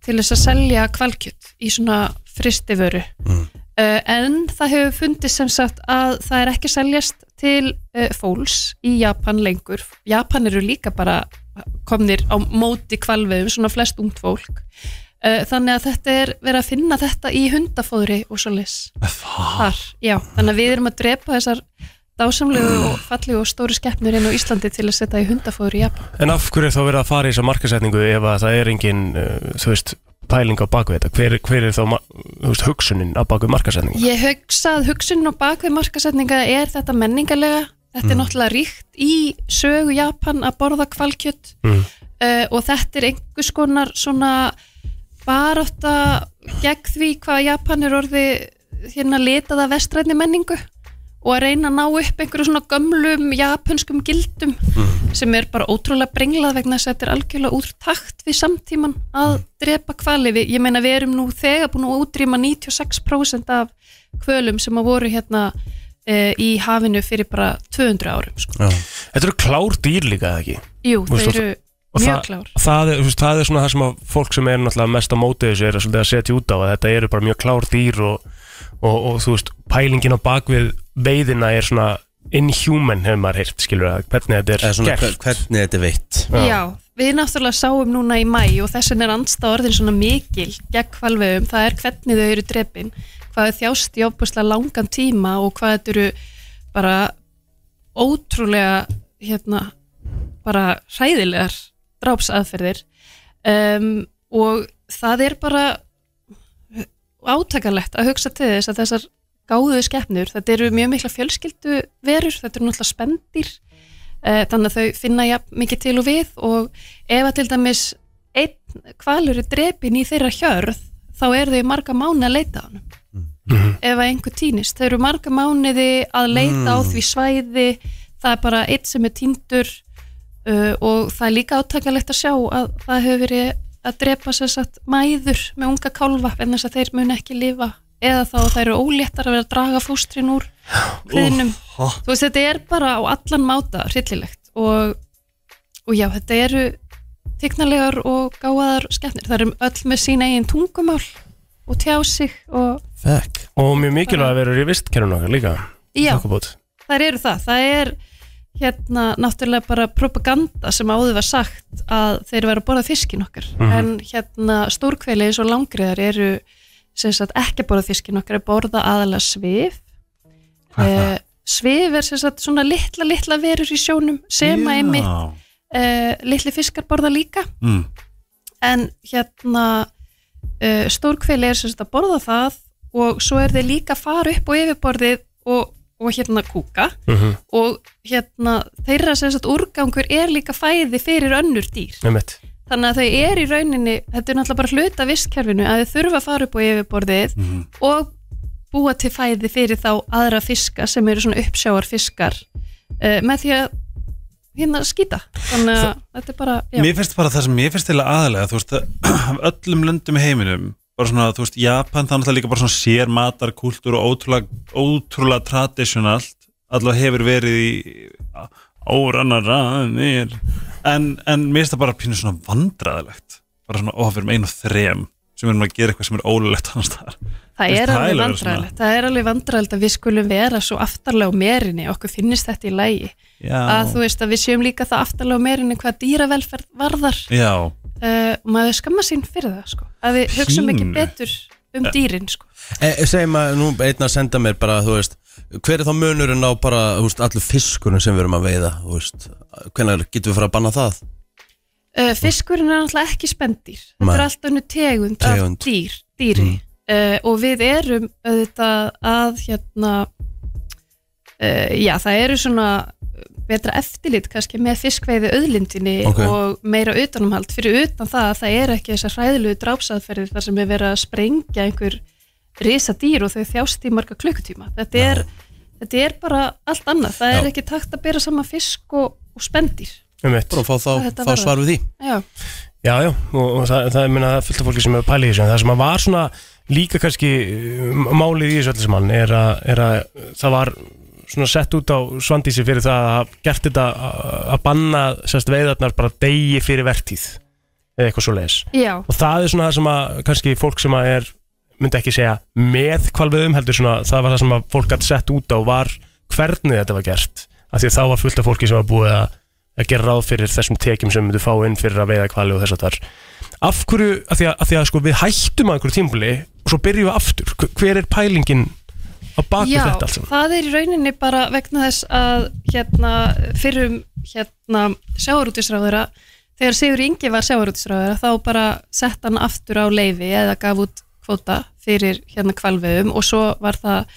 Speaker 7: til þess að selja kvalkjött í svona fristivöru mm. en það hefur fundist sem sagt að það er ekki að seljast til uh, fólks í Japan lengur Japan eru líka bara komnir á móti kvalveðum svona flest ungt fólk uh, þannig að þetta er verið að finna þetta í hundafóðri og svo lis þar, já, þannig að við erum að drepa þessar dásamlegu og fallegu og stóru skeppnur inn á Íslandi til að setja í hundafóður í Japan
Speaker 3: En af hverju er þá verið að fara í þessa markasetningu ef að það er engin, uh, þú veist, pæling á baku þetta? Hver, hver er þá, ma- þú veist, hugsunin á baku markasetningu?
Speaker 7: Ég hugsa að hugsunin á bakvið markasetninga er þetta menningarlega þetta er náttúrulega ríkt í sögu Japan að borða kvalkjött
Speaker 3: Mm.
Speaker 7: uh, og þetta er einhvers konar svona barátta gegn því hvað Japan er orði hérna litað af vestræni menningu og að reyna að ná upp einhverju svona gömlum japanskum gildum sem er bara ótrúlega brenglað vegna þess að þetta er algjörlega úr takt við samtíman að drepa hvali við, ég meina við erum nú þegar búin að útrýma 96% af hvölum sem að voru hérna e, í hafinu fyrir bara 200 árum sko.
Speaker 3: Þetta eru klár dýr líka, eða ekki?
Speaker 7: Jú,
Speaker 3: Þú
Speaker 7: þau
Speaker 3: veist,
Speaker 7: eru
Speaker 3: Og
Speaker 7: mjög
Speaker 3: það-
Speaker 7: klár
Speaker 3: Það er, þú veist, það er svona það sem að fólk sem er náttúrulega mest á móti þessu er að, svolítið að setja út á að þetta eru bara mjög klár dýr og, og, og þú veist, pælingin á bakvið veiðina er svona inhuman hefur maður heyrt, skilur það, hvernig þetta
Speaker 1: Eða
Speaker 3: er
Speaker 1: svona, hver,
Speaker 3: gert.
Speaker 1: hvernig þetta er veitt
Speaker 7: Já. við náttúrulega sáum núna í mæ og þess vegna er anstað orðin svona mikil gegn hvalvegum, það er hvernig þau eru drepin, hvað þau þjást í ofbúslega langan tíma og hvað þetta eru bara ótrúlega hérna bara hræðilegar drápsaðferðir um, og það er bara átakalegt að hugsa til þess að þessar gáðu skeppnur, þetta eru mjög mikla fjölskyldu verur, þetta eru náttúrulega spendir Eh, þannig að þau finna jafn mikið til og við og ef að til dæmis einn kvalur er drepin í þeirra hjörð þá eru þau í marga mánu að leita á hann ef að einhver týnist þau eru marga mánuði að leita á því svæði það er bara einn sem er týndur uh, og það er líka átakalegt að sjá að það hefur verið að drepa sér satt mæður með unga kálfa en þess að þeir mun ekki lifa eða þá það eru óléttar að vera að draga fóstrin úr kviðnum þú veist þetta er bara á allan máta hryllilegt og, og já þetta eru tignalegar og gáðar skemmnir það eru öll með sín eigin tungumál og tjá sig og
Speaker 1: Fuck
Speaker 3: Og mjög mikilvæg að vera í vistkerfinu okkar líka.
Speaker 7: já
Speaker 3: Þokkabót.
Speaker 7: þær eru það, það er hérna náttúrulega bara propaganda sem áður var sagt að þeir væru að borða fiskin okkar en hérna stórkveili eins og langriðar eru sem sagt ekki að borða fiskin okkar að borða aðalega svif eh, svif er sem sagt svona litla litla verur í sjónum sem að einmitt uh, litli fiskar borða líka
Speaker 5: Mm.
Speaker 7: en hérna uh, stórkveli er sem sagt að borða það og svo er þeir líka að fara upp á yfirborðið og, og hérna kúka
Speaker 3: Mhm.
Speaker 7: og hérna þeirra sem sagt úrgangur er líka fæði fyrir önnur dýr
Speaker 3: einmitt
Speaker 7: þannig að þau er í rauninni þetta er náttúrulega bara hluta vistkerfinu að þau þurfa að fara upp á yfirborðið og búa til fæði fyrir þá aðra fiska sem eru svona uppsjáarfiskar uh, með því að hérna skýta þannig að þetta er bara já.
Speaker 5: Mér finnst bara það sem mér finnst til aðalega þú veist, af öllum löndum í heiminum bara svona, þú veist, Japan það er náttúrulega líka bara svona sér matarkúltúr og ótrúlega, ótrúlega traditionalt allavega hefur verið í órannar aðeins en, en mér finnst það bara pínu svona vandræðilegt bara svona ofir með einu þrem sem erum að gera eitthvað sem er ólulegt annars þar
Speaker 7: Það
Speaker 5: Finnst
Speaker 7: er
Speaker 5: það
Speaker 7: alveg
Speaker 5: hægilega
Speaker 7: vandræðilegt, það er alveg vandræðilegt að við skulum vera svo aftarlega á merinni, okkur finnist þetta í lægi, að þú veist að við séum líka það aftarlega á merinni hvað dýravelferð varðar
Speaker 5: Já,
Speaker 7: uh, og maður skamma sín fyrir það sko, að við hugsaum ekki
Speaker 5: Pínu.
Speaker 7: betur um dýrin sko.
Speaker 1: e, Segjum að nú einn að senda mér bara, þú veist Hver er þá munurinn á bara, þú veist, allir fiskunum sem við erum að veiða, þú veist Hvenær getum við fara að banna það?
Speaker 7: Uh, fiskurinn er náttúrulega ekki spendýr,
Speaker 1: Nei.
Speaker 7: þetta er allt önnu tegund,
Speaker 1: Tegund. Mm.
Speaker 7: af dýr, dýri uh, og við erum auðvitað að hérna, uh, já það eru svona betra eftirlit kannski með fiskveiði auðlindinni
Speaker 1: Ok.
Speaker 7: og meira utanumhald fyrir utan það að það eru ekki þessar hræðilegu drápsaðferðir þar sem er verið að sprengja einhver risa dýr og þau þjást í marga klukkutíma þetta er, þetta er bara allt annað, það
Speaker 1: Já.
Speaker 7: er ekki takt að bera saman fisk og, og spendýr
Speaker 3: einmitt
Speaker 1: Bara að fá,
Speaker 7: Hvað
Speaker 1: þá,
Speaker 7: þetta
Speaker 1: fá
Speaker 7: varðar.
Speaker 1: svar við því
Speaker 7: Já.
Speaker 3: Já, já, og, og það, það er minna fullt af fólki sem hefur pælið í þessu en það sem að var svona líka kannski um, málið í þessu öllu saman er að, er að það var svona sett út á svandísi fyrir það að hafa gert þetta að að banna sérst veiðarnar bara degi fyrir vertíð eða eitthvað svo leiðis
Speaker 7: Já.
Speaker 3: og það er svona það sem að kannski fólk sem að er myndi ekki segja með kvalviðum heldur svona það var það sem að fólk gætt sett út á var hvernig þetta var gert af því að þá var fullt af fólki sem var búið að, að gera ráð fyrir þessum tekjum sem myndu fá inn fyrir að veiða kvali og þess að þar af hverju, af því að, af því að sko, við hættum að einhverju tímbli og svo byrjum við aftur Hver- hver er pælingin á baku
Speaker 7: Já,
Speaker 3: þetta allt saman?
Speaker 7: það er í rauninni bara vegna þess að hérna, fyrrum hérna, sjáarútisráðura þegar Sigur Ingi var sjáarútisráðura þá bara sett hann aftur á leifi eða gaf út kvóta fyrir hérna kvalvegum og svo var það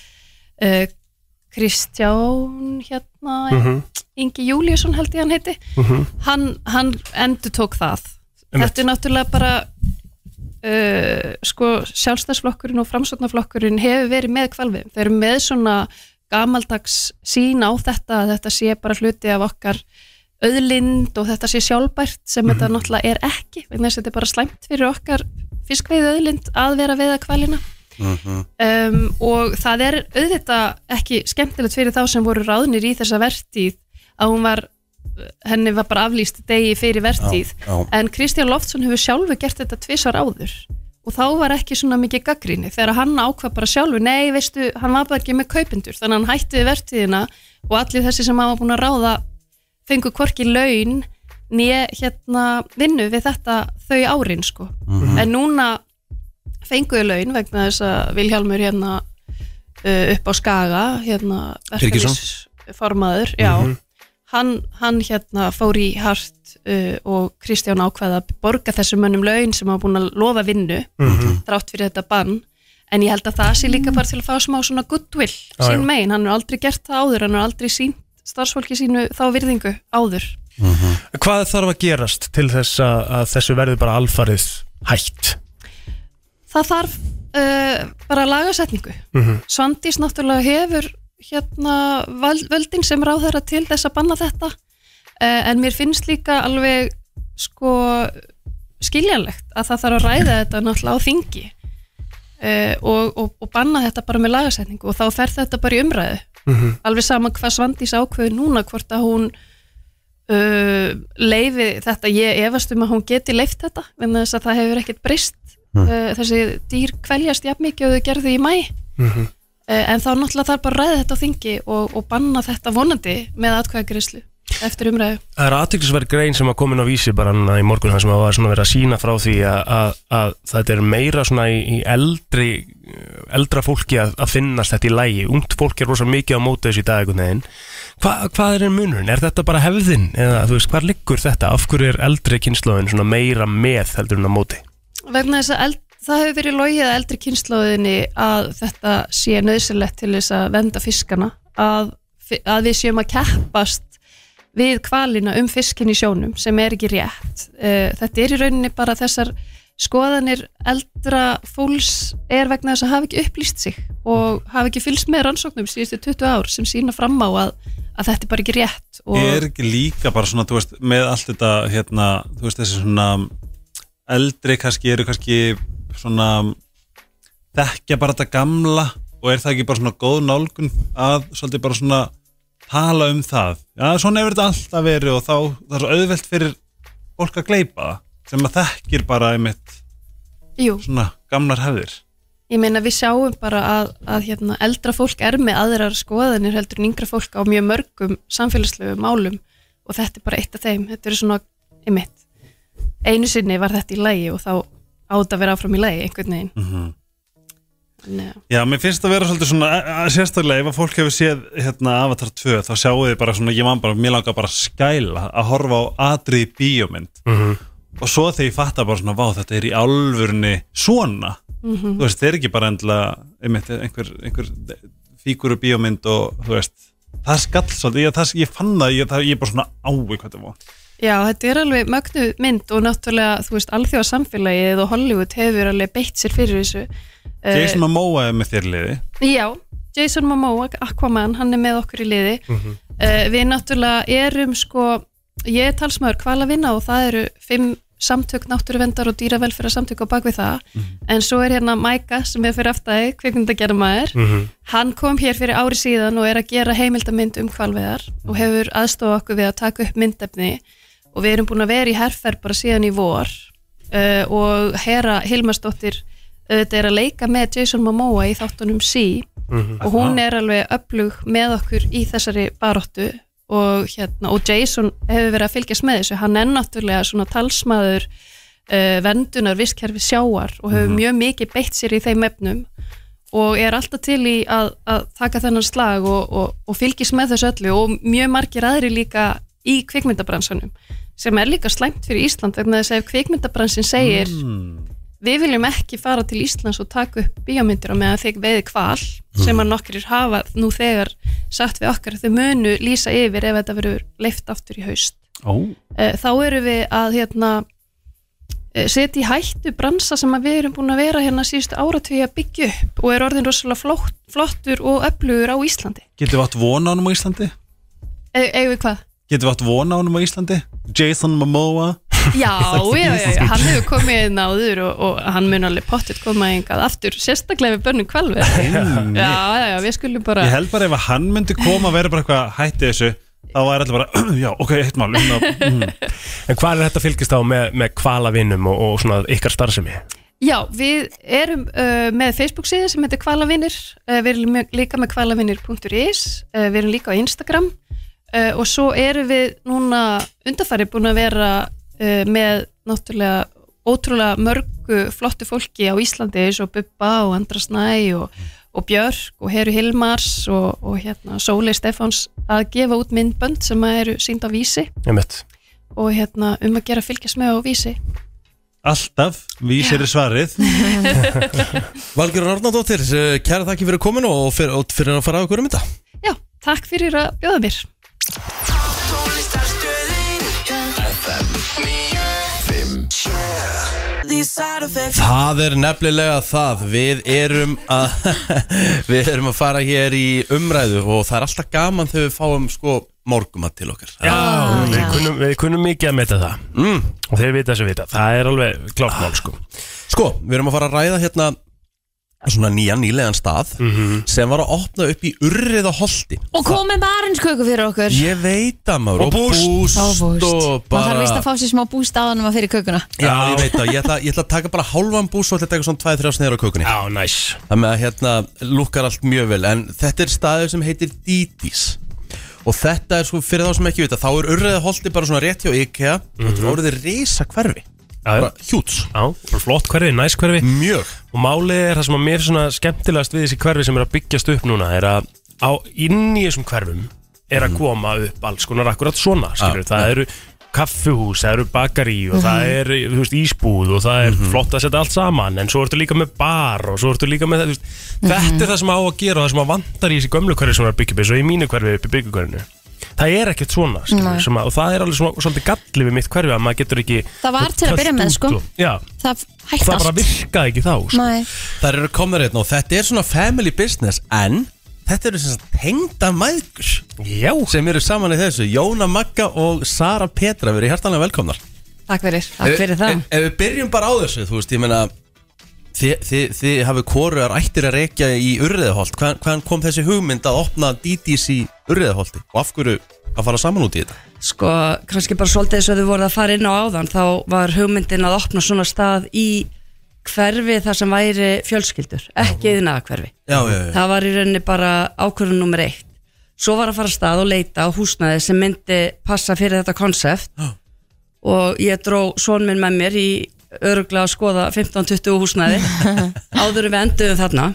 Speaker 7: uh, Kristján hérna,
Speaker 3: Mhm.
Speaker 7: Ingi Júliusson held ég hann heiti hann, hann endur tók það
Speaker 3: Einmitt.
Speaker 7: þetta er náttúrulega bara uh, sko sjálfstæðsflokkurinn og framsóknarflokkurinn hefur verið með kvalvið. Þeir eru með svona gamaldags sín á þetta að þetta sé bara hluti af okkar auðlind og þetta sé sjálfbært sem þetta náttúrulega er ekki vegna þess að þetta er bara slæmt fyrir okkar fiskveið auðlind að vera veiða kvalina um, og það er auðvitað ekki skemmtilegt fyrir þá sem voru ráðnir í þessa vertíð að hún var henni var bara aflýst degi fyrir vertíð
Speaker 1: Já, já.
Speaker 7: en Kristján Loftsson hefur sjálfu gert þetta tvisar áður og þá var ekki svona mikið gaggrinni þegar hann ákvað bara sjálfu nei veistu, hann var bara ekki með kaupendur þannig að hann hætti við vertíðina og allir þessi sem hafa búin að ráða fengu hvorki laun né hérna vinnu við þetta þau árin sko
Speaker 3: Mhm.
Speaker 7: en núna fenguðu laun vegna þess að Vilhjálmur hérna uh, upp á Skaga hérna
Speaker 1: Birgisson.
Speaker 7: verkefnisformaður já
Speaker 3: Mhm.
Speaker 7: hann, hann hérna fór í hart uh, og Kristján ákvaða að borga þessum mönnum laun sem hafa búin að lofa vinnu
Speaker 3: Mhm.
Speaker 7: þrátt fyrir þetta bann en ég held að það sé líka bara til að fá smá svona goodwill
Speaker 3: Já, já.
Speaker 7: sín megin, hann er aldrei gert það áður hann er aldrei sínt starfsfólki sínu þá virðingu áður
Speaker 3: Hvað þarf að gerast til þess að, að þessu verður bara alfarið hætt?
Speaker 7: það þarf uh, bara lagasetningu Svandís náttúrulega hefur hérna val- völdin sem ráðherra til þess að banna þetta uh, en mér finnst líka alveg sko skiljanlegt að það þarf að ræða þetta náttúrulega á þingi uh, og, og, og banna þetta bara með lagasetningu og þá fer þetta bara í umræðu
Speaker 3: Mhm.
Speaker 7: alveg sama hvað Svandís ákveður núna hvort að hún uh, leifi þetta, ég efast um að hún geti leift þetta, en þess að það hefur ekkert breyst uh, þessi dýr kveljast jafn mikið og þau gerðu í mæ Eh, en þá náttúrulega þarf bara að ræða þetta á þingi og, og banna þetta vonandi með atkvæðagreyslu eftir umræðu
Speaker 3: Það er aðtiklisverð grein sem að komin á vísi bara núna í morgun þar sem að var svona verið að sína frá því að, að, að þetta er meira svona í, í eldri eldra fólki að, að finnast þetta í lægi ungt fólk er rosa mikið á móti þessu í dag einhvern veginn Hva, hvað er munurinn? Er þetta bara hefðin? Eða þú veist, hvað liggur þetta? Af hverju er eldri kynnslóðin svona meira með heldur en á móti?
Speaker 7: vegna þess að eld, það hefur verið logið að eldri kynnslóðinni að þetta sé nöðsilegt til þess að venda fiskana að, fi- að við séum að keppast við kvalina um fiskin í sjónum sem er ekki rétt Eh, þetta er í rauninni bara þessar skoðanir eldra fólks er vegna þess að hafa ekki upplýst sig og hafa ekki fylst með rannsóknum síðustu 20 ár sem sína fram á að, að þetta er bara ekki rétt og
Speaker 5: er ekki líka bara svona, þú veist, með allt þetta hérna, þú veist, þessi svona eldri kannski eru kannski svona þekkja bara þetta gamla og er það ekki bara svona góð nálgun að svolítið bara svona tala um það já, svona hefur þetta alltaf verið og þá það er svo auðvelt fyrir fólk að gleypa það sem að þekkir bara einmitt
Speaker 7: jú,
Speaker 5: svona gamlar hefðir
Speaker 7: Ég meina við sjáum bara að, að hérna, eldra fólk er með aðrar skoðanir heldur en yngra fólk á mjög mörgum samfélagslegu málum og þetta er bara eitt af þeim, þetta er svona einmitt. Einu sinni var þetta í lægi og þá átt að vera áfram í lægi einhvern veginn. Mm -hmm.
Speaker 5: Já, mér finnst það að vera svolítið svona að- að sérstaklega ef að fólk hefur séð hérna Avatar 2 þá sjáu þið bara svona, ég man bara, mér langar bara að skæla að horfa á atrið bíómynd og svo þegar ég fatta bara svona, vá þetta er í alvörni svona, þú veist, það er ekki bara endilega, einmitt, einhver, einhver fíguru bíómynd og þú veist, það skall svolítið, ég, það, ég fann það, ég, það, ég bara svona ái hvað það var.
Speaker 7: Já, þetta er alveg mögnu mynd og náttúrulega, þú veist, alþjóðasamfélagið og Hollywood hefur alveg beitt sér fyrir þessu. Eh,
Speaker 5: Jason Momoa er með þér liði,
Speaker 7: Já, Jason Momoa, Aquaman, hann er með okkur í liði. uh, við náttúrulega erum sko, ég er talsmaður hvalavinna og það eru fimm samtök náttúruvendar og dýravelferðarsamtök á bakvið það, en svo er hérna Mæka sem er fyrir aftæði, kvikmyndagerðamaður hann kom hér fyrir ári síðan og er að gera heimildamynd um hvalveðar og hefur aðstofa okkur við að taka upp myndefni og við erum búin að vera í herferð bara síðan í vor uh, og herra Hilmarsdóttir auðvitað er að leika með Jason Momoa í þáttunum Sí og hún er alveg öflug með okkur í þessari baróttu og, hérna, og Jason hefur verið að fylgjast með þessu hann er náttúrulega svona talsmaður uh, vendunar visskerfi sjáar og hefur mjög mikið beitt sér í þeim efnum og er alltaf til í að, að taka þennan slag og, og, og fylgjast með þessu öllu og mjög margir aðri líka í kvikmyndabransanum sem er líka slæmt fyrir Ísland vegna þess að ef kvikmyndabransin segir við viljum ekki fara til Íslands og taka upp bíómyndir á meðan þeir veiði kval sem að nokkrir hafa nú þegar sagt við okkar þau munu lýsa yfir ef þetta verður leift aftur í haust
Speaker 5: Ó.
Speaker 7: Eh, þá erum við að hérna, eh, setja í hættu bransa sem að við erum búin að vera hérna síðustu áratugja byggju upp og er orðin rosalega flott, flottur og öflugur á Íslandi
Speaker 5: getum við átt vona á honum á Íslandi?
Speaker 7: e eigum við hvað?
Speaker 5: Getum við átt vona á honum á Íslandi? Jason Momoa?
Speaker 7: Já, já, já, já, hann hefur komið inn áður og, og hann mun alveg pottet koma engað aftur, sérstaklega við bönnum kvalver
Speaker 5: Mm.
Speaker 7: Já, já, já, við skulum bara
Speaker 5: Ég held bara ef að hann myndi koma að vera bara eitthvað hætti þessu þá var allir bara, já, ok, eitt mál um að, mm,
Speaker 3: En hvað er þetta að fylgist á með, með kvalavinnum og, og svona ykkar starfsemi?
Speaker 7: Já, við erum uh, með Facebook síðu sem heitir Hvalavinir, uh, við erum mjög- líka með hvalavinir.is, uh, við erum líka á Instagram uh, og svo erum við núna undarfæri búin að vera uh, með náttúrulega ótrúlega mörgu flottu fólki á Íslandi eins og Bubba og Andra Snæ og, og Björk og Heru Hilmars og, og hérna Sóli Stefáns að gefa út myndbönd sem að eru sínd á vísi
Speaker 3: Ég mitt.
Speaker 7: og hérna um að gera fylgjast með á vísi.
Speaker 5: alltaf vísir í svarið
Speaker 1: Valgjörn Arnardóttir, eh, kæra þakki fyrir komin og fyrir, og fyrir að fara að okkur um þetta
Speaker 7: Já, takk fyrir að bjóða mér.
Speaker 1: Það er nefnilega það, við erum að við erum að fara hér í umræðu og það er alltaf gaman þegar við fáum sko morgumat til okkar
Speaker 3: Já, við, kunnum, við kunnum mikið að meta það.
Speaker 1: mm.
Speaker 3: Og þeir vita sem vita. Það er alveg klátt mál sko.
Speaker 1: Sko, við erum að fara að ræða hérna svona nýjan nýlegan stað
Speaker 3: Mhm.
Speaker 1: sem var að opna upp í urrið og holti
Speaker 2: Og komið með arinnsköku fyrir okkur
Speaker 1: ég veit að maður
Speaker 3: Og búst.
Speaker 1: búst og
Speaker 2: Maður þarf vist
Speaker 1: bara
Speaker 2: að fá sér smá búst áðanum að fyrir kökuna
Speaker 1: já ég veit að ég ætla, ég ætla að taka bara hálfan búst og ætla að taka svona 2-3 sniður á kökunni
Speaker 3: Já, næs
Speaker 1: Þannig að hérna lukkar allt mjög vel En þetta er staður sem heitir Dídís Og þetta er sko fyrir þá sem ekki vita Þá er urriða holti bara svona rétt hjá IKEA Og þetta er
Speaker 3: Mhm.
Speaker 1: orðið reysa hverfi
Speaker 3: Já, já.
Speaker 1: Bara hjúts
Speaker 3: Já, bara flott hverfi, næs hverfi
Speaker 1: Mjög
Speaker 3: Og málið er það sem að mér svona skemmtilegast við þessi hverfi sem er að byggjast upp núna er að á, inn í þessum hverfum er
Speaker 2: Mhm.
Speaker 3: að koma upp alls konar akkurat svona
Speaker 2: Ah,
Speaker 3: skilur.
Speaker 1: Já,
Speaker 3: það eru kaffuhús, það eru bakarí og það
Speaker 2: Mhm.
Speaker 3: er þú veist, ísbúð og það er flott að setja allt saman en svo ertu líka með bar og svo ertu líka með þú veist,
Speaker 2: Mhm.
Speaker 3: þetta er það sem á að gera og það sem að vantar í þessi gömlu hverfi sem er að byggja upp eins og í mínu hverfi upp í byggjuhverfinu það er ekkert svona skilur,
Speaker 2: Nei.
Speaker 3: sem að, og það er alveg svona, svolítið galli við mitt hverfi að maður getur ekki
Speaker 2: Það var til að byrja með, sko.
Speaker 3: já,
Speaker 2: Það
Speaker 3: og
Speaker 2: hætti
Speaker 3: það bara
Speaker 2: allt
Speaker 3: virkaði ekki þá sko.
Speaker 2: Nei.
Speaker 1: Það eru komnar hérna og þetta er svona family business En þetta eru sem sagt tengda mæðgur
Speaker 3: já,
Speaker 1: Sem eru saman í þessu Jóna Magga og Sara Petra Verið hjartanlega velkomnar
Speaker 2: Takk fyrir, takk fyrir
Speaker 1: Ef,
Speaker 2: það
Speaker 1: ef Eh, við byrjum bara á þessu, þú veist, ég meina Þið, þið, þið hafið koruðar ættir að rekja í Urriðaholt Hvaðan, hvaðan kom þessi hugmynd að opna DDs í Urriðaholti og af hverju að fara saman út í þetta?
Speaker 8: Sko, kannski bara svolítið þess að þau voru að fara inn á áðan þá var hugmyndin að opna svona stað í hverfi þar sem væri fjölskyldur, ekki yðnaða hverfi
Speaker 1: Já, já, já,
Speaker 8: það var í rauninni bara ákvörðun nummer eitt svo var að fara af stað og leita á húsnaði sem myndi passa fyrir þetta konsept
Speaker 1: Já.
Speaker 8: og ég dró són minn með mér í öruglega að skoða 15-20 húsnaði áður en við enduðum þarna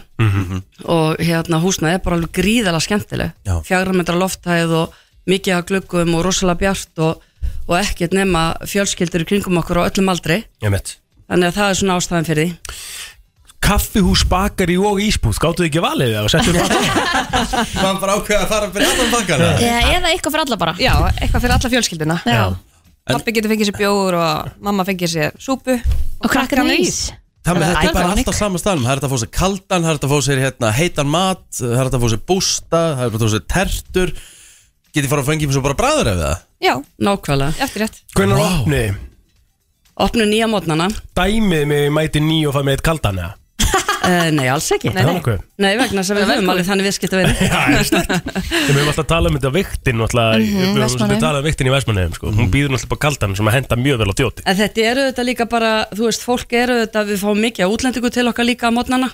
Speaker 8: og hérna húsnaði er bara alveg gríðalega skemmtileg
Speaker 1: Mhm. Já.
Speaker 8: fjagra metra lofthæð og mikið að gluggum og rosalega bjart og, og ekkert nema fjölskyldur í kringum okkur á öllum aldri
Speaker 3: ég mitt
Speaker 8: þannig að það er svona ástæðan fyrir því
Speaker 3: kaffihús, bakari og ísbúð gáttu þið ekki valið það og settu það
Speaker 1: Hann bara ákveða að fara fyrir allan bakkana
Speaker 2: Eða, eða eitthvað fyrir alla bara
Speaker 9: Já, eitthvað fyrir alla fjölskyldina
Speaker 2: Já.
Speaker 9: Pappi getur fengið sér bjóður og mamma fengið sér súpu
Speaker 2: Og krakkarnir ís
Speaker 1: Það með þetta er
Speaker 2: Iconic.
Speaker 1: bara alltaf saman staðnum Það er þetta að fá sér kaldan, það er þetta að fá sér hérna, heitan mat Það er þetta að fá sér bústa, það er þetta að fá sér tertur Getið fara að fengi fyrir svo bara bræður ef það?
Speaker 9: Já,
Speaker 8: nákvæmlega,
Speaker 9: eftir rétt
Speaker 3: hvernig
Speaker 1: Vá.
Speaker 3: wow. opni
Speaker 8: opnu nýja mótnana
Speaker 3: dæmið mig ég mæti nýju og fæ með eitt kaldan eða?
Speaker 8: uh, nei, alls ekki
Speaker 3: það er nokkuð
Speaker 8: Nei, vegna sem við höfum alveg þannig viðskipt að vera
Speaker 3: Já, það er sterkt. Við höfum alltaf talað um þetta viktin náttúrulega, Við höfum alltaf
Speaker 2: Vestmannaeyjum.
Speaker 3: talað um viktin í Vestmannheim sko. Hún býður náttúrulega bara kaldan sem að henda mjög vel á djóti
Speaker 8: En þetta eru þetta líka bara, þú veist, fólk eru þetta, við fáum mikið af útlendingu til okkar líka á mótnana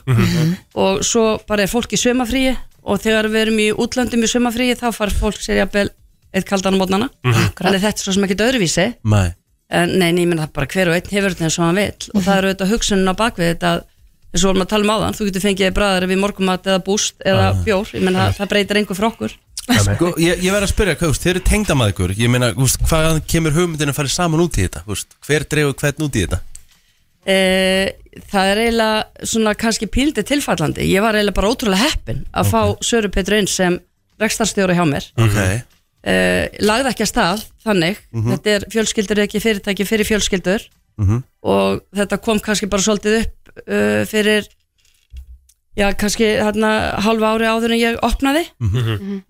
Speaker 8: og svo bara er fólk í sömafríi og þegar við erum í útlöndum í sömafríi þá far fólk sér jafnvel eitt kaldan á mótnana Þannig þetta er svo sem ekki öðruvísi
Speaker 1: Nei,
Speaker 8: en nei, en ég menna það bara hver og einn hefur þetta eins og hann vil og það eru þetta hugsunin á bakvið þetta að eins og vorum að tala um áðan, þú getur fengið bræðar við morgumat eða búst eða bjór ég menna það, það breytir engu frá okkur
Speaker 1: Sko, ég, ég verð að spyrja, hvað, þú veist, þið eru tengdamaður Ég meina, þú veist, hvaðan kemur hugmyndin að fara saman út í þetta? Þú veist, Hver dregur hvern út í þetta?
Speaker 8: Eh, það er eiginlega svona kannski píldi tilfallandi ég var eiginlega bara ótrúlega heppin að fá Söru Petru inn sem rekstarstjóri hjá mér
Speaker 1: okay.
Speaker 8: uh, lagði ekki að stað þannig þetta er fjölskyldur ekki fyrirtæki fyrir fjölskyldur og þetta kom kannski bara svolítið upp uh, fyrir já kannski hérna halva ári áður en ég opnaði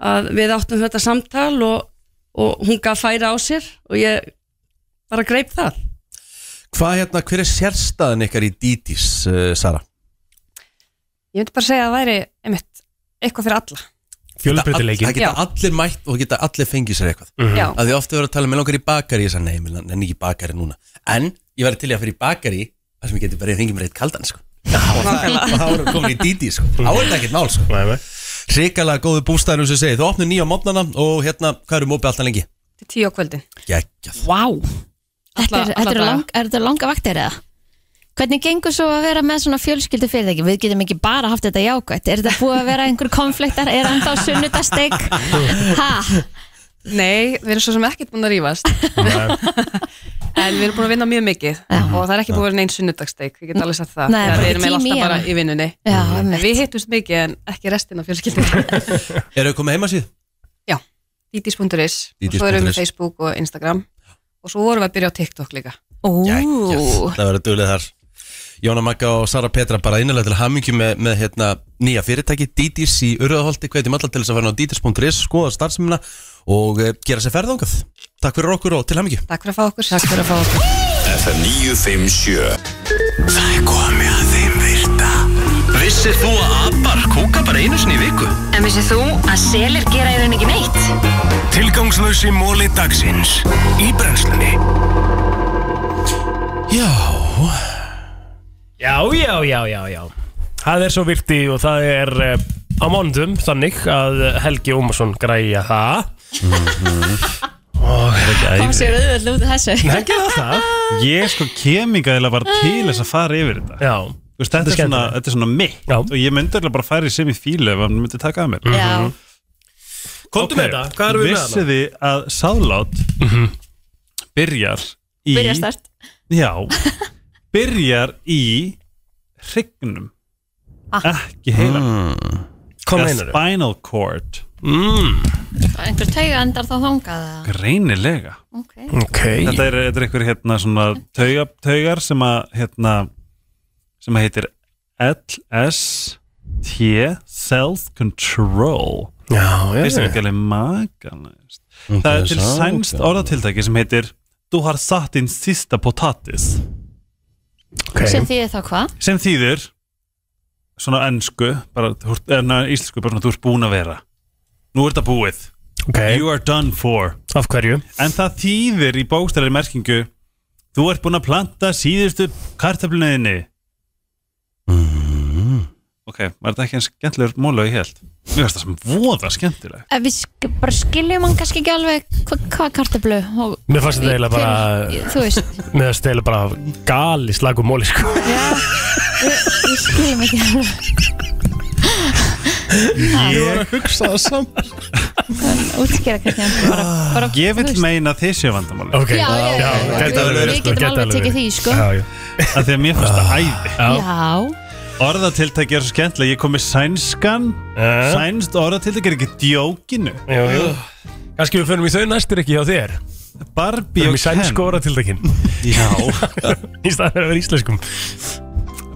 Speaker 8: að við áttum þetta samtal og, og hún gaf færa á sér og ég bara greip það
Speaker 1: Hvað hérna, hver er sérstæðan ykkar í Dídís, uh, Sara?
Speaker 9: Ég myndi bara segja að það væri einmitt, eitthvað fyrir alla
Speaker 3: Fjölbreytileikin
Speaker 1: Það geta allir mætt og geta allir fengið sér eitthvað
Speaker 3: Mhm.
Speaker 9: Já,
Speaker 1: að því ofta verður að tala með langar í bakari ég sagði nei, mér nenni ekki í bakari núna en ég verði til í að fyrir bakari þar sem ég geti bara fengið mér eitt kaldan sko. og það og þá erum við komin í díti sko. á er þetta ekkert mál sko.
Speaker 3: Nei, nei.
Speaker 1: hrikalega góðu bústæðinu sem segið þú opnir nýja mótnana og hérna hvað eru mópið alltaf lengi
Speaker 9: til tíu á kvöldin
Speaker 1: geggjað
Speaker 2: Vá Þetta
Speaker 9: Alla-
Speaker 2: er- þetta
Speaker 9: alla
Speaker 2: eru
Speaker 9: daga.
Speaker 2: lang, er þetta langa vaktir eða? Hvernig gengur svo að vera með svona fjölskyldu fyrirtæki? Við getum ekki bara haft þetta jákvætt Er þetta búið að vera einhver konfliktar? Er hann þá sunnudasteg? Ha?
Speaker 9: Nei, við erum svo sem ekkert búin að rífast En við erum búin að vinna mjög mikið Og það er ekki búin að vera neinn sunnudagssteik Við getum alveg sagt það
Speaker 2: Nei,
Speaker 9: Þegar
Speaker 2: bara
Speaker 9: Við erum
Speaker 2: tími
Speaker 9: eiginlega
Speaker 2: í
Speaker 9: alltaf bara
Speaker 2: hana.
Speaker 9: í vinnunni
Speaker 2: Já,
Speaker 9: En
Speaker 2: einmitt.
Speaker 9: Við hittumst mikið en ekki restin af fjölskyldin
Speaker 1: eru þau komið heima síð?
Speaker 9: Dítis.is Og svo erum
Speaker 1: Dídís.is.
Speaker 9: við Facebook og Instagram Og svo vorum við að byrja á TikTok líka
Speaker 2: Ú,
Speaker 1: það verður duglið þar Jóna Magga og Sara Petra bara innlega til hamingju með, með hérna, nýja fyrirtæki Dítis í Urðaholti, hvetjum alla til þess að fara inn á dítis.is, skoða starfsemina og eh, gera sér ferðangað Takk fyrir okkur og til hamingju
Speaker 9: Takk fyrir að fá okkur Takk fyrir að fá okkur
Speaker 10: FM 957 Það er komið að þeim virta Vissi Vissir þú að abar kúka bara einu sinni í viku?
Speaker 6: En vissið þú að selir gera í rauninni ekki neitt?
Speaker 10: Tilgangslösi móli dagsins í brennslunni
Speaker 1: Já
Speaker 3: Já, já, já, já, já Það er svo virti og það er eh, á mánudum þannig að Helgi Ómarsson græja það
Speaker 2: kom sér auðvitað út af þessu
Speaker 3: Helgi það það
Speaker 5: Ég sko kemingæðilega var til þess að fara yfir þetta
Speaker 3: Já,
Speaker 5: Þú veist, þetta, er svona,
Speaker 3: skemmtilegt.
Speaker 5: þetta er svona mitt
Speaker 3: Já. Mm.
Speaker 5: og ég myndi alveg bara færi sem í fílu ef hann myndi taka að mér
Speaker 2: já,
Speaker 3: komdu með þetta, hvað erum við með Mhm.
Speaker 5: Vissið
Speaker 3: það?
Speaker 5: þið að sáðlát byrjar í
Speaker 2: byrja start
Speaker 5: Já, byrjar í hrygnum ekki heila
Speaker 3: Mm. Kom Mm,
Speaker 5: Eða
Speaker 3: einar
Speaker 5: Spinal cord
Speaker 2: einhver tauga endar þá þangað eða?
Speaker 5: Greinilega
Speaker 2: okay.
Speaker 3: Ok,
Speaker 5: Þetta er, þetta er einhver hérna svona tauga, taugar sem að hérna sem að heitir LST Self Control
Speaker 3: já, já,
Speaker 5: Fyrst er
Speaker 3: já
Speaker 5: ekki alveg makanæst Það er sko. til sænst orðatiltæki sem heitir Þú har satt inn sísta potatis
Speaker 2: sem
Speaker 3: okay.
Speaker 2: því þá hvað
Speaker 5: sem þýðir svona ennsku bara, þú ert- eh, na, íslensku, bara svona þú ert búin að vera Nú er þetta búið
Speaker 3: ok,
Speaker 5: You are done for
Speaker 3: af hverju?
Speaker 5: En það þýðir í bókstæðari merkingu Þú ert búin að planta síðustu kartöfluninni Mm-hmm. Ok, var þetta ekki eins skemmtilegur móla og ég held Mér finnst það sem voða skemmtileg
Speaker 2: Eh, við sk bara skiljum hann kannski ekki alveg hva- hvað kartablu og
Speaker 3: Mér fannst þetta eiginlega bara-
Speaker 2: Fyrir- þú veist,
Speaker 3: Mér það stela bara gali slagum móli sko
Speaker 2: við skiljum ekki alveg
Speaker 1: Ég var að hugsa það saman
Speaker 2: en útskýra kannski hann bara, bara
Speaker 5: Ég vil
Speaker 2: þú veist.
Speaker 5: meina að þið séu vandamáli
Speaker 3: Ok,
Speaker 2: Já, já, já, já, já.
Speaker 3: gæti alveg
Speaker 2: Við-
Speaker 3: verið,
Speaker 2: við
Speaker 3: sko,
Speaker 2: getum
Speaker 3: gæti
Speaker 2: alveg
Speaker 3: alveg
Speaker 2: tekið
Speaker 3: verið.
Speaker 2: því, sko.
Speaker 3: Já, já.
Speaker 5: Af því að mér finnst það
Speaker 3: Ah.
Speaker 5: æði
Speaker 3: Já.
Speaker 2: já,
Speaker 5: Orðatiltæki er svo skemmtileg Ég kom með sænskan
Speaker 3: Eh?
Speaker 5: Sænst orðatiltæki er ekki djókinu
Speaker 3: Jú, jú. Kannski við förum í þau næstir ekki hjá þér Við
Speaker 5: Barbie
Speaker 3: erum
Speaker 5: og
Speaker 3: í sænsku
Speaker 5: Ken
Speaker 3: orðatildakinn
Speaker 5: Já
Speaker 3: Í staðan fyrir að vera íslenskum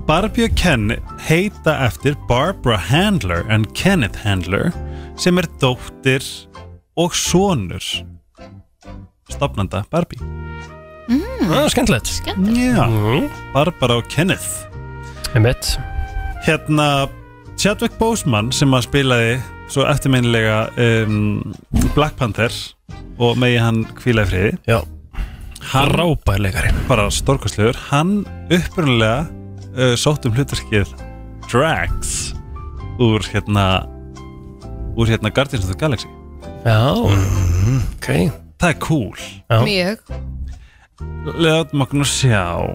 Speaker 5: Barbie og Ken heita eftir Barbara Handler en Kenneth Handler sem er dóttir og sonur stopnanda Barbie
Speaker 2: Hmm.
Speaker 3: Það er Ah, skemmtilegt
Speaker 5: Já,
Speaker 3: Mhm.
Speaker 5: Barbara og Kenneth
Speaker 3: Einmitt
Speaker 5: Hérna Chadwick Boseman sem að spilaði svo eftirminnilega um, Black Panther og megi hann hvíla í friði
Speaker 3: Já
Speaker 5: Hann-
Speaker 3: Rápar leikari
Speaker 5: bara stórkostlegur hann upprunalega uh, sótt um hlutarskið Drax úr hérna úr hérna Guardians of the Galaxy
Speaker 3: Já Mhm. Ok
Speaker 5: það er cool
Speaker 3: Já.
Speaker 2: mjög
Speaker 5: látum okkur nú sjá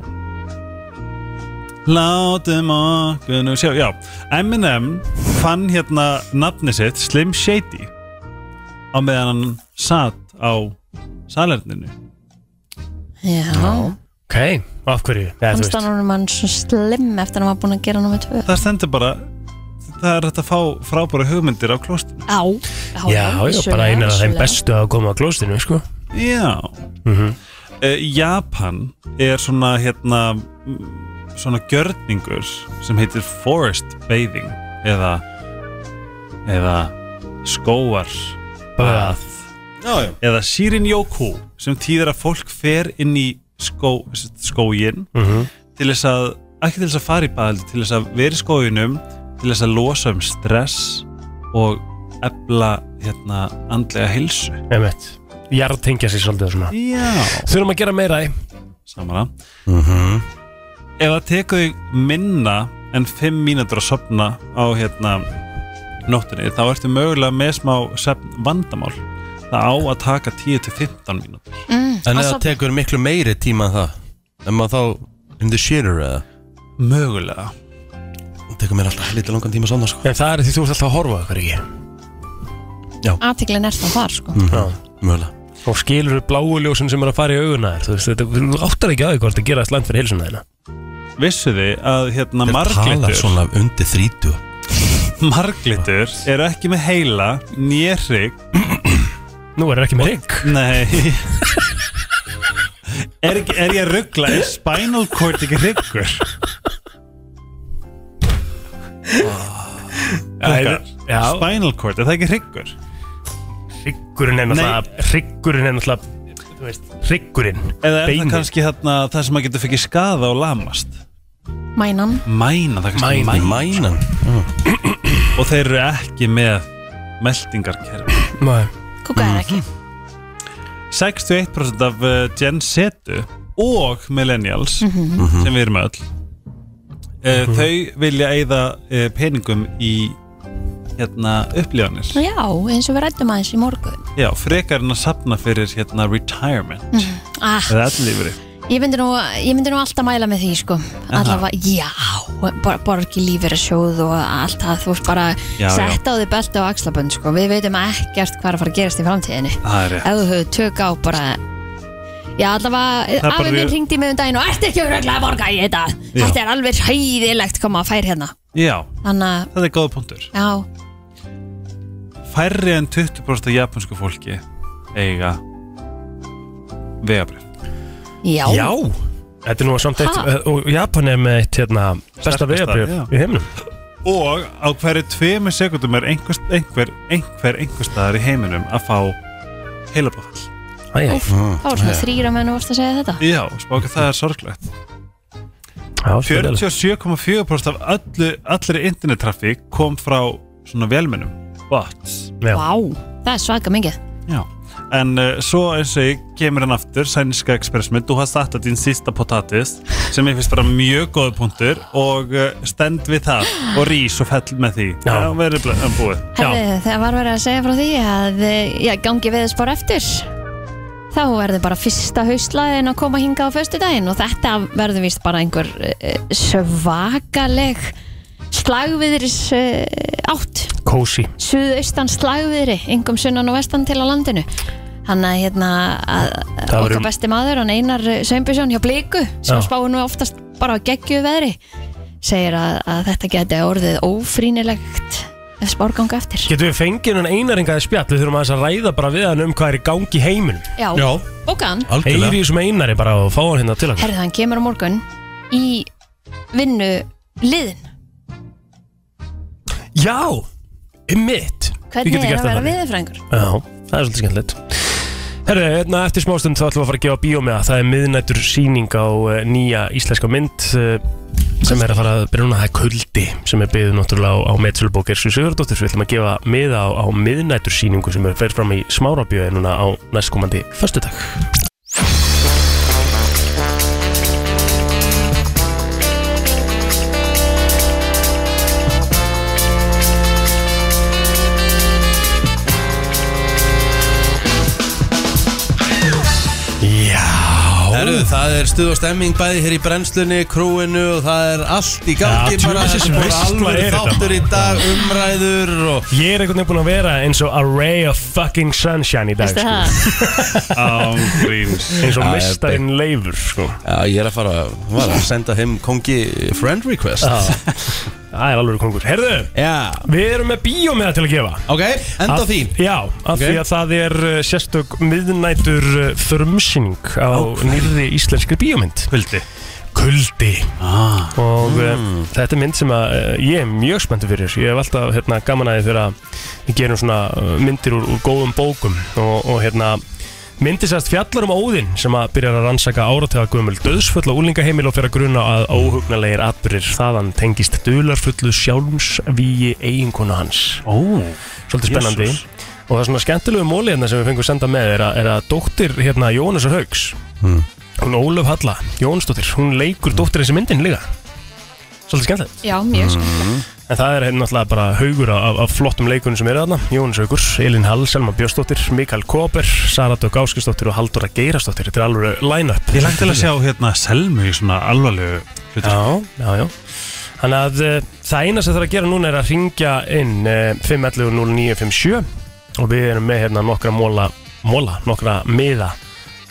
Speaker 5: látum okkur nú sjá já, Eminem fann hérna nafni sitt Slim Shady á meðan hann satt á salerninu
Speaker 2: já,
Speaker 3: Ok Af hverju? Já,
Speaker 2: hann
Speaker 3: þú veist
Speaker 2: stannar hann svo slimm eftir að hann var búin að gera nummer tvö
Speaker 5: það stendur bara það er hægt að fá frábæra hugmyndir á klostinu
Speaker 2: á, á
Speaker 3: Já, já, bara
Speaker 2: vissulega,
Speaker 3: einar af þeim
Speaker 2: vissulega.
Speaker 3: bestu að koma á klóstinu, sko Mhm.
Speaker 5: Já uh, Japan er svona hérna mm, svona gjörningur sem heitir forest bathing eða eða skóar
Speaker 3: Bað.
Speaker 5: já, já. eða shirinyoku sem týðir að fólk fer inn í skó, skógin
Speaker 3: Mhm.
Speaker 5: til þess að ekki til þess að fara í baðaldi til þess að vera í skóginum til þess að losa um stress og efla hérna andlega heilsu
Speaker 3: Einmitt Jartengja sér svolítið og svona
Speaker 5: já
Speaker 3: Þurfum að gera meira í
Speaker 5: saman að ef það tekur þig minna en 5 mínútur að sopna á hérna nóttinni þá ertu mögulega með smá svefn vandamál það á að taka 10-15 mínútur
Speaker 1: En
Speaker 2: Að
Speaker 1: það
Speaker 2: sofna.
Speaker 1: tekur miklu meiri tíma en það En maður þá in the shitter eða
Speaker 5: mögulega
Speaker 1: Það tekur mér alltaf lítið langan tíma að sofna sko
Speaker 3: En það er því þú ert alltaf að horfa okkur ekki
Speaker 2: aðteklin er það þar sko
Speaker 3: Já
Speaker 1: Mögulega
Speaker 3: Og skilur þú bláu ljósin sem er að fara í auguna þér Þú veist, þetta, þú áttar ekki að því hvort það gera allt land fyrir heilsuna þína
Speaker 5: vissu þið að
Speaker 1: Þeir
Speaker 5: hérna
Speaker 1: tala
Speaker 5: marglitur
Speaker 1: svona undir þrítu
Speaker 5: marglitur eru ekki með heila nérrygg
Speaker 3: Nú er það ekki með rigg
Speaker 5: nei er, ekki- er ég að ruggla er spinal cord ekki ryggur Ah.
Speaker 3: Já,
Speaker 5: spinal cord, er það ekki ryggur
Speaker 3: Hryggurinn er náttúrulega Hryggurinn er náttúrulega Þú veist, hryggurinn
Speaker 5: Eða er
Speaker 3: Beinið.
Speaker 5: það kannski þarna það sem að getur fekk skaða og lamast
Speaker 2: Mænan
Speaker 5: Mæna, það er kannski
Speaker 3: Mænan.
Speaker 5: mænan Og þeir eru ekki með meldingarkerfi
Speaker 3: Nei
Speaker 2: Kúkaðar ekki
Speaker 5: 61% af uh, Gen Z og Millennials sem við erum öll uh, Þau vilja eigða uh, peningum í hérna, upplifanir
Speaker 2: Já, eins og við rættum aðeins í morgun
Speaker 5: Já, frekar en að sapna fyrir hérna, retirement
Speaker 2: ah,
Speaker 5: eða ellilífri
Speaker 2: ég, myndi nú, ég myndi nú alltaf mæla með því sko. Allavega, já bor, Borgi lífir að sjóð og allt það Þú veist bara
Speaker 5: Já,
Speaker 2: sett á því belti og axlabönd sko. Við veitum ekkert hvað er að fara að gerast í framtíðinni
Speaker 5: Það er rétt.
Speaker 2: Ef þú hefur tök á bara Já, allavega,
Speaker 5: Það er bara-
Speaker 2: afi minn hringdi í mig um daginn og ert ekki öruglega að borga í þetta
Speaker 5: Já.
Speaker 2: Þetta er alveg hræðilegt koma að fær hérna
Speaker 5: Já,
Speaker 2: Þannig að,
Speaker 5: þetta er góða punktur
Speaker 2: já,
Speaker 5: Færri en 20% af japansku fólki eiga vegabrif
Speaker 2: já,
Speaker 3: Já Þetta er nú samt eitt eh,
Speaker 2: Ha?
Speaker 3: Og Japan er með eitt hérna Besta
Speaker 5: Sterkasta,
Speaker 3: vegabrjöf
Speaker 5: já.
Speaker 3: í heiminum
Speaker 5: Og á hverju tveimur sekundum er einhver, einhver, einhver, einhver staðar í heiminum að fá heilabóðfall.
Speaker 3: Æ, æ.
Speaker 2: Úff, Það var svona þrýra menn og vorst að segja þetta
Speaker 5: Já, spáka það er sorglegt.
Speaker 3: Já, fyrir
Speaker 5: 47,4% af öllu, allri internettrafík kom frá svona velmennum. Bots.
Speaker 3: Já.
Speaker 2: Vá, það er svaka mikið
Speaker 5: Já. En uh, svo eins og ég kemur hann aftur, Sænska Express með Du hast þetta din sista potatis sem ég finnst bara mjög góð punktur og uh, stend við það og rís og fell með því.
Speaker 3: Já.
Speaker 5: Já verður bl- um búið.
Speaker 2: Herðu, það var verið að segja frá því að eh, já, gangi veðurspár eftir þá verður bara fyrsta haustlaðin að koma hinga á föstudaginn og þetta verður vist bara einhver eh, svakaleg slagviðris eh, átt
Speaker 3: Kósi
Speaker 2: suðaustan slagviðri, yngum sunnan og vestan til á landinu hann að hérna að,
Speaker 3: Það
Speaker 2: okkar
Speaker 3: verður-
Speaker 2: besti maður, hann Einar Sveinbjörnsson hjá Bliku, sem
Speaker 3: Já.
Speaker 2: spáir nú oftast bara á geggju veðri segir að, að þetta geti orðið ófrínilegt ef spárganga eftir
Speaker 3: Getum við fengið hann einaringaði spjall Við þurfum aðeins að ræða bara við hann um hvað er í gangi í heiminum
Speaker 2: Já,
Speaker 1: Já,
Speaker 2: bókan
Speaker 1: algjörlega
Speaker 3: Heyri í þessum einari bara og fá hann hérna til okkar
Speaker 2: Herðu, hann kemur á morgun í vinnu liðin
Speaker 3: Já, um mitt
Speaker 2: Hvernig er að vera viðurfræðingur?
Speaker 3: Já, það er svolítið skemmtilegt Herru, hérna eftir smástund þá ætlum við að fara að gefa bíómiða Það er miðnættur sýning á uh, nýja íslenska mynd uh, sem er að fara að byrja núna það er kuldi sem er byggðið náttúrulega á, á meðsölubókir Svo Sigurdóttir, við ætlum að gefa miða á, á miðnættur sýningu sem er fyrir fram í smárabíói núna á næstkomandi föstudag Já
Speaker 1: Herru, það er stuð og stemming bæði hér í brennslunni, krúinu og það er allt í gangi
Speaker 3: Já,
Speaker 1: bara
Speaker 3: djú,
Speaker 1: þessi
Speaker 3: þessi
Speaker 1: bara
Speaker 3: veisla
Speaker 1: alveg
Speaker 3: er þetta,
Speaker 1: þáttur í dag, umræður og
Speaker 3: Ég er einhvern veginn búin að vera eins og a ray of fucking sunshine í dag
Speaker 2: Veistu
Speaker 3: sko.
Speaker 2: það?
Speaker 5: Án gríns.
Speaker 3: eins og
Speaker 1: Já,
Speaker 3: mistarinn leifur sko.
Speaker 1: Já, ég er að fara var að senda heim kongi friend request
Speaker 3: Já. Það er alveg kongur Herðu,
Speaker 1: Já,
Speaker 3: við erum með bíómiða til að gefa
Speaker 1: ok, enda
Speaker 3: Að-
Speaker 1: því
Speaker 3: Já, af
Speaker 1: Ok.
Speaker 3: því að það er uh, sérstök miðnætur uh, frumsýning á nýrði íslenskri bíómynd
Speaker 5: Kvöldi.
Speaker 3: Kuldi og uh, þetta er mynd sem að uh, ég er mjög spenntur fyrir ég hef alltaf hérna, gaman að því þegar að við gerum svona uh, myndir úr, úr góðum bókum og, og hérna myndi sérst fjallar um Óðinn sem að byrjar að rannsaka áratega gömul döðsfull og úlingaheimil og fer að gruna að óhugnalegir atbyrðir þaðan tengist dularfullu sjálfsvíi eiginkonu hans
Speaker 5: Ó.
Speaker 3: svolítið spennandi
Speaker 5: Jesus.
Speaker 3: og það er svona skemmtilegu móli hérna sem við fengum senda með er að, er að dóttir hérna Jónasar Haugs hún Ólöf Halla, Jónsdóttir hún leikur dóttir þessi myndin líka svolítið skemmtilegt
Speaker 2: Já, mjög
Speaker 3: Mm,
Speaker 2: sko
Speaker 3: en það er hérna náttúrulega bara haugur af, af flottum leikunum sem eru þarna Jónas Haugur, Elin Hall, Selma Björnsdóttir Mikael Koper, Sara Dögg Áskisdóttir og Halldóra Geirastóttir þetta er alveg line-up
Speaker 5: Ég langt til að sjá hérna Selmu í svona alvarlegu hlutur.
Speaker 3: Já, já, já Þannig að uh, það eina sem þarf að gera núna er að ringja inn uh, 511-0957 og við erum með hérna nokkra móla, móla nokkra miða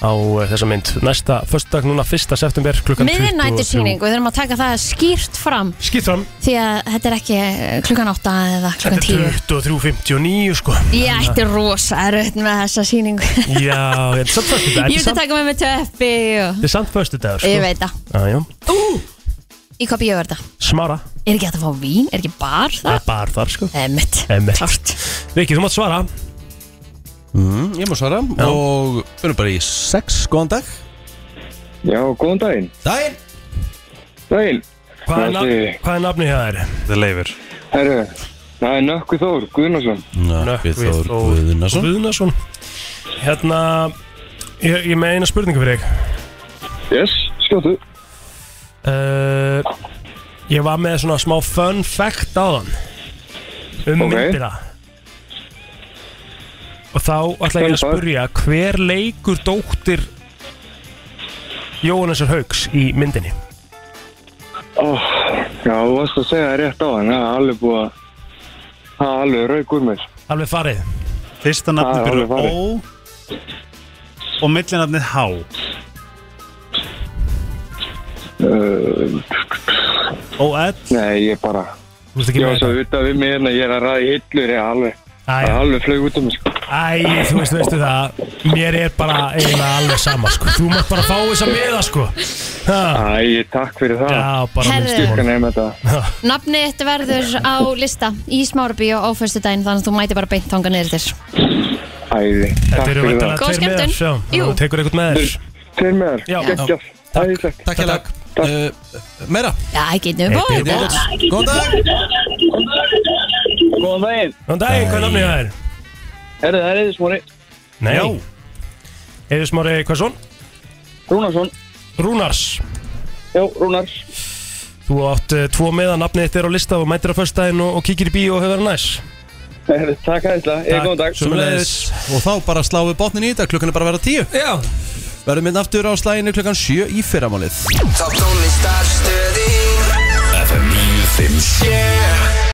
Speaker 3: á uh, þessa mynd. Næsta föstudag núna 1. september klukkan 23.
Speaker 2: Miðinættisýning og við þurfum að taka það skýrt fram
Speaker 3: Skýtt fram,
Speaker 2: því að þetta er ekki eh, klukkan 8 eða
Speaker 3: þetta
Speaker 2: klukkan 10
Speaker 3: er 23.59 sko.
Speaker 2: Ég ætti rosa erfitt með þessa sýningu
Speaker 3: Já, þetta er samt
Speaker 2: Ég
Speaker 3: föstudag. Þetta er
Speaker 2: myndi
Speaker 3: samt-
Speaker 2: taka með mig teppi og
Speaker 3: þetta er samt föstudag sko.
Speaker 2: Ég veit það
Speaker 3: Já, já.
Speaker 2: Í hvað bíó er þetta?
Speaker 3: Smára,
Speaker 2: Er ekki hægt að fá vín? Er ekki bar
Speaker 3: það
Speaker 2: það?
Speaker 3: er bara þar sko.
Speaker 2: Emmett
Speaker 3: Einmitt.
Speaker 2: Klárt
Speaker 3: Viki, þú mátt svara.
Speaker 1: mm, Ég má svara
Speaker 3: Já.
Speaker 1: og fyrir bara í sex, góðan dag
Speaker 11: Já, góðan daginn.
Speaker 1: Dæin
Speaker 11: Daginn.
Speaker 3: Hvað er, nafn, hvað er nafni hjá þér?
Speaker 5: Það er leifir
Speaker 11: Herru, það er Nökkvi Þór Guðnarsson
Speaker 3: Nökkvi Þór Guðnason Guðnason Hérna, ég, ég er með eina spurningu fyrir þig
Speaker 11: Yes, skjóttu
Speaker 3: uh, Ég var með svona smá fun fact á þann Um
Speaker 11: Ok.
Speaker 3: myndina Og þá ætla
Speaker 11: Fun
Speaker 3: ég að
Speaker 11: fact.
Speaker 3: spurja Hver leikur dóttir Jóhannesar Hauks í myndinni?
Speaker 11: Ó, Já, þú varst að segja það rétt á hann Það er alveg búið að Það er alveg rauk úr mér
Speaker 3: Alveg farið
Speaker 5: Fyrsta nafni
Speaker 11: Það er alveg
Speaker 5: byrjar á
Speaker 11: farið.
Speaker 5: Ó Og millinafnið H
Speaker 3: Ó-L
Speaker 11: Nei, ég bara
Speaker 3: Þú
Speaker 11: Ég var svo utan við mig hérna Ég er að ræða hillur Ég er alveg Það er alveg flög út um mig sko.
Speaker 3: Æ, þú veist, veistu það Mér er bara eiginlega alveg sama sko. Þú mátt bara fá þess að miða sko. Ha.
Speaker 11: Æ, takk fyrir það
Speaker 3: Já, bara
Speaker 2: Herðu. minnstu
Speaker 11: Styrkan heim þetta
Speaker 2: Nafni þetta verður á lista í Smárabí á áfæstu daginn þannig að þú mæti bara beint þanga niður þér
Speaker 11: Æði,
Speaker 3: Þetta
Speaker 11: takk
Speaker 3: eru
Speaker 11: fyrir
Speaker 3: væntanlega
Speaker 11: það
Speaker 3: tveir með þér sjá.
Speaker 2: Jú.
Speaker 3: Þú tekur eitthvað með þér
Speaker 11: Tveir með þér
Speaker 3: Já.
Speaker 11: Geggjað. Æði,
Speaker 1: Takk
Speaker 11: Takk
Speaker 1: hérlega uh, Meira
Speaker 2: Já, ekki nú bóð
Speaker 3: Þetta er bótt.
Speaker 1: Góðan dag
Speaker 11: Góðan daginn
Speaker 3: Góðan dag, hvað er nafnið það er?
Speaker 11: Herru, það er Eður Smári
Speaker 3: Nei Eður Smári Hversson?
Speaker 11: Rúnarsson
Speaker 3: Rúnars
Speaker 11: Já, Rúnar
Speaker 3: Þú átt uh, tvo meða, nafnið þitt er á lista og mætir á föstudaginn og, og kíkir í bíó og hefur það næs
Speaker 11: Herru, Takk hæðislega, ég góðan dag
Speaker 1: Sömulegis Og þá bara sláum við botnin í þetta Klukkan er bara að vera tíu hérna
Speaker 3: Já
Speaker 1: Verðum minn aftur á slæginu klukkan sjö í fyrramálið
Speaker 4: Top tónlist aðstöð